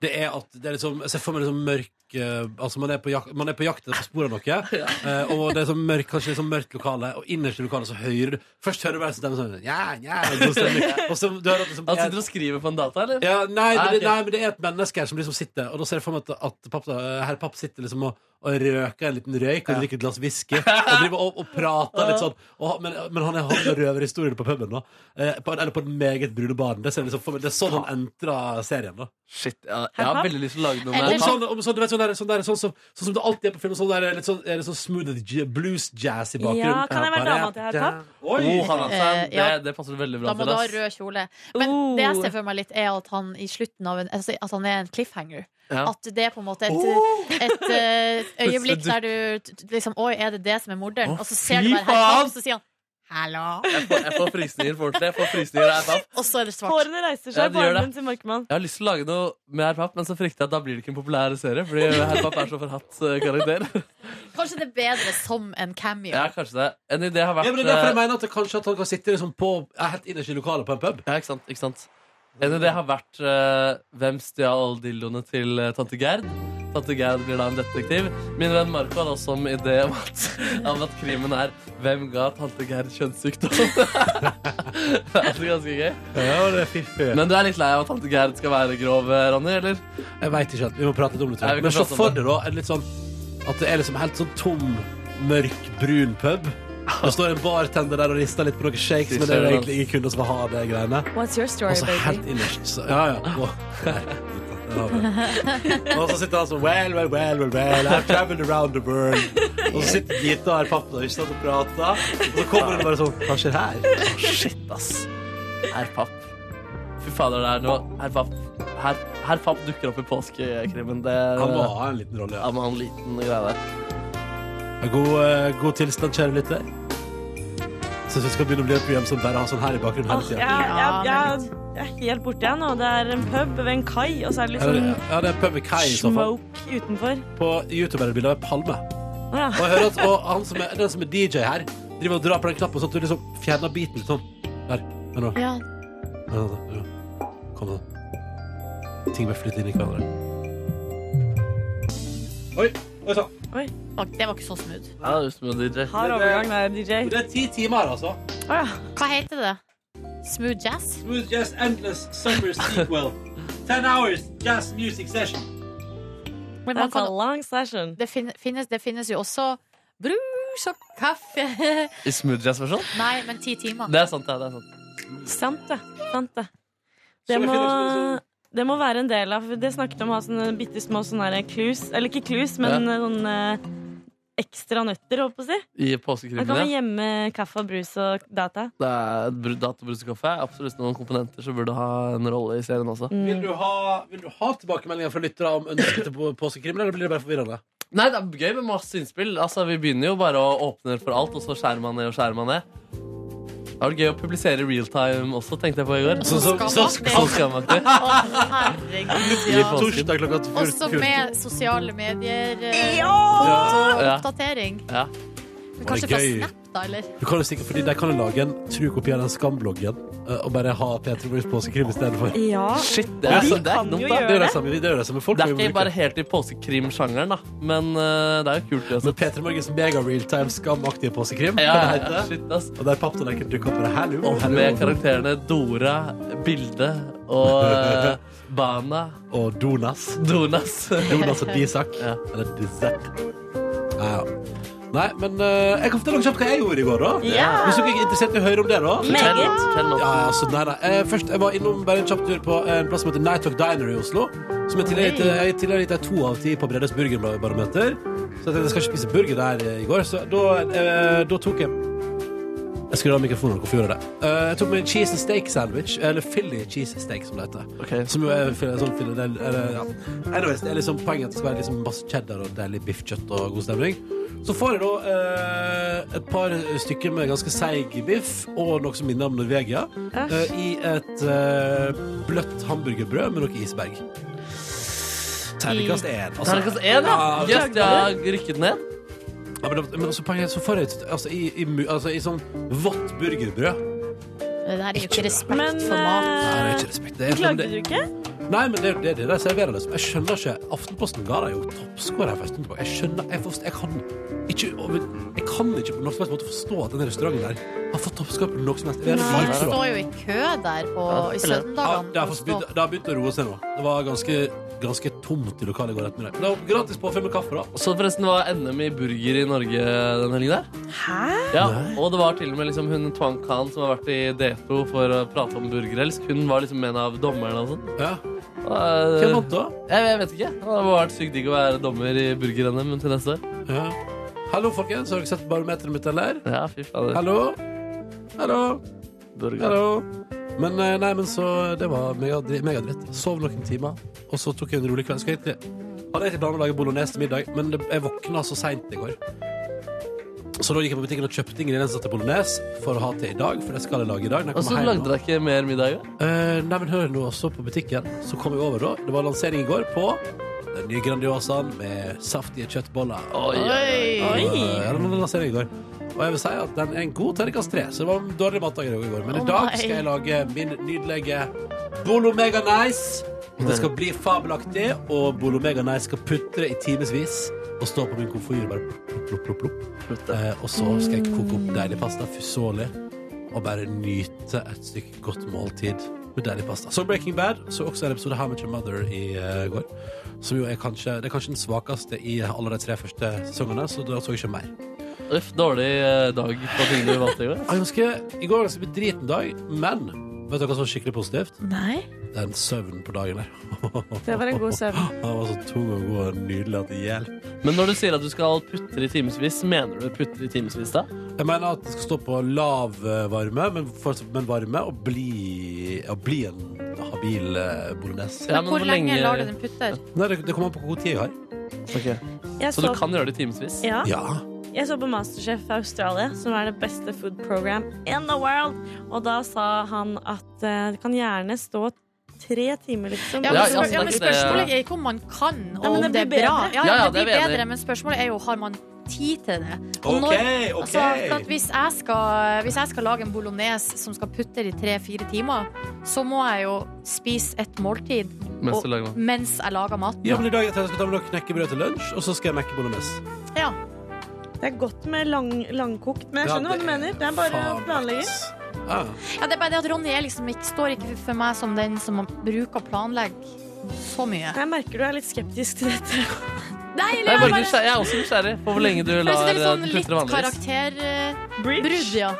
[SPEAKER 2] Det er at det er liksom, Jeg ser for meg liksom mørk eh, Altså Man er på jakt, man er på, jakt etter på spor av noe. eh, og det er sånn mørk, kanskje litt sånn mørkt lokale, og innerst i lokalet så hører du Først hører du bare en stemme sånn ja, ja, og så stemmer- Og så du hører at liksom,
[SPEAKER 4] Han sitter og skriver på en data, eller?
[SPEAKER 2] ja, nei,
[SPEAKER 4] Nei,
[SPEAKER 2] men det,
[SPEAKER 4] ok.
[SPEAKER 2] nei, men det er et menneske her som liksom sitter Og da ser jeg for meg at, at pappa, herr Papp sitter liksom og, og røker en liten røyk og drikker et glass whisky og driver og, og prater litt sånn. Og, men, men han er han og røverhistorien på puben, da. Eh, på, eller på den meget brune baren. Det, ser jeg liksom, for meg- det er sånn han entrer serien, da.
[SPEAKER 4] Shit, ja, jeg har veldig lyst til å lage noe
[SPEAKER 2] Om
[SPEAKER 4] med
[SPEAKER 2] sånn, om sånn, du vet, sånn, der, sånn, der, sånn, som- sånn som det alltid er på film, sånn der, litt sånn, er det sånn smooth j- blues jazz i bakgrunnen.
[SPEAKER 6] Ja, kan jeg være dama til herr Papp?
[SPEAKER 2] Oi!
[SPEAKER 4] Oh, han, altså,
[SPEAKER 3] Eh,
[SPEAKER 4] det,
[SPEAKER 3] ja.
[SPEAKER 4] det passer veldig bra
[SPEAKER 3] Da må
[SPEAKER 4] til
[SPEAKER 3] du ha
[SPEAKER 4] oss.
[SPEAKER 3] rød kjole. Men
[SPEAKER 6] Oh.
[SPEAKER 3] det jeg ser for meg litt, er at han i slutten av en altså, At han er en cliffhanger.
[SPEAKER 4] Ja. Oh.
[SPEAKER 3] At det er på en måte et, et,
[SPEAKER 4] (laughs)
[SPEAKER 3] eh, øyeblikk der du t- t- liksom Oi, er det det som er morderen?
[SPEAKER 4] Å,
[SPEAKER 3] Og så ser du
[SPEAKER 4] fy
[SPEAKER 3] bare herr
[SPEAKER 4] faen!
[SPEAKER 3] Papp, og så sier han Hallo.
[SPEAKER 4] Jeg får, jeg får frysninger for ordentlig. Jeg får frysninger av herr Papp.
[SPEAKER 3] Og så er det svart.
[SPEAKER 6] Hårene reiser
[SPEAKER 4] Ja,
[SPEAKER 6] seg,
[SPEAKER 4] det gjør det.
[SPEAKER 6] barmen til Markmann.
[SPEAKER 4] Jeg har lyst til å lage noe med herr Papp, men så frykter jeg at da blir det ikke en populær serie. Fordi herr Papp er så forhatt eh, karakter.
[SPEAKER 3] (laughs) Kanskje det er bedre som en cameo.
[SPEAKER 4] Ja, kanskje det. En idé har vært
[SPEAKER 2] Ja, men det er derfor jeg
[SPEAKER 4] eh,
[SPEAKER 2] mener at det kanskje at han kan sitte liksom på, er helt innerst i lokalet på en pub.
[SPEAKER 4] Ja, ikke sant, ikke sant. En idé har vært eh, Hvem stjal dildoene til eh, tante Gerd? Tante Gerd blir da en detektiv. Min venn Marco hadde også en idé om at, om at krimen er Hvem ga tante Gerd kjønnssykdom? (laughs) det er ganske gøy.
[SPEAKER 2] Ja, det er fiffig.
[SPEAKER 4] Men du er litt lei av at tante Gerd skal være grov, eh, Ronny? eller?
[SPEAKER 2] Jeg vet ikke helt, vi må prate litt om det tror
[SPEAKER 4] Ja,
[SPEAKER 2] jeg.
[SPEAKER 4] vi kan
[SPEAKER 2] Men se
[SPEAKER 4] prate om
[SPEAKER 2] for
[SPEAKER 4] det.
[SPEAKER 2] deg da, en litt sånn At det er liksom helt sånn tom Mørk, brun pub Det står en bartender der og rister litt på noen shakes, men det er jo egentlig ingen kunder som vil ha det greiene.
[SPEAKER 6] What's your story,
[SPEAKER 2] Og så helt
[SPEAKER 6] baby?
[SPEAKER 2] innerst så, Ja, ja. Og, Der har vi det. og så sitter han sånn Well, well, well, well, well I've traveled around the world. Og så sitter Gita og her pappa der, ikke sant, og prater. Og så kommer hun bare sånn Hva skjer her?
[SPEAKER 4] Shit, ass. Herr Papp. Fy fader, det er noe Herr Papp, Herr, Herr Papp dukker opp i påskekrimmen. Det er
[SPEAKER 2] Han må ha en liten rolle, ja.
[SPEAKER 4] Han må ha en liten greie der.
[SPEAKER 2] God, eh, god tilstand, kjære lytter. Syns vi skal begynne å bli et program som bare har sånn her i bakgrunnen hele
[SPEAKER 6] Åh, jeg,
[SPEAKER 2] tida.
[SPEAKER 6] jeg, jeg, jeg er helt borte igjen, og det er en pub ved en kai, og så er det litt sånn
[SPEAKER 2] Ja, det er pub i kai i så fall.
[SPEAKER 6] smoke utenfor.
[SPEAKER 2] På YouTube er det bilde av en palme.
[SPEAKER 6] Å ja.
[SPEAKER 2] Og jeg hører at og han som er, den som er DJ her, driver og drar på den knappen sånn at du liksom fjerner biten litt sånn. Der. Hør nå.
[SPEAKER 3] Ja.
[SPEAKER 2] Ja, da, ja. Kom nå. Ting bare flytter inn i hverandre. Oi, oi sann.
[SPEAKER 3] Og Det var ikke så smooth.
[SPEAKER 4] Ja, det er just med DJ.
[SPEAKER 6] Hard overgang der, DJ.
[SPEAKER 2] Det er ti timer, altså.
[SPEAKER 6] Å ja.
[SPEAKER 3] Hva heter det? Smooth jazz?
[SPEAKER 2] Smooth jazz endless summer sequel. Ten hours jazz music session.
[SPEAKER 3] Men man
[SPEAKER 6] That's a
[SPEAKER 3] kan,
[SPEAKER 6] long session.
[SPEAKER 3] det, fin- finnes, det finnes jo også brus og kaffe (laughs)
[SPEAKER 4] I smooth jazz versjon?
[SPEAKER 3] Nei, men ti timer.
[SPEAKER 4] Det er sant, ja, det. er sant
[SPEAKER 6] Sant det. Sant det.
[SPEAKER 2] Så
[SPEAKER 6] Det
[SPEAKER 2] vi
[SPEAKER 6] må,
[SPEAKER 2] finner
[SPEAKER 4] altså,
[SPEAKER 2] sånn-
[SPEAKER 6] det må være en del av Det snakket om å ha sånne bitte små sånne her clues. Eller ikke clues, men eh, sånne eh, ekstra nøtter, holdt på å si.
[SPEAKER 4] I
[SPEAKER 6] Da kan man
[SPEAKER 4] påskekrimmen. ja.
[SPEAKER 6] gjemme kaffe og brus og data.
[SPEAKER 4] Det er br- databrus og kaffe. er Absolutt noen komponenter som burde ha en rolle i serien også.
[SPEAKER 6] Mm.
[SPEAKER 2] Vil du ha, vil du ha tilbakemeldinger fra lyttere om ønsket til på- påskekrim, eller blir det bare forvirrende?
[SPEAKER 4] Nei, det er gøy med masse innspill. Altså, Vi begynner jo bare å åpne for alt, og så skjærer man ned og skjærer man ned. Det var gøy å publisere i realtime også, tenkte jeg på i går.
[SPEAKER 2] Så- så- så-
[SPEAKER 4] Sånn skal man
[SPEAKER 6] (laughs)
[SPEAKER 4] ikke.
[SPEAKER 3] Å, herregud,
[SPEAKER 4] I
[SPEAKER 3] ja.
[SPEAKER 4] påsken.
[SPEAKER 2] Torsdag klokka
[SPEAKER 3] Også
[SPEAKER 2] 14.
[SPEAKER 3] med sosiale medier. eh,
[SPEAKER 4] Ja.
[SPEAKER 3] Oppdatering.
[SPEAKER 4] Ja.
[SPEAKER 3] Men kanskje fra
[SPEAKER 2] gøy.
[SPEAKER 3] Snap, da, eller?
[SPEAKER 2] Du kan jo sikkert, fordi De kan jo lage en trukopi av den skambloggen eh, og bare ha Peter Morris påskekrim istedenfor. Det
[SPEAKER 6] Ja.
[SPEAKER 4] Shit, det
[SPEAKER 2] Ja,
[SPEAKER 4] er, altså,
[SPEAKER 2] de
[SPEAKER 4] det er ikke
[SPEAKER 6] kan
[SPEAKER 4] dumt,
[SPEAKER 6] jo
[SPEAKER 4] da.
[SPEAKER 6] gjøre
[SPEAKER 2] er jo det samme. Det er jo det samme. Folk
[SPEAKER 4] Det
[SPEAKER 2] må
[SPEAKER 4] er
[SPEAKER 2] jo
[SPEAKER 4] ikke
[SPEAKER 2] bruke-
[SPEAKER 4] bare helt i påsekrimsjangeren, da. Men eh, det er jo kult.
[SPEAKER 2] Men
[SPEAKER 4] uansett.
[SPEAKER 2] Peter Morgens mega realtime skamaktige påsekrim.
[SPEAKER 4] Ja,
[SPEAKER 2] kan
[SPEAKER 4] (laughs)
[SPEAKER 2] det
[SPEAKER 4] ja,
[SPEAKER 2] hete.
[SPEAKER 4] ja, shit, ass.
[SPEAKER 2] Og der papptallerken dukker opp med det her nå.
[SPEAKER 4] Og med karakterene Dora, Bilde og eh, Bana.
[SPEAKER 2] Og
[SPEAKER 4] (laughs)
[SPEAKER 2] Donas.
[SPEAKER 4] Donas.
[SPEAKER 2] Donas og Disak.
[SPEAKER 4] Ja.
[SPEAKER 2] Eller Dizak. Ja, ja. Nei, men eh, jeg kan fortelle dere kjapt hva jeg gjorde i går, da.
[SPEAKER 6] Ja.
[SPEAKER 2] Hvis dere er interessert i å høre om det, da.
[SPEAKER 4] Fortell, fortell nå.
[SPEAKER 2] Ja, ja, altså, nei, nei. Eh, først, jeg var innom bare en kjapp tur på en plass som heter Night Talk Diner i Oslo. Som jeg tidligere, gitt- jeg tidligere gitt deg to av ti på Bredes burgerbarometer. Så jeg tenkte jeg skal ikke spise burger der eh, i går. Så da, eh, da tok jeg Jeg skulle ha mikrofonen, hvorfor gjorde jeg det? Eh, jeg tok meg en cheese and steak sandwich. Eller Philly cheese steak, som det heter.
[SPEAKER 4] Ok.
[SPEAKER 2] Som jo er fil- sånn fil- del- eller, ja. Anyways, det er liksom poenget at det skal være liksom masse cheddar og deilig biffkjøtt og god stemning. Så får jeg da eh, et par stykker med ganske seig biff og noe som minner om Norvegia. eh, I et eh, bløtt hamburgerbrød med noe isberg. Terningkast én. altså.
[SPEAKER 4] Terningkast én, ja.
[SPEAKER 2] Ja,
[SPEAKER 4] Jøss, de har rykket ned.
[SPEAKER 2] Ja, men det- men også poenget er så får jeg et- altså, i, i, mu- altså, i sånn vått burgerbrød.
[SPEAKER 3] Det der er jo ikke respekt
[SPEAKER 6] Men
[SPEAKER 3] for mat.
[SPEAKER 2] Nei, det er
[SPEAKER 6] eh,
[SPEAKER 2] ikke respekt. Det er, men
[SPEAKER 6] klagde
[SPEAKER 2] det,
[SPEAKER 6] du ikke?
[SPEAKER 2] Nei, men det er jo det, det de serverer. Liksom. Jeg skjønner ikke Aftenposten ga deg jo toppscorer for en stund tilbake. Jeg skjønner jeg, forst, jeg kan ikke over- Jeg kan ikke på noen som helst måte forstå at denne restauranten der har fått toppscorer på noe som helst. Det er det
[SPEAKER 3] Folk
[SPEAKER 2] farlig, da.
[SPEAKER 3] står jo i kø der på, i
[SPEAKER 2] Ja,
[SPEAKER 3] søndagene.
[SPEAKER 2] det har fått begynt- det har begynt å roe seg nå. Det var ganske, ganske tomt i lokalet i går ettermiddag. Men Det var gratis påfyll med kaffe, da.
[SPEAKER 4] Så forresten var NM i burger i Norge den helgen der.
[SPEAKER 6] Hæ?
[SPEAKER 4] Ja, og det var til og med liksom hun Twang Khan som har vært i D2 for å prate om burgerelsk. Hun var liksom en av dommerne og sånn.
[SPEAKER 2] Ja.
[SPEAKER 4] Og,
[SPEAKER 2] Hvem
[SPEAKER 4] eh,
[SPEAKER 2] vant da?
[SPEAKER 4] Jeg, jeg vet ikke. Det hadde vært sykt digg å være dommer i burger-NM til neste år.
[SPEAKER 2] Ja. Hallo, folkens. Har dere sett barometeret mitt, eller?
[SPEAKER 4] Ja, fy fader.
[SPEAKER 2] Hallo? Hallo?
[SPEAKER 4] Burger.
[SPEAKER 2] Hallo. Men eh, nei, men så det var megadri- megadritt. Sov noen timer, og så tok jeg en rolig kveld. Skal jeg egentlig, hadde egentlig planer om å lage bolognese til middag, men det, jeg våkna så seint i går. Så da gikk jeg på butikken og kjøpte ingredienser til bolognese for å ha til i dag. For det skal jeg lage i dag. når jeg
[SPEAKER 4] Og så
[SPEAKER 2] kommer hjem
[SPEAKER 4] lagde
[SPEAKER 2] nå.
[SPEAKER 4] dere ikke mer middag? jo?
[SPEAKER 2] Eh, nei, men hør nå også på butikken. Så kom jeg over, da. Det var lansering i går på den nye Grandiosaen med saftige kjøttboller.
[SPEAKER 4] Oi,
[SPEAKER 3] Oi.
[SPEAKER 2] Og,
[SPEAKER 6] Oi.
[SPEAKER 2] eh, ja, det var lansering i går. Og jeg vil si at den er en god terningkast tre, så det var en dårlig matdag i går. Men
[SPEAKER 3] Å,
[SPEAKER 2] i dag
[SPEAKER 3] nei.
[SPEAKER 2] skal jeg lage min nydelige Bolo Mega Nice. Og det skal bli fabelaktig, og Bolo Mega Nice skal putre i timevis og stå på min komfyr bare plopp, plopp, plopp, plopp. Eh, og så skal jeg koke opp deilig pasta, fussålig, og bare nyte et stykke godt måltid med deilig pasta. Så Breaking Bad, så også en episode av How Much Your Mother i eh, går. Som jo er kanskje, det er kanskje den svakeste i alle de tre første sesongene, så da så jeg ikke mer.
[SPEAKER 4] Uff, dårlig eh, dag på tingene vi vant til i går.
[SPEAKER 2] Jeg husker, I går var det en ganske bedriten dag, men vet dere hva som var skikkelig positivt?
[SPEAKER 3] Nei.
[SPEAKER 2] Den søvnen på dagen der.
[SPEAKER 6] Det var en god
[SPEAKER 2] (laughs)
[SPEAKER 6] søvn.
[SPEAKER 2] Den var så tung og god og nydelig at det hjelper.
[SPEAKER 4] Men når du sier at du skal putte i timevis, mener du putte i timevis da?
[SPEAKER 2] Jeg mener at det skal stå på lav eh, varme, men, fortsatt- men varme, og bli, og bli en habil eh, bolognese.
[SPEAKER 4] Ja,
[SPEAKER 3] Men hvor lenge lar du den putte?
[SPEAKER 2] Nei, det, det kommer an på hvor god tid jeg har.
[SPEAKER 4] Ok.
[SPEAKER 6] Jeg
[SPEAKER 4] Så du
[SPEAKER 6] så,
[SPEAKER 4] kan gjøre det i timevis?
[SPEAKER 6] ja,
[SPEAKER 2] Ja.
[SPEAKER 6] jeg så på Masterchef Australia, som er det beste food program in the world. Og da sa han at eh, det kan gjerne stå tre timer, liksom.
[SPEAKER 3] Ja,
[SPEAKER 4] Ja,
[SPEAKER 3] men,
[SPEAKER 4] ja,
[SPEAKER 3] spør, ja, men
[SPEAKER 4] snakker det-
[SPEAKER 3] spørsmålet er ikke om man kan, og
[SPEAKER 6] men
[SPEAKER 3] om
[SPEAKER 6] det
[SPEAKER 3] det er
[SPEAKER 6] blir
[SPEAKER 3] bra.
[SPEAKER 6] bedre.
[SPEAKER 3] Ja,
[SPEAKER 4] Ja,
[SPEAKER 3] ja,
[SPEAKER 4] ja,
[SPEAKER 3] det blir
[SPEAKER 4] det er vi enig
[SPEAKER 3] bedre,
[SPEAKER 4] i.
[SPEAKER 3] men spørsmålet er jo har man tid til det. Og
[SPEAKER 2] OK,
[SPEAKER 3] når-
[SPEAKER 2] OK.
[SPEAKER 3] Altså, for at hvis, jeg skal, hvis jeg skal lage en bolognese som skal putte i tre-fire timer, så må jeg jo spise et måltid
[SPEAKER 4] Mens
[SPEAKER 3] og-
[SPEAKER 4] du lager mat.
[SPEAKER 3] mens jeg lager maten.
[SPEAKER 2] Ja, men i dag jeg tenkte jeg skal ta med noe knekkebrød til lunsj, og så skal jeg mekke bolognese.
[SPEAKER 3] Ja.
[SPEAKER 6] Det er godt med lang, langkokt, men jeg
[SPEAKER 2] Ja,
[SPEAKER 6] skjønner hva
[SPEAKER 2] det
[SPEAKER 6] du
[SPEAKER 2] er
[SPEAKER 6] mener. Det er bare å
[SPEAKER 2] Faen,
[SPEAKER 6] planlegge.
[SPEAKER 2] ass. Ja.
[SPEAKER 3] Ja, det er bare det at Ronny er liksom ikke, står ikke for meg som den som man bruker å planlegge så mye.
[SPEAKER 6] Jeg merker du er litt skeptisk til dette.
[SPEAKER 3] Nei, eller
[SPEAKER 4] Jeg er,
[SPEAKER 3] jeg
[SPEAKER 4] bare
[SPEAKER 3] bare
[SPEAKER 4] nysgjerrig- jeg er også nysgjerrig på hvor lenge du
[SPEAKER 3] jeg synes
[SPEAKER 4] lar
[SPEAKER 3] det er
[SPEAKER 4] eh,
[SPEAKER 3] litt
[SPEAKER 4] putter
[SPEAKER 3] sånn litt
[SPEAKER 4] vanligvis.
[SPEAKER 3] karakterbrudd, ja.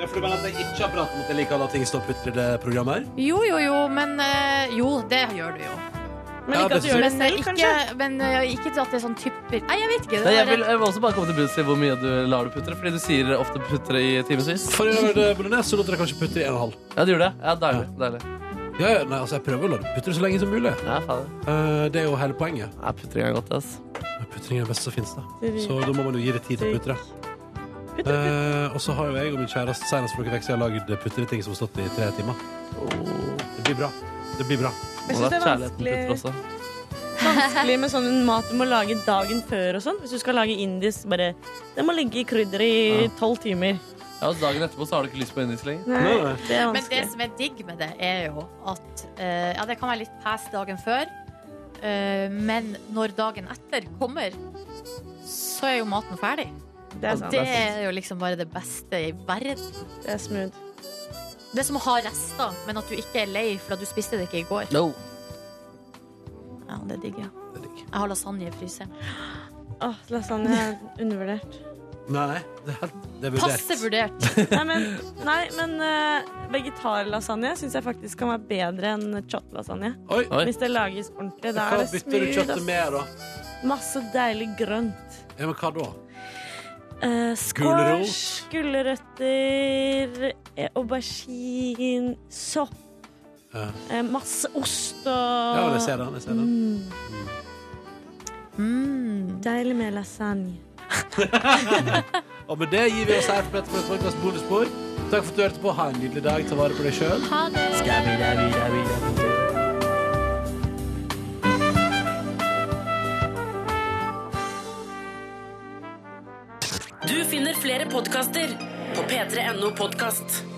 [SPEAKER 2] Ja, for du mener at jeg ikke har pratet om at jeg liker å la ting stå putter i det programmet her?
[SPEAKER 3] Jo, jo, jo, men eh, Jo, det gjør du jo.
[SPEAKER 6] Men
[SPEAKER 2] Ja,
[SPEAKER 6] ikke at du
[SPEAKER 2] precis.
[SPEAKER 6] gjør det
[SPEAKER 3] Men, eh,
[SPEAKER 6] selv,
[SPEAKER 3] ikke,
[SPEAKER 6] kanskje.
[SPEAKER 3] men eh, ikke til at det er sånn typer Nei, jeg vet ikke.
[SPEAKER 4] Nei,
[SPEAKER 3] Det
[SPEAKER 4] jeg,
[SPEAKER 3] er
[SPEAKER 4] vil, jeg vil også bare komme til bunns i hvor mye du lar du putte det, fordi du sier ofte putte det i timevis.
[SPEAKER 2] For å gjøre det
[SPEAKER 6] (laughs)
[SPEAKER 2] bolognese, så lot jeg kanskje putte i en og en halv.
[SPEAKER 4] Ja, du gjør det. Ja, deilig. deilig.
[SPEAKER 2] Ja, ja, nei, altså, jeg prøver å la det putte det så lenge som mulig.
[SPEAKER 4] Ja, fader.
[SPEAKER 2] Eh, det er jo hele poenget.
[SPEAKER 4] Ja, putring er godt, ass.
[SPEAKER 2] Men Putring er det beste som finnes, da. Så da må man jo gi det tid til å putre. Eh, og så har jo jeg og min kjæreste senest for noen uker siden lagd putreting som har stått i tre timer. Det blir bra. Det blir bra.
[SPEAKER 6] Jeg
[SPEAKER 4] Og
[SPEAKER 6] synes
[SPEAKER 4] da
[SPEAKER 6] det er
[SPEAKER 4] kjærligheten putter
[SPEAKER 6] vanskelig,
[SPEAKER 4] også.
[SPEAKER 6] vanskelig med sånn mat du må lage dagen før og sånn. Hvis du skal lage indisk, bare Det må ligge i krydder i tolv timer.
[SPEAKER 4] Ja, og Dagen etterpå så har du ikke lyst på indisk lenger.
[SPEAKER 6] Nei,
[SPEAKER 2] Nei, nei.
[SPEAKER 6] det er
[SPEAKER 3] Men det
[SPEAKER 6] vanskelig.
[SPEAKER 3] som er digg med det, er jo at eh, Ja, det kan være litt pes dagen før, eh, men når dagen etter kommer, så er jo maten ferdig.
[SPEAKER 6] Det er
[SPEAKER 3] Og
[SPEAKER 6] sant.
[SPEAKER 3] det er jo liksom bare det beste i verden.
[SPEAKER 6] Det er smooth.
[SPEAKER 3] Det er som å ha rester, men at du ikke er lei for at du spiste det ikke i går.
[SPEAKER 4] No.
[SPEAKER 3] Ja, det er digg, ja.
[SPEAKER 2] Det er digg.
[SPEAKER 3] Jeg har lasagne i fryseren.
[SPEAKER 6] Åh, lasagne er undervurdert.
[SPEAKER 2] Nei, nei, det er helt det er
[SPEAKER 3] Passe
[SPEAKER 2] vurdert.
[SPEAKER 3] vurdert.
[SPEAKER 6] Nei, men, nei, men eh, vegetarlasagne syns jeg faktisk kan være bedre enn chot-lasagne.
[SPEAKER 2] Oi,
[SPEAKER 4] Oi.
[SPEAKER 6] Hvis det lages ordentlig. Da
[SPEAKER 2] hva
[SPEAKER 6] er det
[SPEAKER 2] bytter du
[SPEAKER 6] smooth.
[SPEAKER 2] kjøttet
[SPEAKER 6] ass.
[SPEAKER 2] med, da?
[SPEAKER 6] Masse deilig grønt.
[SPEAKER 2] Ja, men hva da?
[SPEAKER 6] Eh,
[SPEAKER 2] Gulrot.
[SPEAKER 6] squash, gulrøtter, eh, aubergine, sopp.
[SPEAKER 2] Ja.
[SPEAKER 6] eh, masse ost
[SPEAKER 2] Ja, men jeg
[SPEAKER 6] og
[SPEAKER 2] ser den. Jeg ser den.
[SPEAKER 3] Mm.
[SPEAKER 6] Deilig med lasagne.
[SPEAKER 2] Og med det gir vi oss her for dette podkast bonusbord. Takk for at du hørte på. Ha en nydelig dag. Ta vare på deg sjøl.
[SPEAKER 3] Ha det.
[SPEAKER 1] Du finner flere podkaster på p3.no podkast.